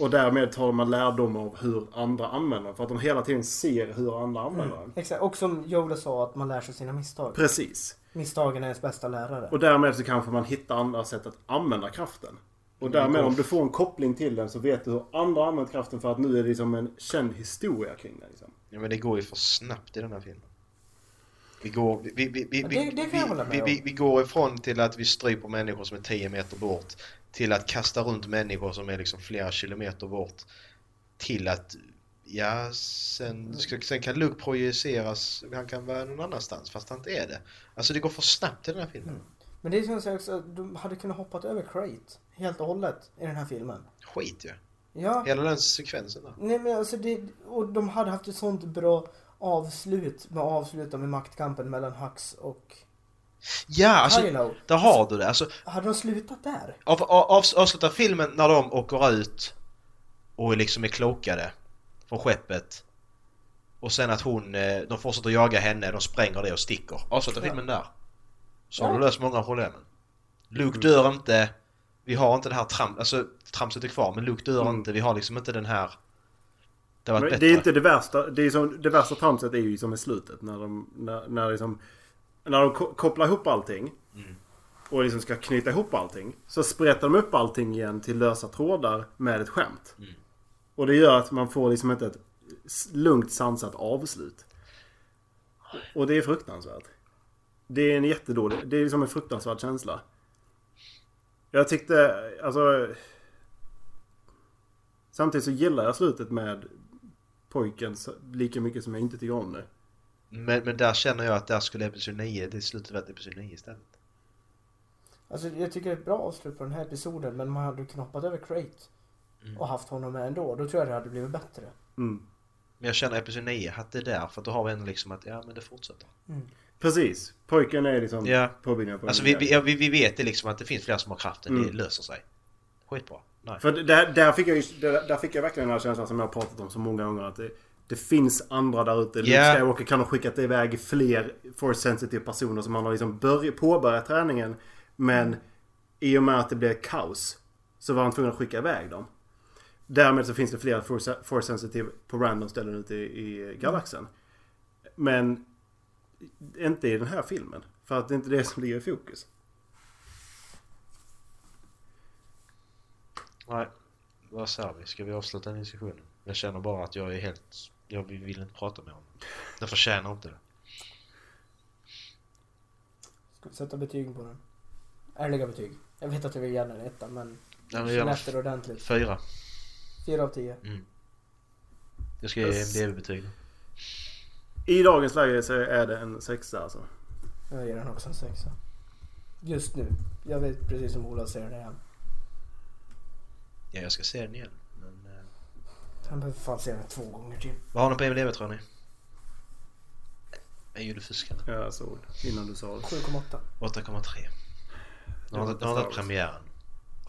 Speaker 7: Och därmed tar man lärdom av hur andra använder den. För att de hela tiden ser hur andra använder den.
Speaker 8: Exakt. Och som Yoda sa, att man lär sig sina misstag.
Speaker 7: Precis.
Speaker 8: Misstagen är ens bästa lärare.
Speaker 7: Och därmed så kanske man hittar andra sätt att använda kraften. Och därmed om du får en koppling till den så vet du hur andra använt kraften för att nu är det liksom en känd historia kring den. Liksom.
Speaker 6: Ja, men det går ju för snabbt i den här filmen. Vi går, vi, vi, vi, vi,
Speaker 8: Ja, det- det kan jag hålla med
Speaker 6: vi,
Speaker 8: om.
Speaker 6: vi, vi går ifrån till att vi stryper människor som är 10 meter bort till att kasta runt människor som är liksom flera kilometer bort till att Ja,
Speaker 8: Mm.
Speaker 6: sen, ska- sen kan Luke projiceras, han kan vara någon annanstans fast han inte är det. Alltså det går för snabbt i den här filmen.
Speaker 8: Men det känns ju också att de hade kunnat hoppat över Crate helt och hållet i den här filmen.
Speaker 6: Skit ju. Ja.
Speaker 8: Ja,
Speaker 6: Hela den sekvensen där.
Speaker 8: nej men alltså det, och de hade haft ett sånt bra avslut med att avsluta med maktkampen mellan Hux och
Speaker 6: Ja, alltså
Speaker 8: Kylo.
Speaker 6: där har du det. Alltså,
Speaker 8: Hade de slutat där?
Speaker 6: av, av, av, avsluta filmen när de åker ut och liksom är klokade från skeppet. Och sen att hon, eh, de fortsätter jaga henne, de spränger det och sticker. Avsluta filmen där. Så har du löst många av problemen.
Speaker 7: Mm.
Speaker 6: Luke dör inte, vi har inte det här tram, alltså tramset är kvar men Luke dör inte, vi har liksom inte den här... Det har varit
Speaker 7: Men
Speaker 6: bättre.
Speaker 7: det är inte det värsta. Det, är som, det värsta tramset är ju som i slutet. När de, när, när liksom, när de ko- kopplar ihop allting. Och liksom ska knyta ihop allting. Så sprättar de upp allting igen till lösa trådar med ett skämt. Och det gör att man får liksom inte ett s- lugnt sansat avslut. Och det är fruktansvärt. Det är en jättedålig... Det är liksom en fruktansvärd känsla. Jag tyckte... Alltså... Samtidigt så gillar jag slutet med pojken så- lika mycket som jag inte tycker om det.
Speaker 6: Men, men där känner jag att där skulle episod 9, det är slutet av episod 9 istället.
Speaker 8: Alltså jag tycker det är ett bra avslut på den här episoden men man hade ju knoppat över Crate.
Speaker 6: Mm.
Speaker 8: Och haft honom med ändå. Då tror jag det hade blivit bättre.
Speaker 7: Mm.
Speaker 6: Men jag känner episod 9, att det är där, för att då har vi ändå liksom att, ja men det fortsätter.
Speaker 7: Precis. Pojken är liksom
Speaker 6: Ja.
Speaker 7: påbyggnaden på
Speaker 6: Alltså
Speaker 7: den
Speaker 6: vi,
Speaker 7: där.
Speaker 6: vi, ja, vi, vi vet det liksom att det finns flera som har kraften, det
Speaker 7: Mm.
Speaker 6: löser sig. Skitbra. Nej.
Speaker 7: För det- där, där, fick jag ju, där, där fick jag verkligen den här känslan som jag har pratat om så många gånger. Att det, det finns andra där ute.
Speaker 6: Ja.
Speaker 7: Luke Skywalker kan ha skickat iväg fler force sensitive personer som han har liksom börj- påbörjat träningen. Men i och med att det blev kaos så var han tvungen att skicka iväg dem. Därmed så finns det flera force, force sensitive på random ställen ute i, i galaxen. Men inte i den här filmen. För att det är inte det som ligger i fokus.
Speaker 6: Nej. Vad säger vi? Ska vi avsluta den diskussionen? Jag känner bara att jag är helt... Jag vill inte prata med honom. Den förtjänar inte det.
Speaker 8: Ska vi sätta betyg på den? Ärliga betyg. Jag vet att jag vill ge den en etta men...
Speaker 6: Nej, men
Speaker 8: Känn
Speaker 6: gärna
Speaker 8: efter ordentligt.
Speaker 6: fyra.
Speaker 8: 4 av 10.
Speaker 6: Jag ska ge MDV-betyg.
Speaker 7: I dagens läge så är det en sexa alltså.
Speaker 8: Jag ger den också en sexa. Just nu. Jag vet precis som Ola säger det igen.
Speaker 6: Ja, jag ska se den igen. Men, eh,
Speaker 8: Han behöver fan se den två gånger till.
Speaker 6: vad har ni på MDV tror ni? Är ju det fuskande.
Speaker 7: Ja, jag såg det innan du sa det.
Speaker 8: 7,8.
Speaker 6: 8,3. Nu har det varit premiären.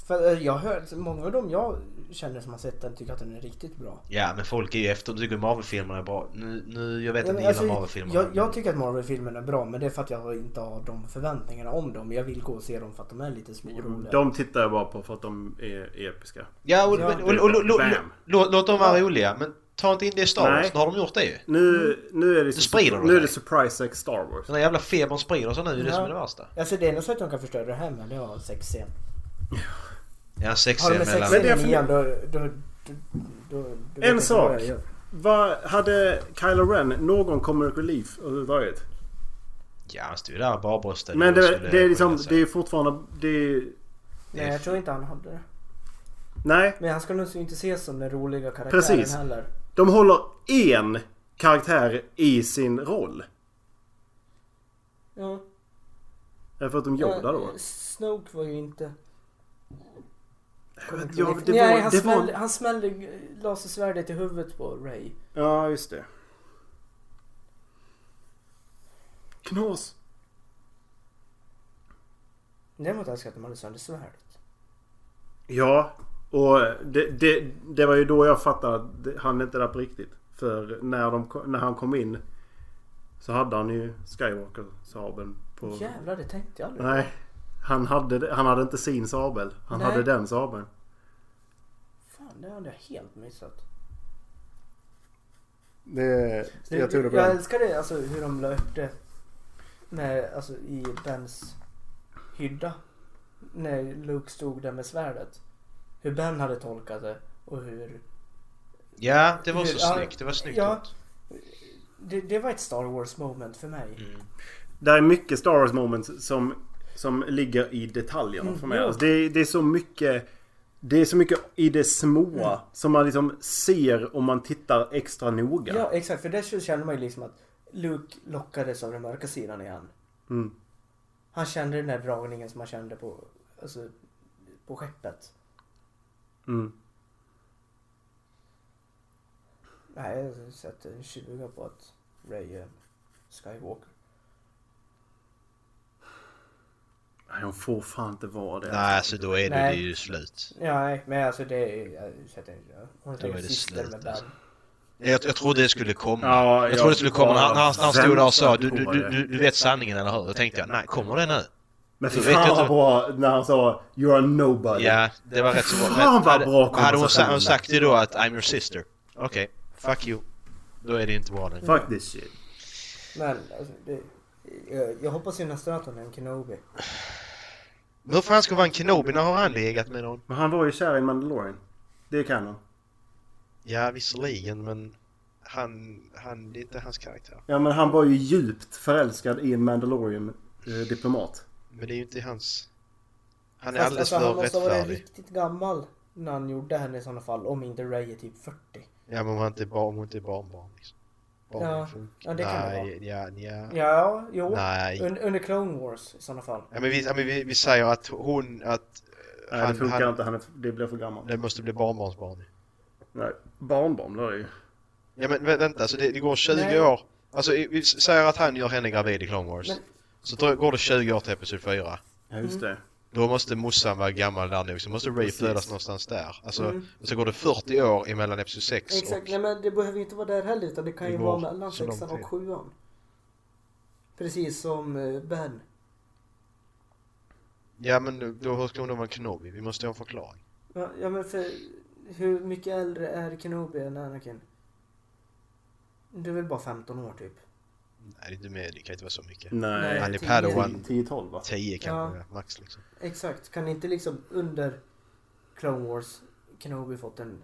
Speaker 8: För eh, jag hör, många av dem jag känner som har sett den tycker att den är riktigt bra.
Speaker 6: Ja, men folk är ju efter. De tycker Marvel-filmerna är bra. Nu, nu, jag vet att ni
Speaker 8: Alltså,
Speaker 6: gillar Marvel-filmerna.
Speaker 8: jag, jag tycker att Marvel-filmerna är bra men det är för att jag inte har de förväntningarna om dem. Jag vill gå och se dem för att de är lite små och roliga.
Speaker 7: De tittar jag bara på för att de är episka.
Speaker 6: Ja, och,
Speaker 8: Ja.
Speaker 6: och, och, och, lo- lo-
Speaker 7: Bam.
Speaker 6: låt- låt dem vara roliga. Men ta inte in det i Star Wars.
Speaker 7: Nej.
Speaker 6: Nu har de gjort det ju.
Speaker 7: Nu, nu är det,
Speaker 6: Mm. sprider de
Speaker 7: nu är
Speaker 6: det.
Speaker 7: det surprise sex Star Wars.
Speaker 6: Den här jävla febern sprider sig nu. Det är det
Speaker 8: Ja.
Speaker 6: som är det värsta.
Speaker 8: Alltså det enda sättet de kan förstöra det här med det är att ha en sexscen.
Speaker 6: Ja,
Speaker 8: Har de
Speaker 6: sexscen
Speaker 8: en
Speaker 6: mellan...
Speaker 7: Men det är
Speaker 8: sexscen
Speaker 7: för-
Speaker 8: igen då... då, då, då, då vet jag
Speaker 7: En
Speaker 8: inte
Speaker 7: sak.
Speaker 8: vad jag gör.
Speaker 7: Vad hade Kylo Ren någon comic relief överhuvudtaget?
Speaker 6: Ja, han stod ju där barbröstad.
Speaker 7: Men
Speaker 6: och
Speaker 7: det,
Speaker 6: skulle
Speaker 7: det är liksom,
Speaker 6: skilja sig.
Speaker 7: det är fortfarande, det är,
Speaker 8: Nej jag tror inte han hade det.
Speaker 7: Nej,
Speaker 8: Men han ska nog inte ses som den roliga karaktären
Speaker 7: Precis.
Speaker 8: heller.
Speaker 7: de håller en karaktär i sin roll.
Speaker 8: Ja.
Speaker 7: Eh, Förutom Yoda då.
Speaker 8: Snoke var ju inte...
Speaker 7: Ja, det
Speaker 8: Nej,
Speaker 7: var,
Speaker 8: han,
Speaker 7: det
Speaker 8: smällde,
Speaker 7: var,
Speaker 8: han smällde eh, lasersvärdet i huvudet på Ray.
Speaker 7: ja, just det. Knas.
Speaker 8: Däremot älskar jag att de hade sönder svärdet.
Speaker 7: Ja, och det, det, det var ju då jag fattade att det- han inte är där på riktigt. För när, de, ko- när han kom in så hade han ju Skywalker-sabeln på...
Speaker 8: Jävlar, det tänkte jag aldrig.
Speaker 7: Nej, han hade, det- han hade inte sin sabel. Han
Speaker 8: Nej.
Speaker 7: hade den sabeln.
Speaker 8: Fan, det hade jag helt missat.
Speaker 7: Det,
Speaker 8: jag älskar det, alltså, hur de la upp det med, alltså, i Bens hydda. När Luke stod där med svärdet. Hur Ben hade tolkat det och hur...
Speaker 6: Ja, det var så
Speaker 8: Ja,
Speaker 6: snyggt. Det var snyggt
Speaker 8: ja.
Speaker 6: gjort.
Speaker 8: Det, det var ett Star Wars moment för mig.
Speaker 7: Det är mycket Star Wars moments som, som ligger i detaljerna för mig.
Speaker 8: ja.
Speaker 7: Alltså det, det är så mycket Det är så mycket i det små
Speaker 8: Mm.
Speaker 7: som man liksom ser om man tittar extra noga.
Speaker 8: Ja, exakt. För där så kände man ju liksom att Luke lockades av den mörka sidan igen.
Speaker 6: Mm.
Speaker 8: Han kände den där dragningen som man kände på, alltså, på skeppet.
Speaker 7: Mm.
Speaker 8: Nej, jag sätter en 20 på att Ray är Skywalker.
Speaker 7: Nej, de får fan inte vara det.
Speaker 6: Nej, alltså då är det, det
Speaker 8: Nej.
Speaker 6: är ju slut.
Speaker 8: Nej, men alltså det är... Jag sätter en... jag- Hon
Speaker 6: Då är
Speaker 8: säger
Speaker 6: det
Speaker 8: syster
Speaker 6: slut,
Speaker 8: med Ben.
Speaker 6: alltså. Jag, jag trodde det skulle komma.
Speaker 7: Ja,
Speaker 6: jag
Speaker 7: jag
Speaker 6: trodde det skulle komma. När han, när han- när han stod där och sa du, du,
Speaker 7: på
Speaker 6: du,
Speaker 7: det.
Speaker 6: du, du vet sanningen eller hur? Då tänkte jag, nej, kommer det nu?
Speaker 7: Men fy
Speaker 6: Du vet
Speaker 7: fan
Speaker 6: inte-
Speaker 7: vad bra när han sa You're a nobody.
Speaker 6: Ja, det var rätt så bra.
Speaker 7: Fan, vad
Speaker 6: hade,
Speaker 7: bra
Speaker 6: hade hon, sa,
Speaker 7: konversation.
Speaker 6: hon sagt det då att I'm your sister? Okej, fuck you. Då är det inte bra längre.
Speaker 7: Fuck this shit.
Speaker 8: Men alltså, det, jag, jag hoppas ju nästan att hon är en Kenobi.
Speaker 6: Men Hur fan ska vara en Kenobi? När har han legat med någon?
Speaker 7: Men han var ju kär i Mandalorian. Det kan han.
Speaker 6: Ja, visserligen, men... han, han, det är inte hans karaktär.
Speaker 7: Ja men han var ju djupt förälskad i en Mandalorian eh, diplomat.
Speaker 6: Men det är ju inte hans... Han är
Speaker 8: Fast,
Speaker 6: alldeles
Speaker 8: alltså, han
Speaker 6: för
Speaker 8: måste ha varit
Speaker 6: rättfärdig.
Speaker 8: riktigt gammal när han gjorde henne i sådana fall. Om inte Ray är typ 40.
Speaker 6: Ja, men om han inte är barn, om hon inte är barnbarn liksom. Barn
Speaker 8: Ja, ja, det kan
Speaker 6: Nej,
Speaker 8: det
Speaker 6: ja, ja.
Speaker 8: Ja, jo.
Speaker 6: Nej.
Speaker 8: Un, under Clone Wars i sådana fall.
Speaker 6: Ja, men vi, ja, men vi, vi säger att hon, att... eh,
Speaker 7: Nej det funkar inte, han är, det blir för gammalt.
Speaker 6: Det måste bli barnbarnsbarn.
Speaker 7: Nej, barnbarn blir det ju.
Speaker 6: Ja, men vä- vänta, så det, det går 20
Speaker 8: Nej.
Speaker 6: år. Alltså, i- vi s- säger att han gör henne gravid i Clone Wars.
Speaker 8: Men-
Speaker 6: Så då går det 20 år till Episod 4.
Speaker 7: Ja just det.
Speaker 6: Då måste morsan vara gammal där nog, så måste Ray
Speaker 7: Precis.
Speaker 6: födas någonstans där. Alltså,
Speaker 8: Mm.
Speaker 6: och så går det 40 år emellan Episod 6
Speaker 8: Exakt,
Speaker 6: och...
Speaker 8: nej men det behöver ju inte vara där heller utan det kan
Speaker 6: Det
Speaker 8: ju
Speaker 6: går
Speaker 8: vara mellan
Speaker 6: så lång
Speaker 8: sexan
Speaker 6: tid.
Speaker 8: och sjuan. Precis som eh, Ben.
Speaker 6: Ja, men då- då hur ska hon då vara Kenobi? Vi måste ha en förklaring.
Speaker 8: Ja, ja men för hur mycket äldre är Kenobi än Anakin? Det är väl bara 15 år typ.
Speaker 6: Nej, det är inte med. Det kan inte vara så mycket.
Speaker 7: Mm. Nej.
Speaker 6: Han är
Speaker 8: tio.
Speaker 6: padawan.
Speaker 7: 10-12 va?
Speaker 6: 10 kanske, max liksom.
Speaker 8: Exakt, kan inte liksom under Clone Wars Kenobi fått en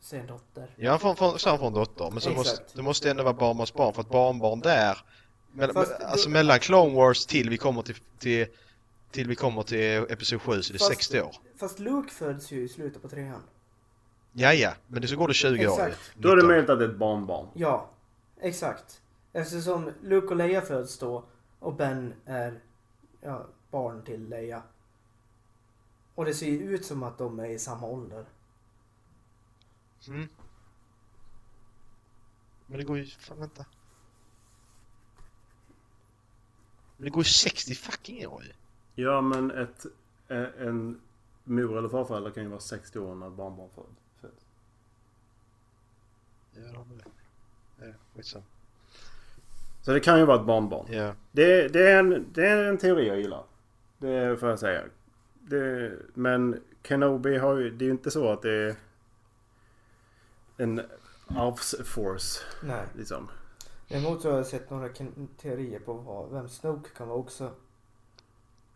Speaker 8: sen dotter?
Speaker 6: Ja, han får, får, så han får en dotter. Men så
Speaker 8: Exakt.
Speaker 6: måste, det måste ändå vara barnbarnsbarn, för att barnbarn där... Mell,
Speaker 8: Fast då-
Speaker 6: alltså mellan Clone Wars till vi kommer till... till till vi kommer till Episod 7 så det är
Speaker 8: Fast-
Speaker 6: 60 år.
Speaker 8: Fast Luke föds ju i slutet på trean.
Speaker 6: Ja, ja, men det så går det 20 år ju.
Speaker 8: Exakt.
Speaker 7: Då är det
Speaker 6: 19.
Speaker 7: möjligt att det är ett barnbarn.
Speaker 8: Ja, exakt. Eftersom Luke och Leia föds då och Ben är ja, barn till Leia. Och det ser ju ut som att de är i samma ålder.
Speaker 6: Mm. Men det går ju... Fan, vänta. Men det går ju 60 fucking år ju.
Speaker 7: Ja men ett, eh, en mor eller farförälder kan ju vara 60 år när ett barnbarn föds. föds.
Speaker 6: Ja, det har vi det. Ja, skitsamma.
Speaker 7: Så det kan ju vara ett barnbarn.
Speaker 6: Ja.
Speaker 7: Det, det, är en, det är en teori jag gillar. Det får jag säga. Det, men Kenobi har ju... Det är ju inte så att det är en arvsforce
Speaker 8: Nej.
Speaker 7: liksom.
Speaker 8: Däremot så har jag sett några ken- teorier på vad, vem Snoke kan vara också.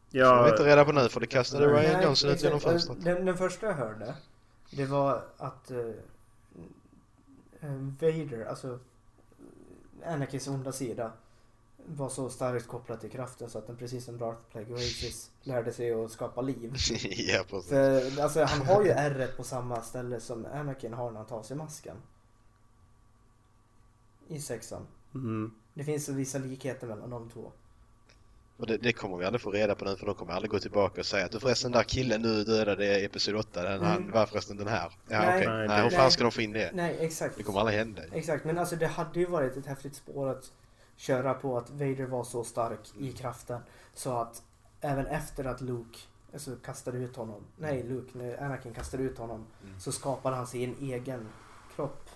Speaker 6: Så det har vi
Speaker 7: Ja,
Speaker 6: inte reda på nu för det kastade
Speaker 7: Nej,
Speaker 6: Ryan Johnson ut
Speaker 8: exakt.
Speaker 6: genom fönstret.
Speaker 8: Den, den första jag hörde, det var att eh, eh, Vader, alltså Anakins onda sida, var så starkt kopplad till kraften så att den precis som Darth Plagueis lärde sig att skapa liv.
Speaker 6: ja, precis.
Speaker 8: För, alltså, han har ju ärret på samma ställe som Anakin har när han tar sig masken. I sexan.
Speaker 7: mm,
Speaker 8: Det finns vissa likheter mellan de två.
Speaker 6: Och det, det kommer vi aldrig få reda på nu för de kommer aldrig gå tillbaka och säga att du förresten den där killen du dödade i episod 8, den, han
Speaker 8: Mm.
Speaker 6: var förresten den här. Ja
Speaker 8: Nej.
Speaker 6: okej,
Speaker 7: Nej,
Speaker 6: nej hur
Speaker 8: det-
Speaker 6: fan ska de få in det?
Speaker 8: Nej, exakt.
Speaker 6: Det kommer aldrig hända.
Speaker 8: Exakt, men alltså det hade ju varit ett häftigt spår att köra på att Vader var så stark
Speaker 6: Mm.
Speaker 8: i kraften så att även efter att Luke alltså, kastade ut honom, nej
Speaker 6: Mm.
Speaker 8: Luke, när Anakin kastade ut honom så skapade han sig en egen kropp.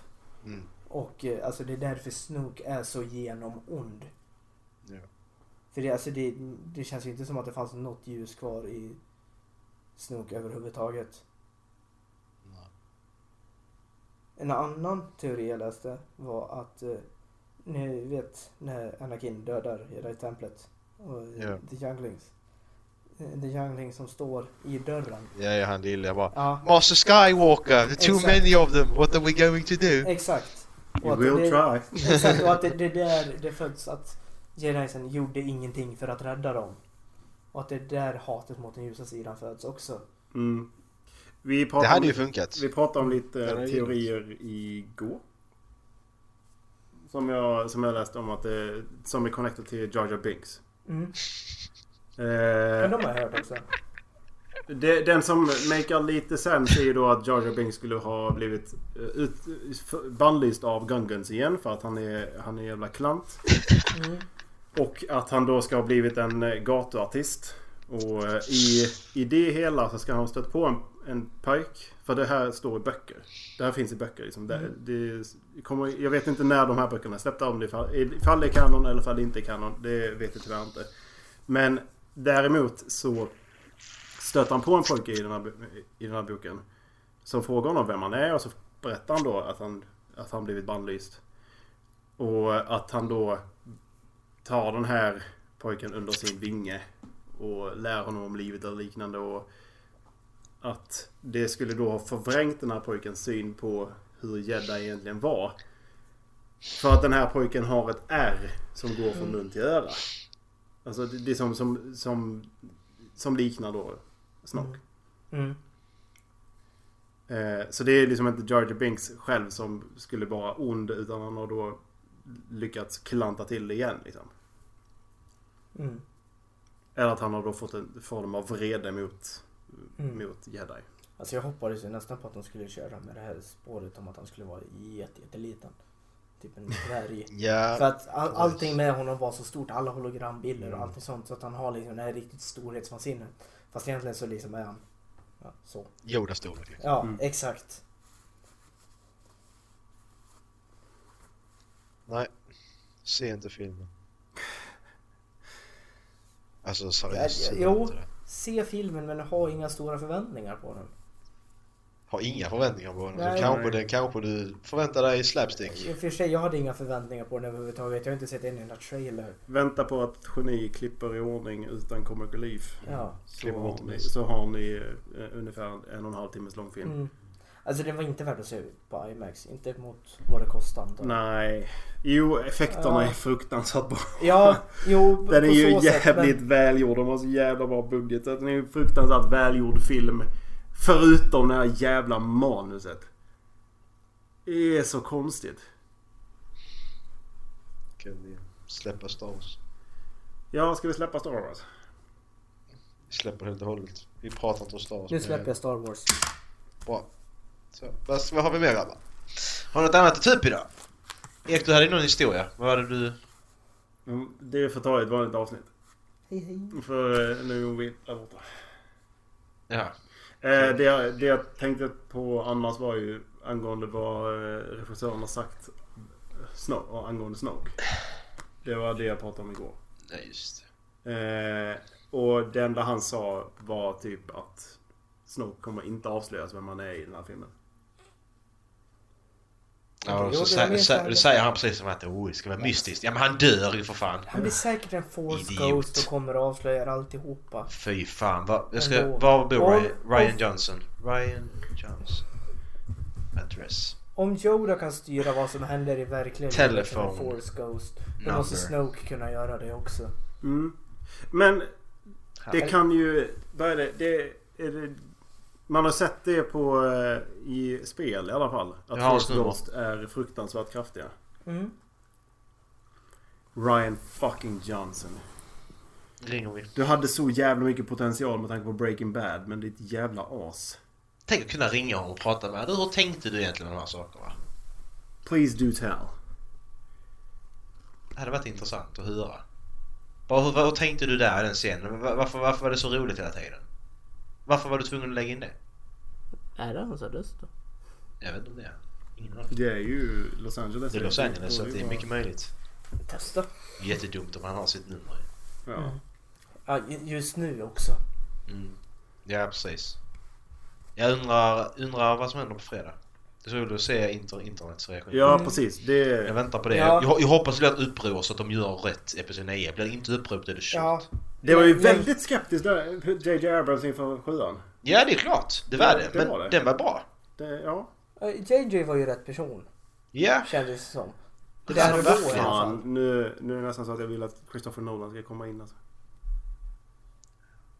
Speaker 6: Mm.
Speaker 8: Och eh, alltså det är därför Snoke är så genom ond.
Speaker 6: Ja.
Speaker 8: För det, alltså, det, det känns ju inte som att det fanns något ljus kvar i Snoke överhuvudtaget. En annan teori jag läste var att eh, ni vet när Anakin dödar Jedi-templet och eh,
Speaker 6: Ja.
Speaker 8: The Younglings. Eh, The Youngling som står i dörren.
Speaker 6: Ja, ja han lille jag bara
Speaker 8: Ja,
Speaker 6: Master Skywalker, the too
Speaker 8: Exakt.
Speaker 6: many of them, what are we going to do?
Speaker 8: exakt.
Speaker 7: you
Speaker 8: att
Speaker 7: will
Speaker 8: det,
Speaker 7: try.
Speaker 8: exakt, och att det, det där det föds att Jedisen gjorde ingenting för att rädda dem. Och att det är där hatet mot den ljusa sidan föds också.
Speaker 7: Mm. Vi
Speaker 6: Det
Speaker 7: pratade,
Speaker 6: hade ju
Speaker 7: om,
Speaker 6: funkat.
Speaker 7: vi pratade om
Speaker 6: Det
Speaker 7: lite
Speaker 6: hade ju
Speaker 7: teorier igår. Som jag, som jag läste om att det, som är connected till Jar Jar Binks.
Speaker 8: Mm.
Speaker 7: Eh,
Speaker 8: Men de har jag hört också.
Speaker 7: Det, den som makear lite sens är ju då att Jar Jar Binks skulle ha blivit eh, ut, f- bannlyst av Gungans igen för att han är, han är en jävla klant.
Speaker 8: Mm.
Speaker 7: Och att han då ska ha blivit en eh, gatuartist. Och eh, i, i det hela så ska han ha stött på en, en pojk. För det här står i böcker. Det här finns i böcker. Liksom. Det, det kommer, jag vet inte när de här böckerna är släppta. Om det, ifall, ifall det är kanon eller ifall det inte är kanon. Det vet jag tyvärr inte. Men däremot så stöter han på en pojke i den här, bo- i den här boken. Som frågar honom vem han är och så berättar han då att han, att han blivit bannlyst. Och att han då tar den här pojken under sin vinge och lär honom om livet och liknande. Och att det skulle då ha förvrängt den här pojkens syn på hur gädda egentligen var. För att den här pojken har ett R som går från mun till öra. Alltså det, det är som, som, som, som liknar då Snock.
Speaker 8: Mm.
Speaker 7: Eh, så det är liksom inte Jar Jar Binks själv som skulle vara ond utan han har då lyckats klanta till det igen liksom.
Speaker 8: Mm.
Speaker 7: Eller att han har då fått en form av vrede mot,
Speaker 8: Mm.
Speaker 7: mot jedi.
Speaker 8: Alltså jag hoppades ju nästan på att de skulle köra med det här spåret om att han skulle vara jätte, jätteliten. Typ en dvärg. För
Speaker 9: Ja,
Speaker 8: att all, allting med honom var så stort, alla hologrambilder och allting sånt. Så att han har liksom det här riktigt storhetsvansinnet. Fast egentligen så liksom är han ja, så.
Speaker 9: Yoda storlek. liksom.
Speaker 8: Ja,
Speaker 7: Mm.
Speaker 8: exakt.
Speaker 9: Nej, se inte filmen. Alltså
Speaker 8: Ja,
Speaker 9: seriöst, se
Speaker 8: jo.
Speaker 9: inte det.
Speaker 8: Se filmen men ha inga stora förväntningar på den.
Speaker 9: Har inga förväntningar på den.
Speaker 8: Nej.
Speaker 9: Så kanske, det, kanske du förväntar dig slapstick.
Speaker 8: I och för sig, jag hade inga förväntningar på den överhuvudtaget. Jag har inte sett en enda trailer.
Speaker 7: Vänta på att geni klipper i ordning utan comic relief.
Speaker 8: Ja.
Speaker 7: Så,
Speaker 9: Klipper bort
Speaker 7: har ni,
Speaker 9: det mesta.
Speaker 7: så har ni eh, ungefär en och en halv timmes lång film.
Speaker 8: Mm. Alltså den var inte värd att se på IMAX. Inte mot vad det kostar. antar jag.
Speaker 7: Nej. Jo, effekterna
Speaker 8: Ja.
Speaker 7: är fruktansvärt bra.
Speaker 8: Ja, jo. på
Speaker 7: Den är ju
Speaker 8: så sätt, men-
Speaker 7: jävligt välgjord. De har så jävla bra budget. Den är ju en fruktansvärt välgjord film. Förutom det här jävla manuset. Det är så konstigt.
Speaker 9: Kan vi släppa Star Wars?
Speaker 7: Ja, ska vi släppa Star Wars?
Speaker 9: Vi släpper helt och hållet. Vi pratar inte om Star Wars.
Speaker 8: Nu släpper jag Star Wars.
Speaker 9: Bra. Så, vad, vad har vi mer grabbar? Har du något annat att ta upp idag? Ek, du hade någon historia. Vad hade du?
Speaker 7: Mm, Det får ta ett vanligt avsnitt.
Speaker 8: Hej hej.
Speaker 7: För eh, nu är vi där borta.
Speaker 9: Ja.
Speaker 7: Eh, det, jag, det jag tänkte på annars var ju angående vad eh, regissören har sagt Snow, och angående Snoke. Det var det jag pratade om igår.
Speaker 9: Nej, just det.
Speaker 7: Eh, och det enda han sa var typ att Snoke kommer inte avslöjas vem man är i den här filmen.
Speaker 9: Ja, och
Speaker 8: Jo,
Speaker 9: så
Speaker 8: det
Speaker 9: sä,
Speaker 8: vet
Speaker 9: sä,
Speaker 8: jag.
Speaker 9: det säger han precis som att oh, det ska vara mystiskt. Ja men han dör ju för fan.
Speaker 8: Han blir säkert en force
Speaker 9: Idiot.
Speaker 8: ghost och kommer och avslöjar alltihopa.
Speaker 9: Fy fan. Var, jag ska,
Speaker 8: Ändå.
Speaker 9: var bor
Speaker 8: Och-
Speaker 9: Ryan, Ryan
Speaker 8: och-
Speaker 9: Johnson? Ryan Johnson. Address.
Speaker 8: Om Yoda kan styra vad som händer i verkligheten
Speaker 9: Telefon.
Speaker 8: som en force ghost. Då
Speaker 9: Number.
Speaker 8: måste Snoke kunna göra det också.
Speaker 7: Mm. Men det
Speaker 9: Här.
Speaker 7: kan ju... Vad är det? det, är det man har sett det på eh, i spel i alla fall. Att
Speaker 9: Ja,
Speaker 7: Force
Speaker 9: snubbar.
Speaker 7: Ghost är fruktansvärt kraftiga.
Speaker 8: Mm.
Speaker 7: Ryan fucking Johnson.
Speaker 9: ringer vi.
Speaker 7: Du hade så jävla mycket potential med tanke på Breaking Bad men ditt jävla as.
Speaker 9: Tänk att kunna ringa honom och prata med honom. Du, Hur tänkte du egentligen med de här sakerna?
Speaker 7: Please do tell.
Speaker 9: Det hade varit intressant att höra. Bara, hur, hur tänkte du där i den scenen? Va- Varför, varför var det så roligt hela tiden? Varför var du tvungen att lägga in det?
Speaker 8: Är det han som röstar?
Speaker 9: Jag vet inte om det. är. Ingen aning.
Speaker 7: Det är ju Los Angeles.
Speaker 9: Det är Los Angeles så att det är mycket möjligt.
Speaker 8: Testa.
Speaker 9: Jättedumt om han har sitt nummer.
Speaker 7: Ja.
Speaker 8: Ja, ju- just nu också.
Speaker 9: Mm. Ja precis. Jag undrar, undrar vad som händer på fredag. Det är så roligt att se inter, internets reaktion.
Speaker 7: ja
Speaker 8: Mm.
Speaker 7: precis. Det
Speaker 9: Jag
Speaker 7: är...
Speaker 9: väntar på det.
Speaker 8: Ja.
Speaker 9: Jag, jag hoppas det blir ett uppror så att de gör rätt i episod 9. Blir det inte uppror då är det kört.
Speaker 8: Ja.
Speaker 9: Ja.
Speaker 7: Det var ju
Speaker 8: Men-
Speaker 7: väldigt skeptiskt där. JJ Abrams inför sjuan.
Speaker 9: det är klart. Det var
Speaker 7: Ja,
Speaker 9: det.
Speaker 7: det
Speaker 9: Men
Speaker 7: var det.
Speaker 9: den var bra.
Speaker 7: Det, ja.
Speaker 8: Eh, JJ var ju rätt person.
Speaker 9: Ja.
Speaker 8: Kändes det som.
Speaker 9: Det
Speaker 8: Där
Speaker 9: var
Speaker 8: och då i
Speaker 9: verkligen.
Speaker 8: alla fall.
Speaker 7: Fan, nu, nu är det nästan så att jag vill att Christopher Nolan ska komma in alltså.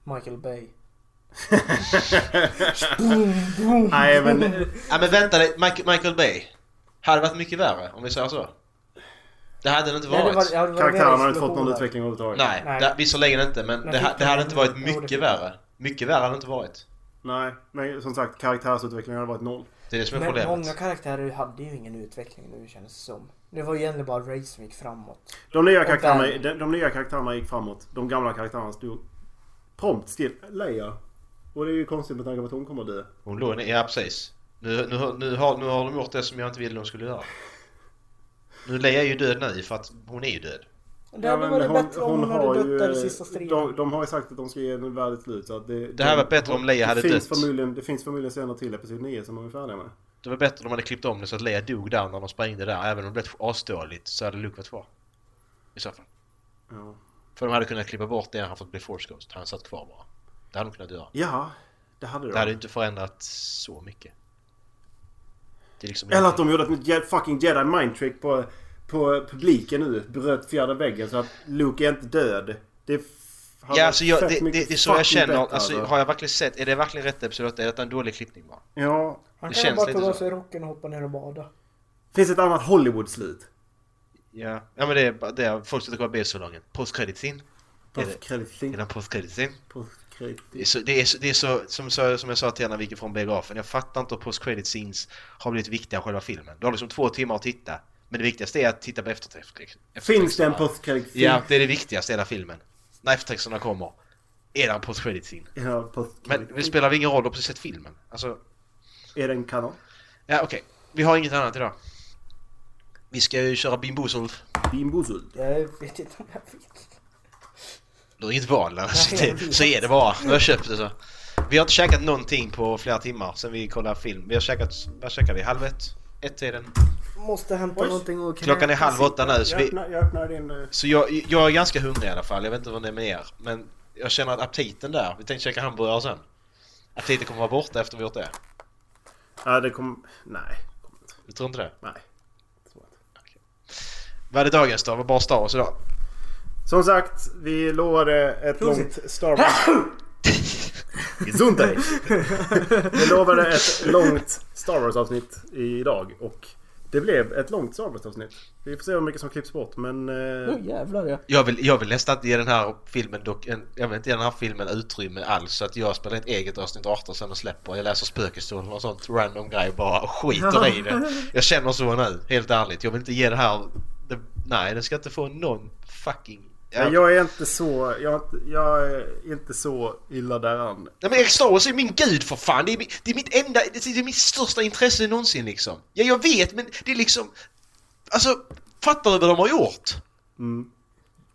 Speaker 8: Michael Bay.
Speaker 7: Nej men... eh,
Speaker 9: Ja men vänta dig, Michael, Michael Bay. Hade varit mycket värre om vi säger så. Det hade det inte
Speaker 8: Nej,
Speaker 9: varit.
Speaker 8: det var- ja, det var
Speaker 7: Karaktären
Speaker 8: mer
Speaker 7: har inte fått någon
Speaker 8: explosioner.
Speaker 7: utveckling överhuvudtaget.
Speaker 9: Nej,
Speaker 8: Nej.
Speaker 9: Det, visserligen inte men
Speaker 8: Men
Speaker 9: det, ha-
Speaker 8: fick
Speaker 9: det hade
Speaker 8: han-
Speaker 9: inte varit
Speaker 8: Jo, det
Speaker 9: mycket
Speaker 8: fick han.
Speaker 9: värre. Mycket värre hade det inte varit.
Speaker 7: Nej. Men som sagt karaktärsutvecklingen har varit noll.
Speaker 9: Det är det som är
Speaker 8: Men
Speaker 9: problemet.
Speaker 8: många karaktärer hade ju ingen utveckling nu kändes det som. Det var ju egentligen bara Ray som gick framåt.
Speaker 7: De nya, karaktärerna,
Speaker 8: där-
Speaker 7: de, de nya karaktärerna gick framåt. De gamla karaktärerna stod prompt still. Leia. Och det är ju konstigt med tanke på att hon kommer att dö.
Speaker 9: Hon låg ner, ja precis. Nu, nu, har- nu, har, nu har de gjort det som jag inte ville de skulle göra. Nu Leia är ju död nu för att hon är ju död.
Speaker 8: Det hade
Speaker 7: men
Speaker 8: varit bättre om hon hade dött där i sista striden.
Speaker 7: de, de har ju sagt att de ska ge den världens slut. Så att det,
Speaker 9: Det här var bättre om Leia hade
Speaker 7: det finns
Speaker 9: dött.
Speaker 7: Förmodligen, det finns förmodligen senare till episod 9 som de är färdiga med.
Speaker 9: Det var bättre om de hade klippt om det så att Leia dog där när de sprängde där. Även om det blev asdåligt så hade Luke varit kvar. I så fall.
Speaker 7: Ja.
Speaker 9: För de hade kunnat klippa bort det han fått bli Force Ghost. Han satt kvar bara. Det hade de kunnat göra.
Speaker 7: ja, det hade de.
Speaker 9: Det hade ju inte förändrat så mycket. Det är liksom
Speaker 7: Eller att de gjorde ett nytt je- fucking jedi mind trick på på publiken nu bröt fjärde väggen så att Luke är inte död. Det är f- han
Speaker 9: Ja,
Speaker 7: har
Speaker 9: alltså jag,
Speaker 7: fett
Speaker 9: det, det,
Speaker 7: mycket
Speaker 9: det är så jag
Speaker 7: fucking
Speaker 9: känner.
Speaker 7: bättre,
Speaker 9: Alltså,
Speaker 7: alltså.
Speaker 9: har jag verkligen sett? Är det verkligen rätt episod? Är detta en dålig klippning bara?
Speaker 7: Ja.
Speaker 8: Han
Speaker 9: Det
Speaker 8: kan ju
Speaker 9: känns
Speaker 8: bara
Speaker 9: lite
Speaker 8: ta av
Speaker 9: så.
Speaker 8: sig rocken och hoppa ner och bada.
Speaker 7: Finns ett annat Hollywood-slut?
Speaker 9: Ja, ja men det är bara det. är- Folk sitter och kollar B-solongen. Postkreditsin. Är det-
Speaker 7: Postkredit.
Speaker 9: Innan postkreditsin. Det är
Speaker 7: Postkredit.
Speaker 9: så, det är så, det är så som, så- som jag sa till er när vi gick från biografen. Jag fattar inte hur post-credit scenes har blivit viktiga i själva filmen. Du har liksom två timmar att titta. Men det viktigaste är att titta på eftertext.
Speaker 7: Finns det en
Speaker 9: eftertexterna.
Speaker 7: postkredit?
Speaker 9: Ja, det är det viktigaste i hela filmen. När eftertexterna kommer. Är det en post-credit scene?
Speaker 7: Ja,
Speaker 9: Men
Speaker 7: postkredit.
Speaker 9: det spelar väl ingen roll, du har precis sett filmen. Alltså,
Speaker 7: Är det en kanon?
Speaker 9: ja okej. Vi har inget annat idag. Vi ska ju köra Bimbo Solf.
Speaker 7: Bimbozult.
Speaker 8: Jag vet inte om jag vet.
Speaker 9: Du har inget val alltså,
Speaker 8: Nej, jag
Speaker 9: det,
Speaker 8: vet.
Speaker 9: Så är det bara. Nu har jag köpt det så. Vi har inte käkat någonting på flera timmar sen vi kollade film. Vi har käkat, vad käkade vi? Halv ett? Ett-tiden?
Speaker 8: Måste hämta
Speaker 7: Oj.
Speaker 8: någonting och
Speaker 9: Klockan är halv åtta nu så,
Speaker 7: Jag
Speaker 9: vi,
Speaker 7: öppnar, jag öppnar din... eh,
Speaker 9: så jag, jag är ganska hungrig i alla fall. Jag vet inte vad det är med er. Men jag känner att aptiten där. Vi tänkte käka hamburgare sen. Aptiten kommer vara borta efter vi gjort det.
Speaker 7: Ja, det kom... Nej.
Speaker 9: Du tror inte det?
Speaker 7: Nej.
Speaker 9: Vad är det dagens då? Vad bara Star Wars idag?
Speaker 7: Som sagt, vi lovade ett
Speaker 8: Prosit.
Speaker 7: långt Star Wars... Gesundheit! vi lovade ett långt Star Wars-avsnitt idag och det blev ett långt Star Wars-avsnitt. Vi får se hur mycket som klipps bort men... eh,
Speaker 8: Nu jävlar ja.
Speaker 9: Jag vill, jag vill nästan inte ge den här filmen dock, en, jag vill inte ge den här filmen utrymme alls så att jag spelar ett eget avsnitt 18 sen och släpper. Jag läser spökhistorier och sånt random grej bara och skiter i det. Jag känner så nu, helt ärligt. Jag vill inte ge det här... Det, nej, den ska inte få någon fucking... Ja.
Speaker 7: Men jag är inte så... Jag, är inte- jag är inte så illa däran.
Speaker 9: Nej men Eric Star Wars är min gud för fan! Det är, min- det är mitt enda, det är, det är mitt största intresse någonsin liksom. Ja jag vet men det är liksom... Alltså, fattar du vad de har gjort?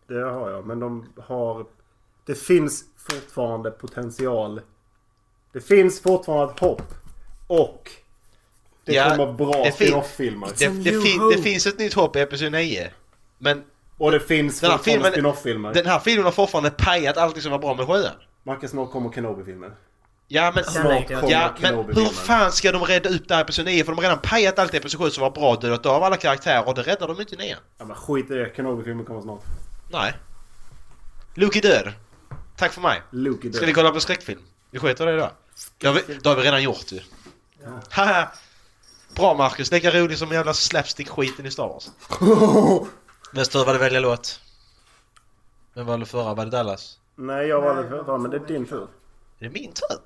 Speaker 7: Det har jag, men de har... Det finns fortfarande potential. Det finns fortfarande ett hopp. Och det
Speaker 9: Ja,
Speaker 7: kommer bra
Speaker 9: det fin-
Speaker 7: spin-off-filmer.
Speaker 9: Det,
Speaker 8: Som
Speaker 9: det,
Speaker 8: New
Speaker 9: fin,
Speaker 8: Hope.
Speaker 9: det finns ett nytt hopp i Episod 9. Men
Speaker 7: Och det finns
Speaker 9: Den här
Speaker 7: fortfarande
Speaker 9: filmen-
Speaker 7: spin-off-filmer.
Speaker 9: Den här filmen har fortfarande pajat allting som var bra med sjuan.
Speaker 7: Marcus, snart kommer Kenobi-filmen.
Speaker 9: Ja men,
Speaker 7: Snart kommer
Speaker 9: ja, men
Speaker 7: Kenobi-filmen.
Speaker 9: hur fan ska de rädda upp det här i episod 9? För de har redan pajat allt i episod 7 som var bra, dödat av alla karaktärer och det räddar de inte i 9.
Speaker 7: Ja, men skit i det. Kenobi-filmen kommer snart.
Speaker 9: Nej. Luke är död. Tack för mig.
Speaker 7: Luke är
Speaker 9: Ska ni
Speaker 7: död.
Speaker 9: kolla på skräckfilm? Vi skiter i det idag. Det har vi, det har vi redan gjort ju. Haha! bra Marcus, lika rolig som jävla slapstick-skiten i Star Wars. Nästa tur var det välja låt. Vem valde förra? Var det Dallas?
Speaker 7: Nej, jag valde för fan, men det är din tur.
Speaker 9: Är det min tur?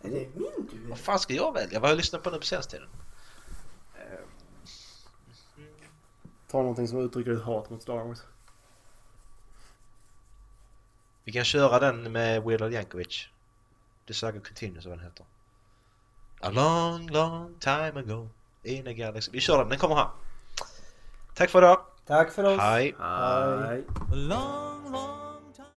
Speaker 8: Är det min tur?
Speaker 9: Vad fan ska jag välja? Vad har jag lyssnat på nu på senaste tiden?
Speaker 7: Ta någonting som uttrycker ditt hat mot Star Wars.
Speaker 9: Vi kan köra den med Weird Al Yankovic. The Saga Continues vad den heter. A long, long time ago in a galaxy. Vi kör den, den kommer här. Tack för idag.
Speaker 8: Tack för oss. Hej.
Speaker 9: Hej.
Speaker 7: Nej.
Speaker 10: long, long